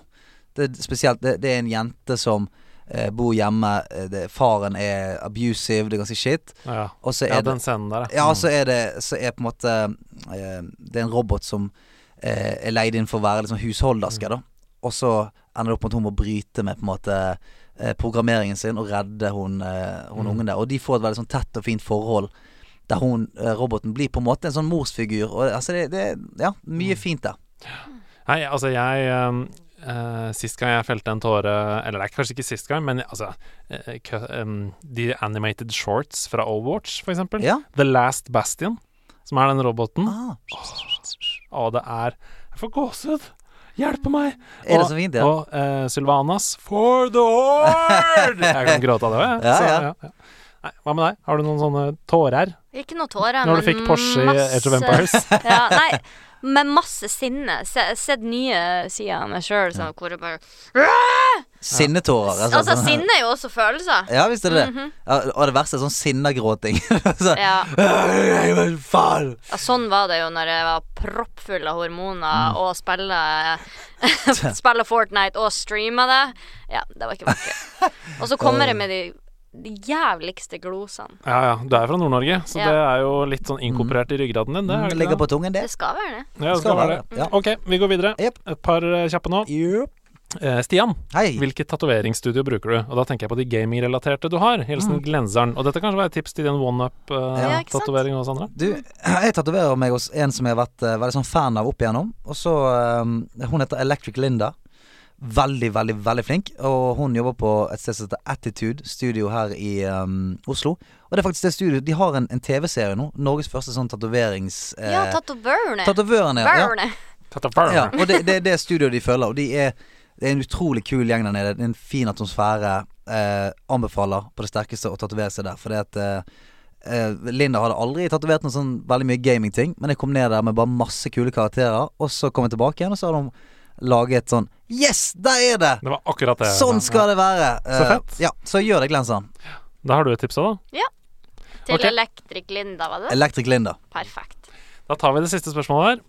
Det er spesielt det, det er en jente som eh, bor hjemme. eh, Det, faren er abusive, det er ganske shit.
Ja.
Og så er
Ja,
det-
den scenen der, ja.
ja. og så er det så er på en måte eh, Det er en robot som eh, er leid inn for å være liksom
Mm.
husholderske, da. Og så ender det opp med at hun må bryte med på en måte eh, programmeringen sin og redde hun, eh, hun
Mm.
ungen der. Og de får et veldig sånn tett og fint forhold. Der hun, eh, roboten blir på en måte en sånn morsfigur. Og, altså det, det Ja,
Mm.
mye fint der.
Nei, altså jeg ehm, eh, Sist gang jeg felte en tåre Eller det er kanskje ikke sist gang, men altså eh, kø- ehm, De animated shorts fra Overwatch, for eksempel.
Ja. Ah.
The Last Bastion, som er den roboten. Å, det er Jeg får gåsehud! Hjelpe meg!
Er det
Og-
så fint, ja?
Og eh, Sylvanas For the Horde! Jeg kan gråte av det òg, jeg.
Ja,
Så,
ja.
Nei, hva med deg? Har du noen sånne tårer?
Ikke noe tårer,
Når du
men
fikk Porsche i Age of Empires.
ja, nei, med masse sinne. Se, sett nye sider av meg sjøl, sånn hvor det bare
Sinnetårer.
Altså,
sånn-
sinne er jo også følelser.
Ja, visst er det det.
Mhm.
Ja, Og det verste er sånn sinnagråting. så,
Ja.
«Nei, men faen!
Ja, sånn var det jo når jeg var proppfull av hormoner og spille Spille Fortnite og streama det. Ja, det var ikke vakkert. Og så kommer det med de, de jævligste glosene.
Ja, ja. Du er fra Nord-Norge, så
Ja.
det er jo litt sånn inkorporert i ryggraden din. Det, er
Mm,
det
ligger
ikke
på tungen, det.
Det skal være det.
Ja, det skal være det. Ok, vi går videre. Et par eh, kjappe nå. Eh, Stian, hvilket tatoveringsstudio bruker du? Og da tenker jeg på de gamingrelaterte du har. Hilsen Glenseren. Og dette kan kanskje være et tips til din
Mm.
eh,
Ja,
one-up-tatovering
ikke sant?
og sånn?
Du, jeg tatoverer meg hos en som jeg har vært eh, veldig sånn fan av opp igjennom. Og så eh, Hun heter Electric Linda. Veldig, veldig, veldig flink. Og hun jobber på et sted som heter Attitude Studio her i eh, Oslo. Og det er faktisk det studioet De har en, en TV-serie nå. Norges første sånn tatoverings... eh,
Ja, tatovørene.
tatovørene, ja.
Vørene.
Ja, og det, det er det studioet de følger. Og de er, det er en utrolig kul gjeng der nede. Det er En fin atmosfære. Eh, anbefaler på det sterkeste å tatovere seg der. Fordi at eh, eh, Linda hadde aldri tatovert noe sånn veldig mye gamingting, men jeg kom ned der med bare masse kule karakterer, og så kom jeg tilbake igjen, og så hadde hun laget sånn Yes, der er det!
Det var akkurat det.
Sånn skal det være!
Så
Eh, ja, så gjør det, Glensand.
Da har du et tips òg, da.
Ja. Til
Ok.
Electric Linda, var det?
Electric Linda.
Perfekt.
Da tar vi det siste spørsmålet her.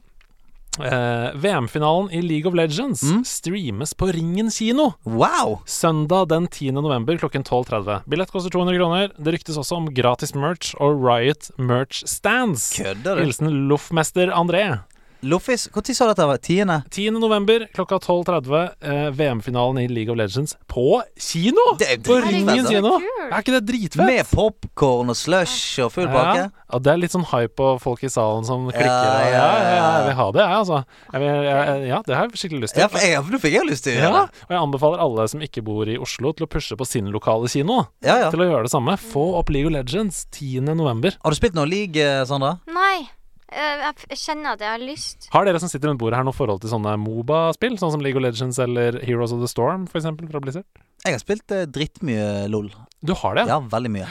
Eh, VM-finalen i League of Legends
Mm.
streames på Ringen kino.
Wow
Søndag den 10. november klokken 12.30. Billett koster 200 kroner. Det ryktes også om gratis merch og Riot merch stands.
Kødder du?
Hilsen loffmester André.
Loffis, når sa du dette? var? Tiende?
10. november klokka 12.30 eh, VM-finalen i League of Legends på kino! på Ringen
dritfett, da.
kino! Er ikke det dritfett?
Med popkorn og slush og full pakke.
Ja, og det er litt sånn hype og folk i salen som klikker. og Ja,
ja,
ja,
ja.
jeg vil ha det, jeg, altså. Jeg vil, jeg, ja, det har jeg skikkelig lyst til.
Ja, for jeg- for nå fikk jeg lyst til å gjøre
Ja,
det.
og jeg anbefaler alle som ikke bor i Oslo, til å pushe på sin lokale kino. Til å gjøre det samme. Få opp League of Legends 10. november.
Har du spilt noe league, Sandra?
Nei. eh, Jeg f- jeg kjenner at jeg har lyst.
Har dere som sitter rundt bordet her noe forhold til sånne Moba-spill? Sånn som League of Legends eller Heroes of the Storm, for eksempel, fra Blizzard?
Jeg har spilt eh, drittmye LOL.
Du har det?
Ja, veldig mye.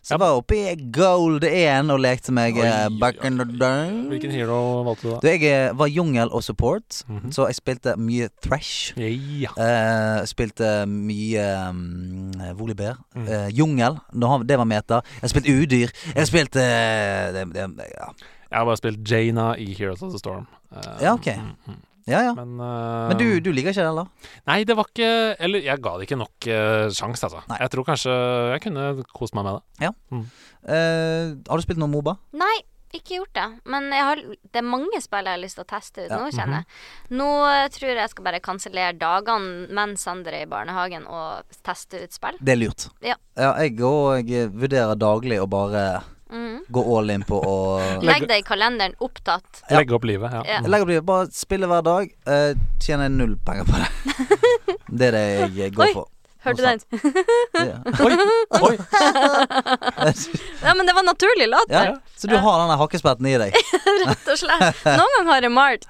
Så jeg var oppe i Gold 1 og lekte meg eh, back in the day.
Hvilken hero valgte du da?
Du, jeg eh, var jungel og support,
Mhm.
så jeg spilte mye Thresh. Eh, spilte mye um, Volibear.
Mhm.
Eh, jungel, når han, det var meter. Jeg spilte udyr. Jeg spilte eh, det, det, ja.
Jeg har bare spilt Jaina i Heroes of the Storm. Eh,
ja, ok. Ja, ja.
Men, eh,
Men du, du liker ikke det, eller?
Nei, det var ikke Eller jeg ga det ikke nok uh, sjanse, altså. Jeg tror kanskje jeg kunne kost meg med det.
Ja.
Mm.
Eh, har du spilt noe Moba?
Nei, ikke gjort det. Men jeg har, det er mange spill jeg har lyst til å teste ut
Ja.
nå, kjenner jeg. Nå eh, tror jeg jeg skal bare kansellere dagene mens Sander er i barnehagen, og teste ut spill.
Det er lurt.
Ja.
jeg òg vurderer daglig å bare
Mhm.
gå all in på å
Legg det i kalenderen. Opptatt.
Ja.
Legge opp livet, ja. Mm.
Ja.
Legg opp livet. Bare spille hver dag. eh, tjener null penger på det. Det er det jeg går
Oi.
for.
Hørte du den?
Oi, oi.
Nei, men det var naturlig latter.
Ja, så du har denne hakkespetten i deg.
Rett og slett. Noen ganger har jeg malt.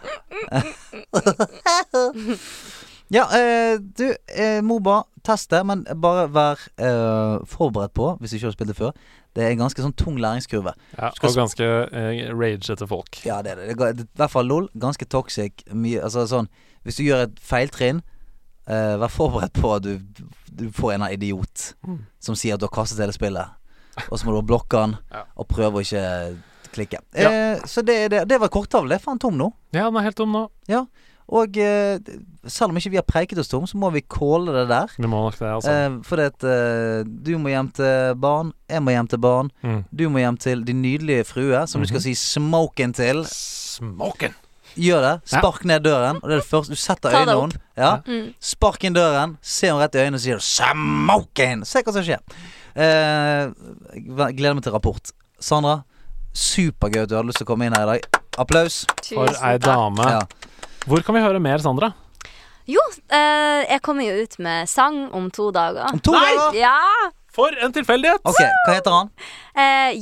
Ja, eh, du, eh, Moba, test det, men bare vær eh, forberedt på, hvis du ikke har spilt det før, det er en ganske sånn tung læringskurve.
Ja,
Skal
og ganske eh, rage etter folk.
Ja, det er det. det er, ga- I hvert fall LOL. Ganske toxic. Mye, altså sånn Hvis du gjør et feiltrinn, eh, vær forberedt på at du, du får en av idiot
Mm.
som sier at du har kastet hele spillet. Og så må du bare blokke han,
Ja.
og prøve å ikke klikke.
Ja.
Eh, så det, er det, det var korttavle. Det er faen tom nå.
Ja, den er helt tom nå.
Og eh, selv om ikke vi har preiket oss tom, så må vi calle det der.
Vi må nok det, altså.
Eh, fordi at eh, du må hjem til barn, jeg må hjem til barn,
Mm. Mhm.
du må hjem til din nydelige frue, som du skal si smoken til.
Smoken!
Gjør det.
Ja.
Spark ned døren. Og det er det første Du setter
Ta det
øynene
opp.
henne. Ja.
Mm.
Spark inn døren, se henne rett i øynene og sier 'smoken'! Se hva som skjer. Eh, jeg gleder meg til rapport. Sandra, supergøy at du hadde lyst til å komme inn her i dag. Applaus.
For ei dame.
Ja.
Hvor kan vi høre mer, Sandra?
Jo, eh, jeg kommer jo ut med sang om to dager.
Om to dager!
Ja!
For en tilfeldighet!
Ok, hva heter han?
Eh,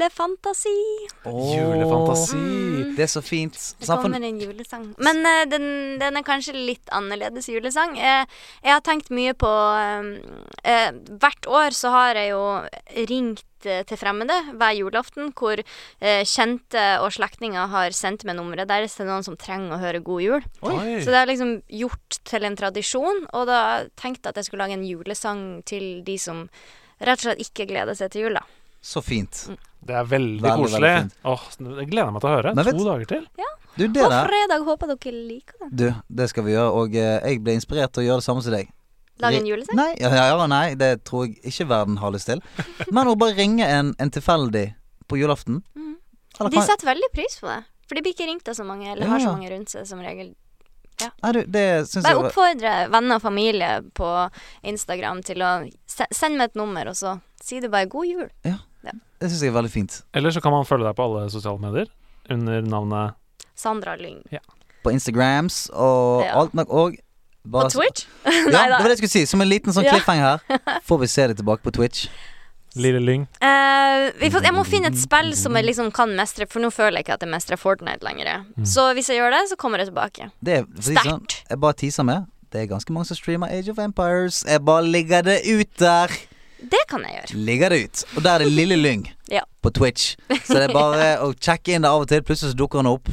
julefantasi.
Åh,
Julefantasi.
Mm. Det er så fint.
Det
Sant, for-
kommer en julesang. Men eh, den, den er kanskje litt annerledes julesang. Eh, jeg har tenkt mye på eh, eh, Hvert år så har jeg jo ringt eh, til fremmede hver julaften, hvor eh, kjente og slektninger har sendt meg nummeret deres til noen som trenger å høre God jul.
Oi.
Så det er liksom gjort til en tradisjon, og da tenkte jeg at jeg skulle lage en julesang til de som rett og slett ikke gleder seg til jul, da.
så fint.
Mm.
Det er veldig,
Veldig,
koselig.
veldig fint.
Åh, det gleder jeg meg til å høre.
Men vet-
to dager til.
Du, det
På
der
fredag håper dere liker den.
Du, det skal vi gjøre. Og eh, jeg ble inspirert til å gjøre det samme som deg.
Lage en
Ri-
julesang?
Nei, ja, ja, ja, nei, det tror jeg ikke verden har lyst til. Men å bare ringe en, en tilfeldig på julaften
Mhm.
Eller
De
kan-
setter veldig pris på det. For de blir ikke ringt av så mange, eller har
Ja.
så mange rundt seg som regel.
Nei, du, det syns jeg
Bare
var
oppfordre venner og familie på Instagram til å se sende meg et nummer, og så si det bare 'god jul'.
Det synes jeg er veldig fint.
Eller så kan man følge deg på alle sosiale medier under navnet
Sandra Lyng.
På Instagrams og
Ja.
alt nok og
På
bare-
Twitch?
Ja,
Nei
det var
da.
det jeg skulle si. Som en liten sånn
Ja.
cliffhanger her. Får vi se deg tilbake på Twitch.
Lille Lyng.
Eh, vi får, jeg må finne et spill som jeg liksom kan mestre, for nå føler jeg ikke at jeg mestrer Fortnite lenger. Så hvis jeg gjør det, så kommer jeg tilbake.
Det er for å si det sånn,
Sterkt.
Jeg bare teaser med. Det er ganske mange som streamer Age of Empires. Jeg bare ligger det ut der.
Det kan jeg gjøre.
ligger det ut. Og der er det Lille Lyng
Ja.
på Twitch. Så det er bare å sjekke inn det av og til. Plutselig så dukker hun opp,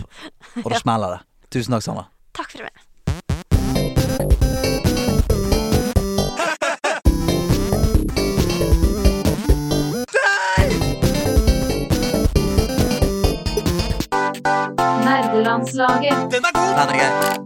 og da smeller det. Tusen takk, Sandra.
Takk for meg.
Nerdelandslaget.
Den er god!
Den er grei.